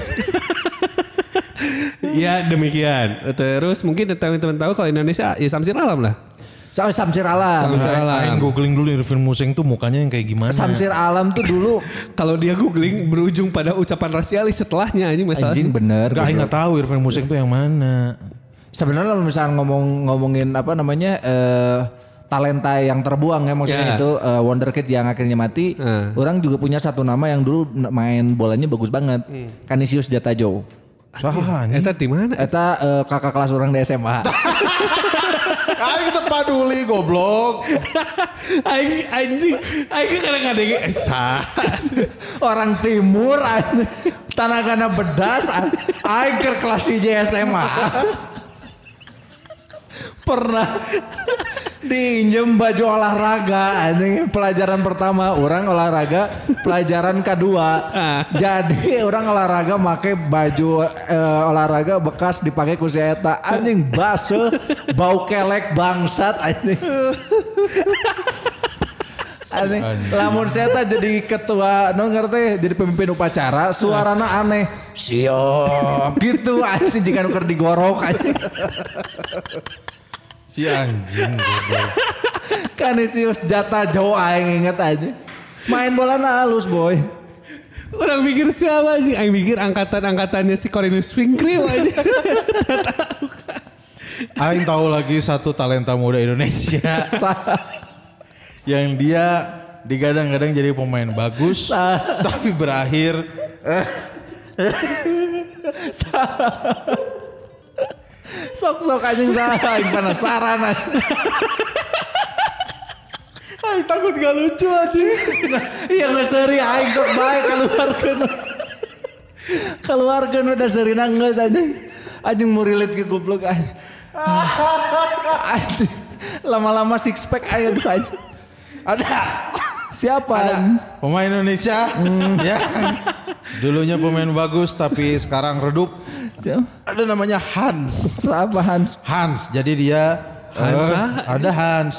[SPEAKER 6] ya demikian. Terus mungkin teman-teman tahu kalau Indonesia ya Samsir Alam lah.
[SPEAKER 1] Soal Samsir Alam.
[SPEAKER 6] Samsir Alam.
[SPEAKER 2] aing googling dulu Irvin Museng tuh mukanya yang kayak gimana
[SPEAKER 1] Samsir Alam tuh dulu
[SPEAKER 6] Kalau dia googling berujung pada ucapan rasialis setelahnya anjing masalah.
[SPEAKER 1] anjing bener.
[SPEAKER 2] Enggak, aing nggak tahu Irvin Museng tuh yang mana
[SPEAKER 1] Sebenarnya kalau misalnya ngomong ngomongin apa namanya eh talenta yang terbuang ya maksudnya
[SPEAKER 6] Ya.
[SPEAKER 1] itu eh, wonderkid yang akhirnya mati.
[SPEAKER 6] Eh.
[SPEAKER 1] Orang juga punya satu nama yang dulu main bolanya bagus banget.
[SPEAKER 6] Hmm.
[SPEAKER 1] Kanisius Jatajo.
[SPEAKER 2] Sah anjing.
[SPEAKER 6] Eta di mana?
[SPEAKER 1] Eta eh, kakak kelas orang di SMA.
[SPEAKER 2] Aing kita paduli goblok.
[SPEAKER 6] Aing anjing, aing kadang-kadang "Eh, esa.
[SPEAKER 1] orang timur an- tanah bedas an- aing keur kelas IJ SMA. Pernah diinjem baju olahraga anjing pelajaran pertama orang olahraga pelajaran kedua jadi orang olahraga pakai baju eh, olahraga bekas dipakai ku si eta anjing eh. basuh bau kelek bangsat anjing aneh. Lamun seta jadi ketua, no ngerti, jadi pemimpin upacara, suarana aneh. Siap. gitu anjing jika nuker digorok anjing.
[SPEAKER 2] Si anjing. goblok.
[SPEAKER 1] Kanisius jatah jauh aing inget aja. Main bola na halus boy.
[SPEAKER 6] Orang mikir siapa aja? Aing mikir angkatan-angkatannya si Cornelius Finkril aja.
[SPEAKER 1] Iya.
[SPEAKER 2] Aing tahu lagi satu talenta muda Indonesia yang dia digadang-gadang jadi pemain bagus tapi berakhir
[SPEAKER 1] Sok-sok anjing salah aing penasaran anjing. Aing takut gak lucu anjing. Nah, Iya nggak seri aing sok baik keluar kena. Keluar kena udah seri nangis anjing. Anjing mau relate ke goblok anjing. Ah, anjing. Lama-lama six pack aja tuh anjing.
[SPEAKER 2] ada
[SPEAKER 1] Siapa?
[SPEAKER 2] ada
[SPEAKER 1] anjing?
[SPEAKER 2] pemain Indonesia ya dulunya pemain bagus tapi sekarang redup
[SPEAKER 1] Siapa?
[SPEAKER 2] ada namanya Hans
[SPEAKER 1] Siapa Hans?
[SPEAKER 2] Hans jadi dia
[SPEAKER 6] Hans,
[SPEAKER 2] eh,
[SPEAKER 6] ah.
[SPEAKER 2] ada Hans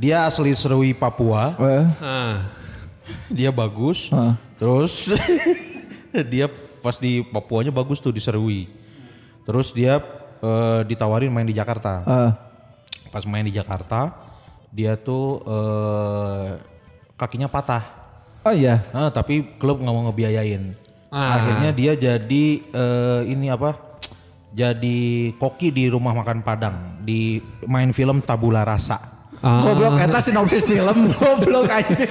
[SPEAKER 2] dia asli Serui Papua
[SPEAKER 1] Eh,
[SPEAKER 6] Ah,
[SPEAKER 2] dia bagus
[SPEAKER 1] Ah.
[SPEAKER 2] terus dia pas di Papuanya bagus tuh di Serui terus dia eh, ditawarin main di Jakarta
[SPEAKER 1] eh.
[SPEAKER 2] pas main di Jakarta dia tuh eh, kakinya patah
[SPEAKER 1] Oh iya.
[SPEAKER 2] Nah, tapi klub nggak mau ngebiayain. Akhirnya dia jadi eh, ini apa? Jadi koki di rumah makan Padang di main film Tabula Rasa.
[SPEAKER 1] Goblok eta sinopsis film goblok Oh, anjing.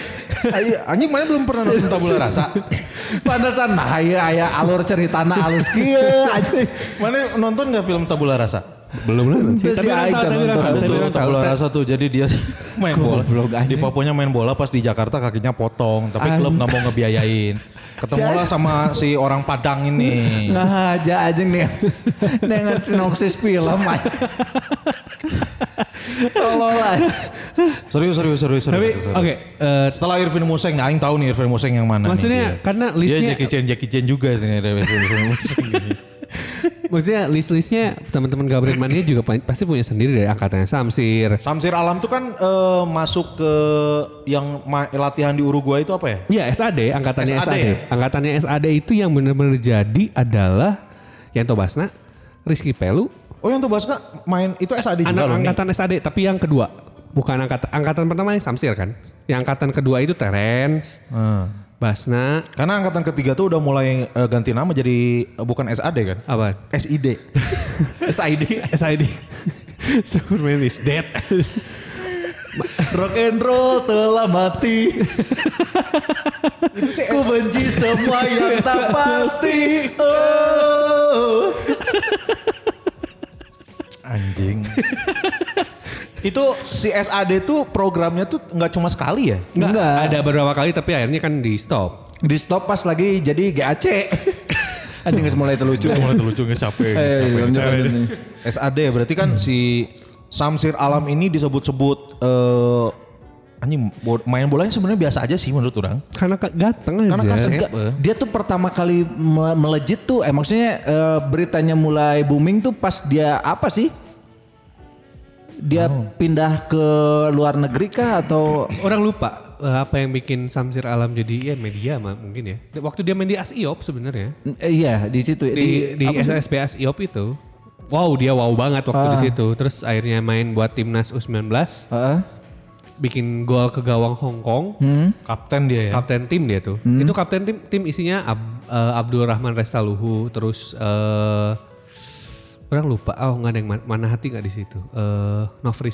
[SPEAKER 2] Ay- Anjing mana belum pernah nonton Tabula Rasa?
[SPEAKER 1] Pantesan nah ieu aya alur ceritana alus kieu anjing.
[SPEAKER 2] Mana nonton nggak film Tabula Rasa? Belum lah.
[SPEAKER 1] Itu si
[SPEAKER 6] orang
[SPEAKER 1] Aing
[SPEAKER 6] tahu,
[SPEAKER 1] can
[SPEAKER 6] tapi orang
[SPEAKER 1] nonton.
[SPEAKER 2] Ada
[SPEAKER 6] Tapi
[SPEAKER 2] tuh
[SPEAKER 6] orang tahu,
[SPEAKER 2] Tabula
[SPEAKER 6] Ted.
[SPEAKER 2] Rasa tuh jadi dia main bola.
[SPEAKER 1] Goblok
[SPEAKER 2] Di
[SPEAKER 1] anjing.
[SPEAKER 2] Papuanya main bola pas di Jakarta kakinya potong tapi klub nggak mau ngebiayain. Ketemulah sama si orang Padang ini.
[SPEAKER 1] Nah, Ngahaja aja nih dengan sinopsis film anjing. Tolol anjing.
[SPEAKER 2] Serius serius serius serius.
[SPEAKER 6] Tapi
[SPEAKER 2] serius,
[SPEAKER 6] oke,
[SPEAKER 2] serius.
[SPEAKER 6] eh,
[SPEAKER 2] Setelah Irvin Museng, nah, Aing tahu nih Irvin Museng yang mana.
[SPEAKER 6] Maksudnya
[SPEAKER 2] nih dia.
[SPEAKER 1] Iya,
[SPEAKER 6] karena listnya-
[SPEAKER 2] Dia Jackie Chan, Jackie Chan juga nih ada Irvin Museng.
[SPEAKER 6] maksudnya list-listnya teman-teman Gabriel Mania juga pa- pasti punya sendiri dari angkatannya Samsir.
[SPEAKER 2] Samsir Alam tuh kan eh, masuk ke yang ma- latihan di Uruguay itu apa ya?
[SPEAKER 6] Iya SAD, angkatannya
[SPEAKER 2] SAD.
[SPEAKER 6] SAD. Angkatannya SAD itu yang benar-benar jadi adalah Yanto Basna, Rizky Pelu,
[SPEAKER 2] Oh yang tuh Basna main itu SAD juga
[SPEAKER 6] anak
[SPEAKER 2] loh nih.
[SPEAKER 6] angkatan SAD tapi yang kedua. Bukan angkatan angkatan pertama yang Samsir kan. Yang angkatan kedua itu Terens,
[SPEAKER 2] Hmm.
[SPEAKER 6] Basna,
[SPEAKER 2] Karena angkatan ketiga tuh udah mulai eh, ganti nama jadi eh, bukan SAD kan?
[SPEAKER 6] apa?
[SPEAKER 2] SID.
[SPEAKER 1] SID
[SPEAKER 6] SID. Superman is dead.
[SPEAKER 2] Eh.
[SPEAKER 1] rock and roll telah mati. Ku benci semua yang tak pasti. Oh.
[SPEAKER 2] Anjing. itu si SAD tuh programnya tuh nggak cuma sekali ya?
[SPEAKER 1] Enggak.
[SPEAKER 6] Ada beberapa kali tapi akhirnya kan di stop.
[SPEAKER 1] Di stop pas lagi jadi GAC. Anjing geus mulai terlucu.
[SPEAKER 2] Mulai terlucu nggak capek. nggak
[SPEAKER 1] Eh,
[SPEAKER 2] capek, nggak
[SPEAKER 1] lanjut,
[SPEAKER 2] capek.
[SPEAKER 1] lanjut nih.
[SPEAKER 2] SAD berarti kan si Samsir Alam ini disebut-sebut eh anjing bo- main bolanya sebenarnya biasa aja sih menurut orang.
[SPEAKER 6] Karena ka- ganteng aja.
[SPEAKER 2] Karena kasep.
[SPEAKER 1] Enggak,
[SPEAKER 2] eh.
[SPEAKER 1] dia tuh pertama kali me- melejit tuh, eh maksudnya eh, beritanya mulai booming tuh pas dia apa sih? Dia pindah ke luar negeri kah atau
[SPEAKER 6] Orang lupa eh, apa yang bikin Samsir Alam jadi ya media mah mungkin ya. Waktu dia main di ASIOP sebenarnya.
[SPEAKER 1] Eh, iya di situ ya,
[SPEAKER 6] Di di,
[SPEAKER 1] apa sih? Ah.
[SPEAKER 6] SSPS IOP itu. Wow, dia wow banget waktu di situ. Terus akhirnya main buat timnas U19,
[SPEAKER 1] Heeh.
[SPEAKER 6] bikin gol ke gawang Hong Kong.
[SPEAKER 1] Hmm.
[SPEAKER 2] Kapten dia ya.
[SPEAKER 6] Kapten tim dia tuh. Itu kapten tim tim isinya Ab- eh, Abdul Rahman Restaluhu terus eh orang lupa oh nggak ada yang man- mana hati nggak di situ. Eh Novri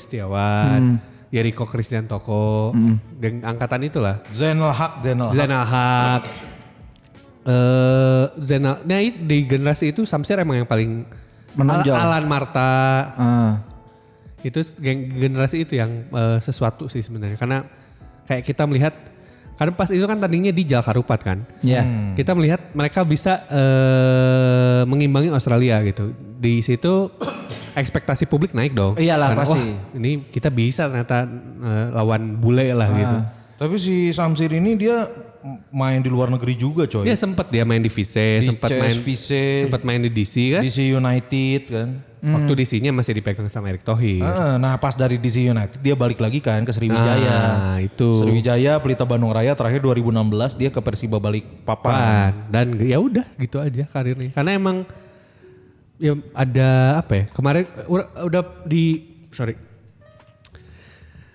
[SPEAKER 1] Hmm.
[SPEAKER 6] Setiawan, Yeriko Christian Toko, geng angkatan itulah.
[SPEAKER 2] Zainal Haq, Zainal Haq.
[SPEAKER 6] Zainal Haq. Eh Zainal, nah i- di generasi itu Samsir emang yang paling
[SPEAKER 1] Menonjol.
[SPEAKER 6] Al- Alan Marta
[SPEAKER 1] Ah.
[SPEAKER 6] itu s- geng- generasi itu yang eh, sesuatu sih sebenarnya karena kayak kita melihat karena pas itu kan tandingnya di Jalkarupat kan.
[SPEAKER 1] Iya.
[SPEAKER 6] Kita melihat mereka bisa eh, mengimbangi Australia gitu. Di situ ekspektasi publik naik dong.
[SPEAKER 1] Iyalah, pasti.
[SPEAKER 6] "Wah, ini
[SPEAKER 1] Ah.
[SPEAKER 6] kita bisa ternyata eh, lawan bule lah gitu.
[SPEAKER 2] Tapi si Samsir ini dia main di luar negeri juga coy.
[SPEAKER 6] Dia sempat Iya, dia main di Vise,
[SPEAKER 2] Di
[SPEAKER 6] sempat main
[SPEAKER 2] CSVC.
[SPEAKER 6] sempat main di DC kan.
[SPEAKER 2] DC United kan.
[SPEAKER 6] Waktu DC-nya masih dipegang sama Erick Thohir.
[SPEAKER 2] Heeh, Nah pas dari DC United dia balik lagi kan ke Sriwijaya.
[SPEAKER 6] Nah, itu.
[SPEAKER 2] Sriwijaya Pelita Bandung Raya terakhir 2016 dia ke Persiba balik papan.
[SPEAKER 6] Pan. Dan ya udah gitu aja karirnya. Karena emang ya ada apa ya? Kemarin ur- udah di sorry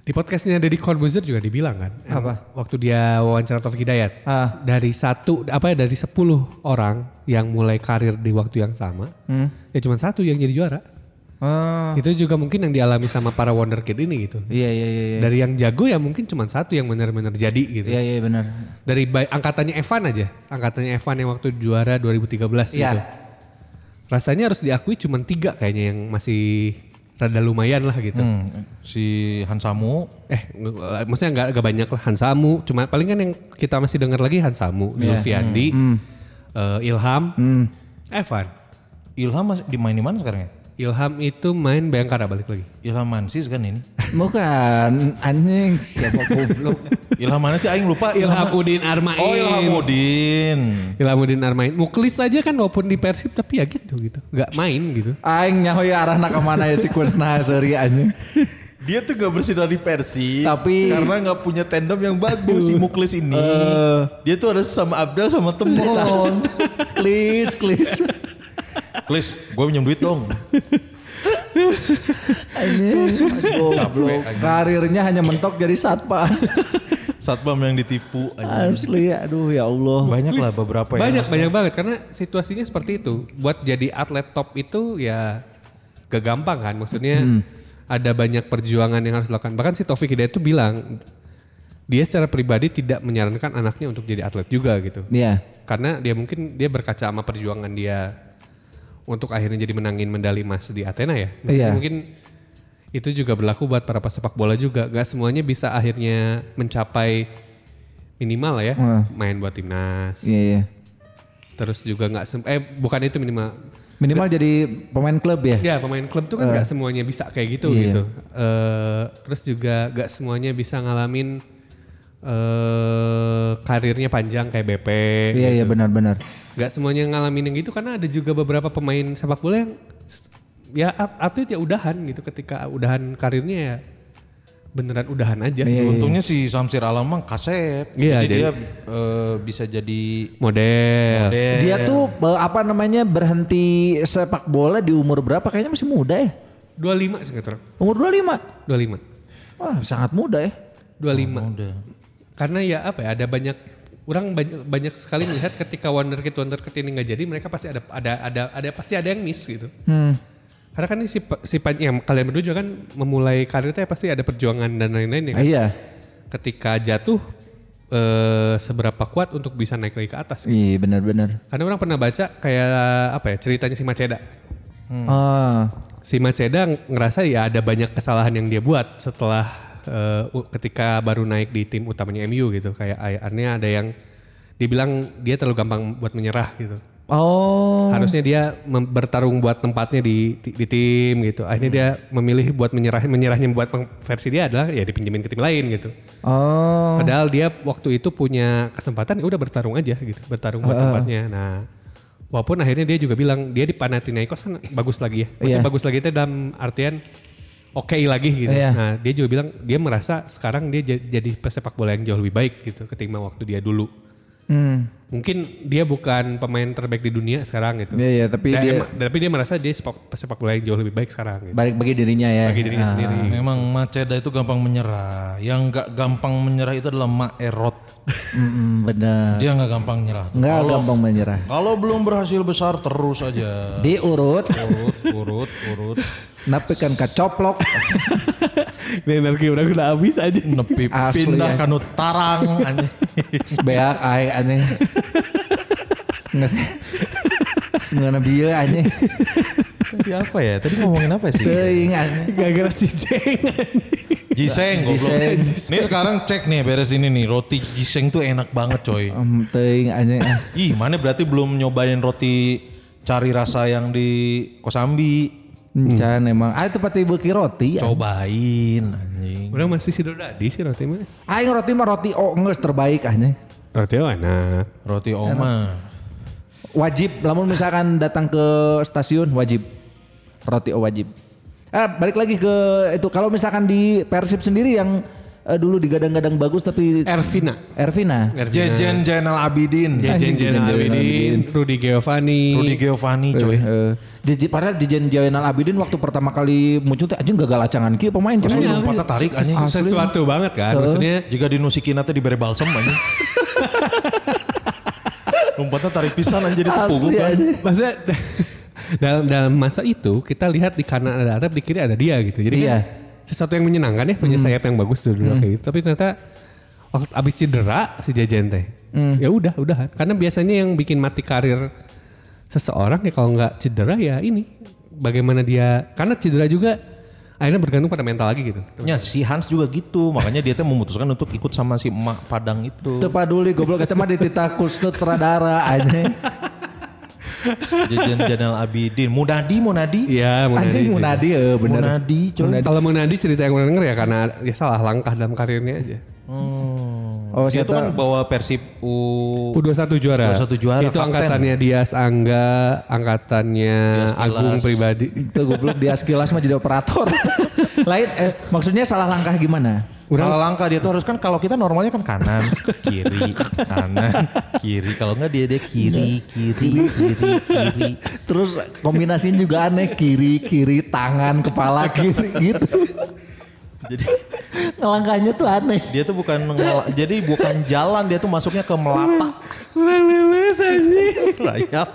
[SPEAKER 6] di podcastnya Deddy Corbuzier juga dibilang kan em-
[SPEAKER 3] Apa?
[SPEAKER 6] waktu dia wawancara Taufik Hidayat
[SPEAKER 3] Ah.
[SPEAKER 6] dari satu apa ya dari 10 orang yang mulai karir di waktu yang sama ya cuma satu yang jadi juara
[SPEAKER 3] Oh,
[SPEAKER 6] itu juga mungkin yang dialami sama para wonder kid ini gitu
[SPEAKER 3] iya iya iya iya.
[SPEAKER 6] dari yang jago ya mungkin cuma satu yang benar-benar jadi gitu
[SPEAKER 3] Iya iya benar.
[SPEAKER 6] dari ba- angkatannya Evan aja, angkatannya Evan yang waktu juara 2013
[SPEAKER 3] Iya.
[SPEAKER 6] gitu. Rasanya harus diakui cuman tiga kayaknya yang masih rada lumayan lah gitu.
[SPEAKER 2] Hmm, Si Hansamu
[SPEAKER 6] Eh, nge- eh, maksudnya nggak nggak banyak lah Hansamu, cuma paling kan yang kita masih dengar lagi Hansamu, Zulfiandi, eh, Ilham,
[SPEAKER 1] Hmm.
[SPEAKER 6] Evan.
[SPEAKER 2] Ilham masih dimain di mana sekarang ya?
[SPEAKER 6] Ilham itu main Bayangkara balik lagi.
[SPEAKER 2] Ilham Mansis kan ini.
[SPEAKER 3] Bukan anjing siapa goblok.
[SPEAKER 2] Ilham mana sih aing lupa
[SPEAKER 6] Ilham
[SPEAKER 2] Ilham.
[SPEAKER 6] Udin Armain.
[SPEAKER 2] Oh Ilham Udin.
[SPEAKER 6] Ilhamuddin Armain. Muklis aja kan walaupun di Persib tapi ya gitu gitu. Nggak main gitu.
[SPEAKER 1] Aing nyaho ya arahna ke mana ya sequence nah sorry anjing.
[SPEAKER 2] Dia tuh gak bersinar di Persi
[SPEAKER 1] Tapi-
[SPEAKER 2] karena nggak punya tandem yang bagus si Muklis ini.
[SPEAKER 6] Eh.
[SPEAKER 2] dia tuh harus sama Abdel sama Temon.
[SPEAKER 1] Please, please.
[SPEAKER 2] Klis, gue pinjam duit dong.
[SPEAKER 1] Anjing. Goblok. Karirnya hanya mentok jadi satpa.
[SPEAKER 2] Satpam yang ditipu. aja.
[SPEAKER 1] Asli, aduh ya Allah.
[SPEAKER 2] Banyak lah beberapa ya.
[SPEAKER 6] Banyak banyak banget karena situasinya seperti itu. Buat jadi atlet top itu ya gak gampang kan. Maksudnya ada banyak perjuangan yang harus dilakukan. Bahkan si Taufik Hidayat itu bilang dia secara pribadi tidak menyarankan anaknya untuk jadi atlet juga gitu.
[SPEAKER 3] Iya.
[SPEAKER 6] Karena dia mungkin dia berkaca sama perjuangan dia untuk akhirnya jadi menangin medali emas di Athena ya. Maksudnya
[SPEAKER 3] Iya.
[SPEAKER 6] Mungkin itu juga berlaku buat para pesepak bola juga. Gak semuanya bisa akhirnya mencapai minimal lah ya. Main buat timnas.
[SPEAKER 3] Iya iya.
[SPEAKER 6] Terus juga nggak sem- eh bukan itu minimal.
[SPEAKER 1] Minimal jadi pemain klub ya.
[SPEAKER 3] Iya,
[SPEAKER 6] Ya pemain klub tuh kan nggak semuanya bisa kayak gitu gitu. Eh, terus juga nggak semuanya bisa ngalamin eh karirnya panjang kayak BP.
[SPEAKER 3] Iya iya benar benar.
[SPEAKER 6] Nggak semuanya ngalamin yang gitu karena ada juga beberapa pemain sepak bola yang s- ya at- atlet ya udahan gitu ketika udahan karirnya ya beneran udahan aja.
[SPEAKER 2] Untungnya si Samsir Alam mah kasep. jadi
[SPEAKER 6] Iya, jadi-
[SPEAKER 2] dia eh, bisa jadi
[SPEAKER 3] Iya,
[SPEAKER 6] Model.
[SPEAKER 2] model.
[SPEAKER 1] Dia tuh eh, apa namanya berhenti sepak bola di umur berapa? Kayaknya masih muda ya.
[SPEAKER 6] 25 sih nggak tahu.
[SPEAKER 1] Umur 25.
[SPEAKER 6] 25.
[SPEAKER 1] Wah, sangat muda ya.
[SPEAKER 6] 25.
[SPEAKER 2] Udah.
[SPEAKER 6] karena ya apa ya ada banyak orang banyak, banyak sekali melihat ketika wonderkid wonderkid ini nggak jadi mereka pasti ada ada ada ada pasti ada yang miss gitu
[SPEAKER 3] Hmm.
[SPEAKER 6] karena kan ini si pa- si pan- yang kalian berdua juga kan memulai karirnya pasti ada perjuangan dan lain-lain ya
[SPEAKER 3] Ah,
[SPEAKER 6] kan?
[SPEAKER 3] Iya.
[SPEAKER 6] ketika jatuh eh, seberapa kuat untuk bisa naik lagi ke atas gitu.
[SPEAKER 3] Iya benar benar.
[SPEAKER 6] karena orang pernah baca kayak apa ya ceritanya si Maceda
[SPEAKER 1] Hmm.
[SPEAKER 3] Ah.
[SPEAKER 6] si Maceda ng- ngerasa ya ada banyak kesalahan yang dia buat setelah eh, u- ketika baru naik di tim utamanya MU gitu kayak ayaannya ada yang dibilang dia terlalu gampang buat menyerah gitu
[SPEAKER 3] Oh.
[SPEAKER 6] harusnya dia mem- bertarung buat tempatnya di ti- di tim gitu akhirnya dia memilih buat menyerah menyerahnya buat peng- versi dia adalah ya dipinjemin ke tim lain gitu
[SPEAKER 3] Oh.
[SPEAKER 6] Padahal dia waktu itu punya kesempatan ya udah bertarung aja gitu, bertarung buat tempatnya. Nah, walaupun akhirnya dia juga bilang dia di Panathinaikos kan bagus lagi ya. Maksudnya
[SPEAKER 3] Iya.
[SPEAKER 6] bagus lagi itu dalam artian oke lagi gitu.
[SPEAKER 3] Iya.
[SPEAKER 6] Nah, dia juga bilang dia merasa sekarang dia ja- jadi pesepak bola yang jauh lebih baik gitu ketimbang waktu dia dulu.
[SPEAKER 3] Hmm.
[SPEAKER 6] Mungkin dia bukan pemain terbaik di dunia sekarang gitu.
[SPEAKER 3] Iya iya tapi
[SPEAKER 6] Dan
[SPEAKER 3] dia
[SPEAKER 6] emang- tapi dia merasa dia sepak- pesepak bola yang jauh lebih baik sekarang gitu.
[SPEAKER 3] balik bagi dirinya ya.
[SPEAKER 6] Bagi dirinya sendiri.
[SPEAKER 2] Memang Maceda itu gampang menyerah. Yang gak gampang menyerah itu adalah Maerot.
[SPEAKER 3] Mm, benar.
[SPEAKER 2] Dia gak gampang menyerah.
[SPEAKER 3] Enggak gampang menyerah.
[SPEAKER 2] Kalau belum berhasil besar terus aja.
[SPEAKER 3] Diurut,
[SPEAKER 2] Urut, urut, urut.
[SPEAKER 3] tapi kan kecoplok.
[SPEAKER 6] Ini energi orang udah habis aja.
[SPEAKER 2] Nepi
[SPEAKER 3] Asli, ya.
[SPEAKER 2] pindah kanut tarang. anjing.
[SPEAKER 3] Sebeak ai aneh. Nggak sih. Sengana bieu aneh.
[SPEAKER 2] Tadi apa ya? Tadi ngomongin apa sih?
[SPEAKER 3] Teuing aneh.
[SPEAKER 6] Gara-gara si Jeng.
[SPEAKER 2] Jiseng goblok.
[SPEAKER 3] Jiseng.
[SPEAKER 2] Nih sekarang cek nih beres ini nih roti Jiseng tuh enak banget coy.
[SPEAKER 3] Em, Teuing aneh. ah.
[SPEAKER 2] Ih, mana berarti belum nyobain roti cari rasa yang di Kosambi.
[SPEAKER 3] Encan
[SPEAKER 6] Hmm.
[SPEAKER 3] emang. Ah itu pati beuki roti.
[SPEAKER 2] Ya.
[SPEAKER 3] ah. aneh.
[SPEAKER 2] Cobain anjing.
[SPEAKER 6] Orang masih si Dodadi sih roti mah.
[SPEAKER 3] Aing roti mah roti oh ngeus terbaik aneh.
[SPEAKER 6] Roti oh enak.
[SPEAKER 2] Roti oma.
[SPEAKER 1] Wajib, namun misalkan datang ke stasiun wajib. Roti O wajib. Ah, balik lagi ke itu kalau misalkan di Persib sendiri yang eh, dulu digadang-gadang bagus tapi ah.
[SPEAKER 6] Ervina.
[SPEAKER 1] Ervina.
[SPEAKER 6] Eh.
[SPEAKER 2] Jejen
[SPEAKER 1] Iya.
[SPEAKER 2] Jainal Abidin.
[SPEAKER 6] Jejen Jenal Abidin, Rudy Giovanni.
[SPEAKER 2] Rudy Giovanni coy.
[SPEAKER 1] Eh, Jeje- padahal Jejen Jainal Abidin waktu pertama kali muncul teh anjing gagal acangan kieu pemain
[SPEAKER 2] Pas
[SPEAKER 1] cenah.
[SPEAKER 2] lu lompatnya tarik anjing.
[SPEAKER 6] Sesu- Sesuatu banget kan. Maksudnya
[SPEAKER 2] Jika dinusikin nanti diberi balsam anjing. Lompatnya tarik pisan anjing itu punggung
[SPEAKER 1] Asli
[SPEAKER 2] kan.
[SPEAKER 1] aja.
[SPEAKER 6] maksudnya dalam dalam masa itu kita lihat di kanan ada Arab, di kiri ada dia gitu. Jadi
[SPEAKER 1] Iya.
[SPEAKER 6] kan sesuatu yang menyenangkan ya punya sayap yang bagus dulu kayak gitu. Tapi ternyata waktu abis cedera si Jajan teh. Ya udah, udahan. Karena biasanya yang bikin mati karir seseorang ya kalau nggak cedera ya ini bagaimana dia karena cedera juga akhirnya bergantung pada mental lagi gitu.
[SPEAKER 2] Ya si Hans juga gitu, makanya dia teh memutuskan untuk ikut sama si emak Padang itu.
[SPEAKER 1] Teu paduli goblok eta mah dititah Kusnut Pradara anjing.
[SPEAKER 2] Jejen Jainal Abidin, Munadi Munadi.
[SPEAKER 6] Iya, Munadi
[SPEAKER 1] Anjing
[SPEAKER 6] sih.
[SPEAKER 1] Munadi eh, bener.
[SPEAKER 2] Munadi coy.
[SPEAKER 6] Kalau Munadi cerita yang orang denger ya karena dia salah langkah dalam karirnya aja.
[SPEAKER 1] Oh,
[SPEAKER 2] Dia
[SPEAKER 1] siapa?
[SPEAKER 2] tuh kan bawa Persib U
[SPEAKER 6] U21 juara.
[SPEAKER 2] U21 Oh. juara, kapten.
[SPEAKER 6] Itu angkatannya Dias Angga, angkatannya Agung pribadi.
[SPEAKER 1] Itu goblok dia sekilas mah jadi operator. Lain eh, maksudnya salah langkah gimana?
[SPEAKER 2] Salah langkah dia tuh harus kan kalau kita normalnya kan kanan, kiri, kanan, kiri. Kalau enggak dia dia kiri, kiri, kiri, kiri.
[SPEAKER 1] Terus kombinasinya juga aneh kiri kiri tangan kepala kiri gitu.
[SPEAKER 2] Jadi
[SPEAKER 1] Ngelangkahnya tuh aneh.
[SPEAKER 2] dia tuh bukan ngel- jadi bukan jalan dia tuh masuknya ke melata
[SPEAKER 6] Kurang lulus anjing.
[SPEAKER 2] rayap.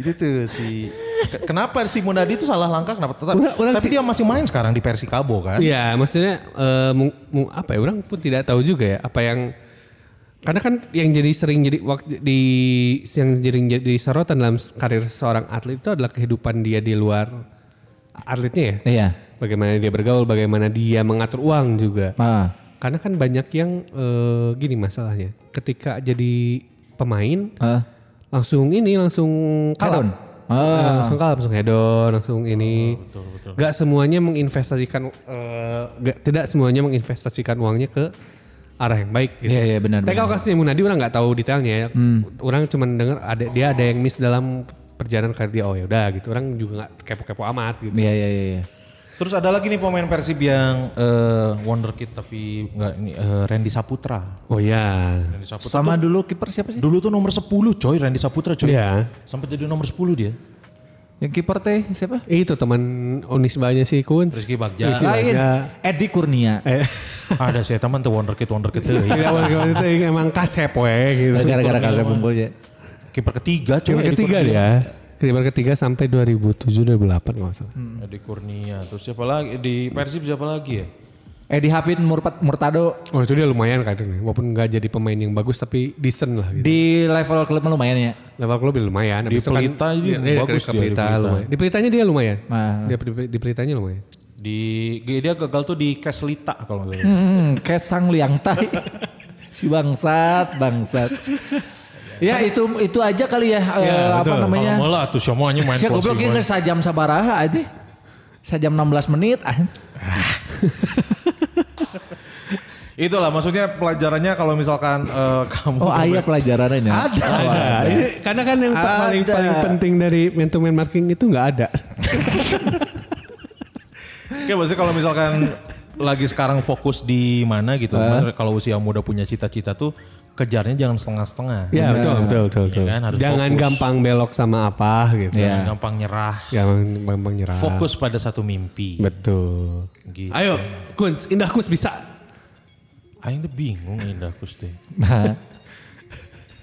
[SPEAKER 2] Itu tuh si ke- kenapa si Munadi itu salah langkah kenapa? Tetap-
[SPEAKER 6] Orang- orang
[SPEAKER 2] tapi
[SPEAKER 6] ti-
[SPEAKER 2] dia masih main sekarang di Persikabo kan?
[SPEAKER 6] Iya, maksudnya eh, mung- mung- apa ya? Orang pun tidak tahu juga ya apa yang karena kan yang jadi sering jadi waktu di yang sering jadi sorotan dalam karir seorang atlet itu adalah kehidupan dia di luar atletnya ya.
[SPEAKER 1] Iya.
[SPEAKER 6] Bagaimana dia bergaul, bagaimana dia mengatur uang juga.
[SPEAKER 1] Ah.
[SPEAKER 6] Karena kan banyak yang eh, gini masalahnya. Ketika jadi pemain
[SPEAKER 1] Ah.
[SPEAKER 6] langsung ini langsung
[SPEAKER 1] Head on.
[SPEAKER 6] kalon.
[SPEAKER 1] Ah.
[SPEAKER 6] langsung kalap, langsung hedon, langsung ini. Gak semuanya menginvestasikan, eh, gak- tidak semuanya menginvestasikan uangnya ke arah yang baik. Gitu.
[SPEAKER 1] Iya, iya, benar, Hmm.
[SPEAKER 6] Tapi kalau kasusnya Munadi orang nggak tahu detailnya. ya. Orang cuma dengar ada dia ada yang miss dalam perjalanan karir dia. Oh ya udah gitu. Orang juga nggak kepo-kepo amat gitu.
[SPEAKER 1] Iya iya iya. iya.
[SPEAKER 2] Terus ada lagi nih pemain Persib yang eh, wonderkid tapi enggak ini eh, Randy Saputra.
[SPEAKER 6] Oh ya.
[SPEAKER 2] Randy Saputra
[SPEAKER 1] Sama dulu kiper siapa sih?
[SPEAKER 2] Dulu tuh nomor 10 coy Randy Saputra coy.
[SPEAKER 6] Iya.
[SPEAKER 2] Sampai jadi nomor 10 dia.
[SPEAKER 1] Yang kiper teh siapa?
[SPEAKER 6] Itu teman Unisbanya si Kun.
[SPEAKER 2] Rizky Bagja.
[SPEAKER 6] Rizky
[SPEAKER 1] Lain.
[SPEAKER 2] iya.
[SPEAKER 6] Bagja.
[SPEAKER 1] Edi Kurnia.
[SPEAKER 6] Eh,
[SPEAKER 2] Ada sih teman tuh wonderkid wonderkid tuh.
[SPEAKER 6] Tidak Iya, waktu itu yang emang kasep we gitu.
[SPEAKER 1] Gara-gara kasih bungkul ya.
[SPEAKER 2] Kiper ketiga coy.
[SPEAKER 6] Kiper
[SPEAKER 2] Edi
[SPEAKER 6] ketiga
[SPEAKER 2] Kurnia.
[SPEAKER 6] dia. Kiper Iya. ketiga sampai 2007 2008 kalau nggak salah.
[SPEAKER 2] Edi Kurnia. Terus siapa lagi di Persib siapa lagi ya?
[SPEAKER 1] Edi Hafid Murpat Murtado
[SPEAKER 2] Iya.
[SPEAKER 6] Oh itu dia lumayan kadernya, walaupun nggak jadi pemain yang bagus tapi decent lah gitu.
[SPEAKER 1] di level klub lumayan ya.
[SPEAKER 6] Level klub dia lumayan.
[SPEAKER 2] Di
[SPEAKER 6] Habis itu kan-
[SPEAKER 2] Pelita dia
[SPEAKER 6] dia
[SPEAKER 2] bagus dia
[SPEAKER 6] ke
[SPEAKER 2] di
[SPEAKER 6] Pelita
[SPEAKER 2] Pelita.
[SPEAKER 6] lumayan. Di Pelitanya dia lumayan.
[SPEAKER 1] Nah.
[SPEAKER 6] Dia di, di Pelitanya lumayan.
[SPEAKER 2] Di dia gagal tuh di Keslita kalau nggak salah.
[SPEAKER 1] Hmm, kesang liang tai. si bangsat, bangsat. ya itu itu aja kali ya, eh, apa
[SPEAKER 2] Iya, Betul.
[SPEAKER 1] namanya?
[SPEAKER 2] Kalau malah tuh semua anjing main
[SPEAKER 1] Saya goblok
[SPEAKER 2] closing
[SPEAKER 1] ini
[SPEAKER 2] main.
[SPEAKER 1] sajam sabaraha aja. Sajam 16 menit. ah. anjing.
[SPEAKER 2] Itulah maksudnya pelajarannya kalau misalkan eh, kamu
[SPEAKER 1] Oh ayah pelajarannya.
[SPEAKER 2] ada. ada.
[SPEAKER 1] Iya.
[SPEAKER 6] Ini, karena kan yang
[SPEAKER 2] Ada.
[SPEAKER 6] paling paling penting dari man to man marking itu nggak ada.
[SPEAKER 2] Oke, maksudnya kalau misalkan lagi sekarang fokus di mana
[SPEAKER 1] Eh.
[SPEAKER 2] gitu. Maksudnya kalau usia muda punya cita-cita tuh kejarnya jangan setengah-setengah.
[SPEAKER 6] ya betul betul betul. betul.
[SPEAKER 2] Iya kan, harus
[SPEAKER 6] Jangan
[SPEAKER 2] fokus.
[SPEAKER 6] gampang belok sama apa gitu.
[SPEAKER 1] Iya.
[SPEAKER 2] Jangan gampang nyerah.
[SPEAKER 6] Jangan gampang nyerah.
[SPEAKER 2] Fokus pada satu mimpi.
[SPEAKER 6] Betul.
[SPEAKER 2] Gitu.
[SPEAKER 6] Ayo, Kunz, Indah Kunz bisa.
[SPEAKER 2] Aing tuh bingung Indah Kusti.
[SPEAKER 1] Nah,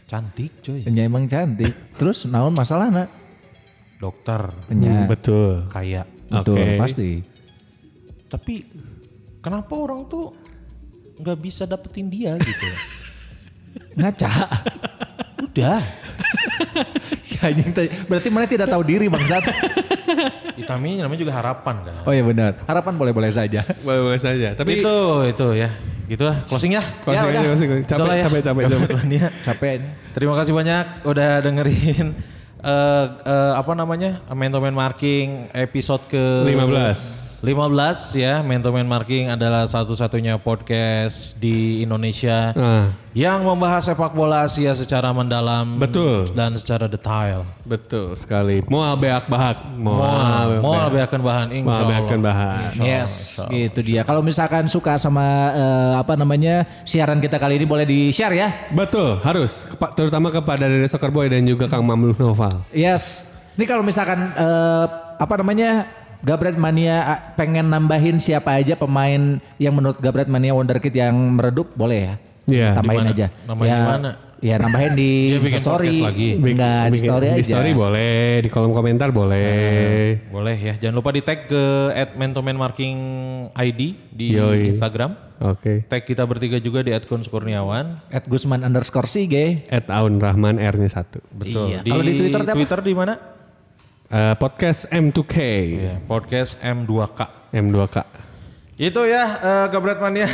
[SPEAKER 2] Cantik coy.
[SPEAKER 1] nya emang cantik. Terus naon masalahnya?
[SPEAKER 2] Dokter.
[SPEAKER 1] Nya.
[SPEAKER 6] Betul.
[SPEAKER 2] Kayak.
[SPEAKER 1] Betul,
[SPEAKER 6] Oke.
[SPEAKER 1] pasti.
[SPEAKER 2] Tapi kenapa orang tuh nggak bisa dapetin dia gitu.
[SPEAKER 1] Ngaca.
[SPEAKER 2] Udah.
[SPEAKER 1] Si anjing tadi- Berarti mana tidak tahu diri bangsat.
[SPEAKER 2] Itami namanya juga harapan kan.
[SPEAKER 1] Oh iya benar. Harapan boleh-boleh saja.
[SPEAKER 6] Boleh-boleh saja. Tapi
[SPEAKER 2] itu itu ya. Gitulah closing ya.
[SPEAKER 6] Closing
[SPEAKER 1] Ya,
[SPEAKER 6] aja,
[SPEAKER 1] udah.
[SPEAKER 6] closing. Capek,
[SPEAKER 2] Itulah ya.
[SPEAKER 6] capek, capek, capek.
[SPEAKER 2] Gambarannya.
[SPEAKER 1] Capek. ini.
[SPEAKER 2] Terima kasih banyak udah dengerin eh eh, apa namanya? Man to Man Marking episode ke
[SPEAKER 6] 15. 15.
[SPEAKER 2] 15 ya, Man to Man Marking adalah satu-satunya podcast di Indonesia
[SPEAKER 6] Nah,
[SPEAKER 2] yang membahas sepak bola Asia secara mendalam
[SPEAKER 6] Betul.
[SPEAKER 2] dan secara detail.
[SPEAKER 6] betul sekali. Moal beak bahak.
[SPEAKER 2] Moal,
[SPEAKER 6] Moal,
[SPEAKER 2] moal beakan bahan insya
[SPEAKER 6] Moal
[SPEAKER 2] Allah.
[SPEAKER 6] beakan bahak.
[SPEAKER 1] Yes, gitu dia. Kalau misalkan suka sama eh, apa namanya siaran kita kali ini boleh di share ya.
[SPEAKER 6] Betul, harus. Kepa- terutama kepada Dede Soccer Boy dan juga Kang Mamluh Noval.
[SPEAKER 1] Yes. Ini kalau misalkan eh, apa namanya Gabret Mania ah, pengen nambahin siapa aja pemain yang menurut Gabret Mania Wonderkid yang meredup boleh ya.
[SPEAKER 6] Iya,
[SPEAKER 1] Tambahin
[SPEAKER 2] di mana?
[SPEAKER 1] aja.
[SPEAKER 2] Nambahin
[SPEAKER 1] ya,
[SPEAKER 2] di mana?
[SPEAKER 1] Ya nambahin di
[SPEAKER 2] Dia bikin
[SPEAKER 1] story.
[SPEAKER 2] podcast lagi.
[SPEAKER 1] Enggak, di
[SPEAKER 6] Bikin-
[SPEAKER 1] story aja.
[SPEAKER 6] Di story boleh, di kolom komentar boleh.
[SPEAKER 2] Boleh ya, jangan lupa di tag ke at Man to Man Marking ID di
[SPEAKER 6] Yoi.
[SPEAKER 2] Instagram.
[SPEAKER 6] Oke.
[SPEAKER 2] Tag kita bertiga juga di at Guns Kurniawan.
[SPEAKER 1] At Gusman underscore Sige.
[SPEAKER 6] At Aun Rahman R-nya satu.
[SPEAKER 2] Betul.
[SPEAKER 1] Iya. Kalau di Twitter apa?
[SPEAKER 2] Twitter di mana?
[SPEAKER 6] Eh, podcast M2K.
[SPEAKER 2] Iya, Podcast M2K.
[SPEAKER 6] M2K.
[SPEAKER 2] Itu ya eh, Gabret Mania.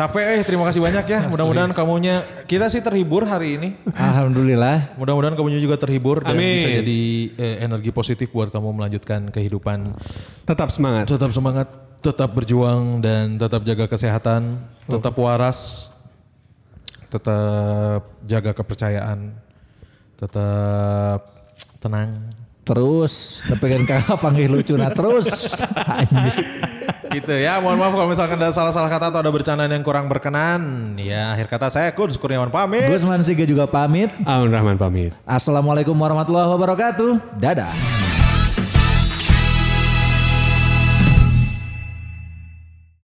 [SPEAKER 2] Capek eh, terima kasih banyak ya. Mudah-mudahan kamunya kita sih terhibur hari ini.
[SPEAKER 1] Alhamdulillah.
[SPEAKER 2] Mudah-mudahan kamunya juga terhibur dan
[SPEAKER 6] Amin.
[SPEAKER 2] bisa jadi eh, energi positif buat kamu melanjutkan kehidupan.
[SPEAKER 6] Tetap semangat.
[SPEAKER 2] Tetap semangat, tetap berjuang dan tetap jaga kesehatan, tetap waras, tetap jaga kepercayaan, tetap tenang.
[SPEAKER 1] Terus kepengen kakak panggil lucu nah terus. Anjing.
[SPEAKER 2] gitu ya mohon maaf kalau misalkan ada salah-salah kata atau ada bercandaan yang kurang berkenan ya akhir kata saya Kun Kurniawan pamit
[SPEAKER 1] Gusman Sige juga pamit.
[SPEAKER 6] Aun Rahman pamit.
[SPEAKER 1] Assalamualaikum warahmatullahi wabarakatuh. Dadah.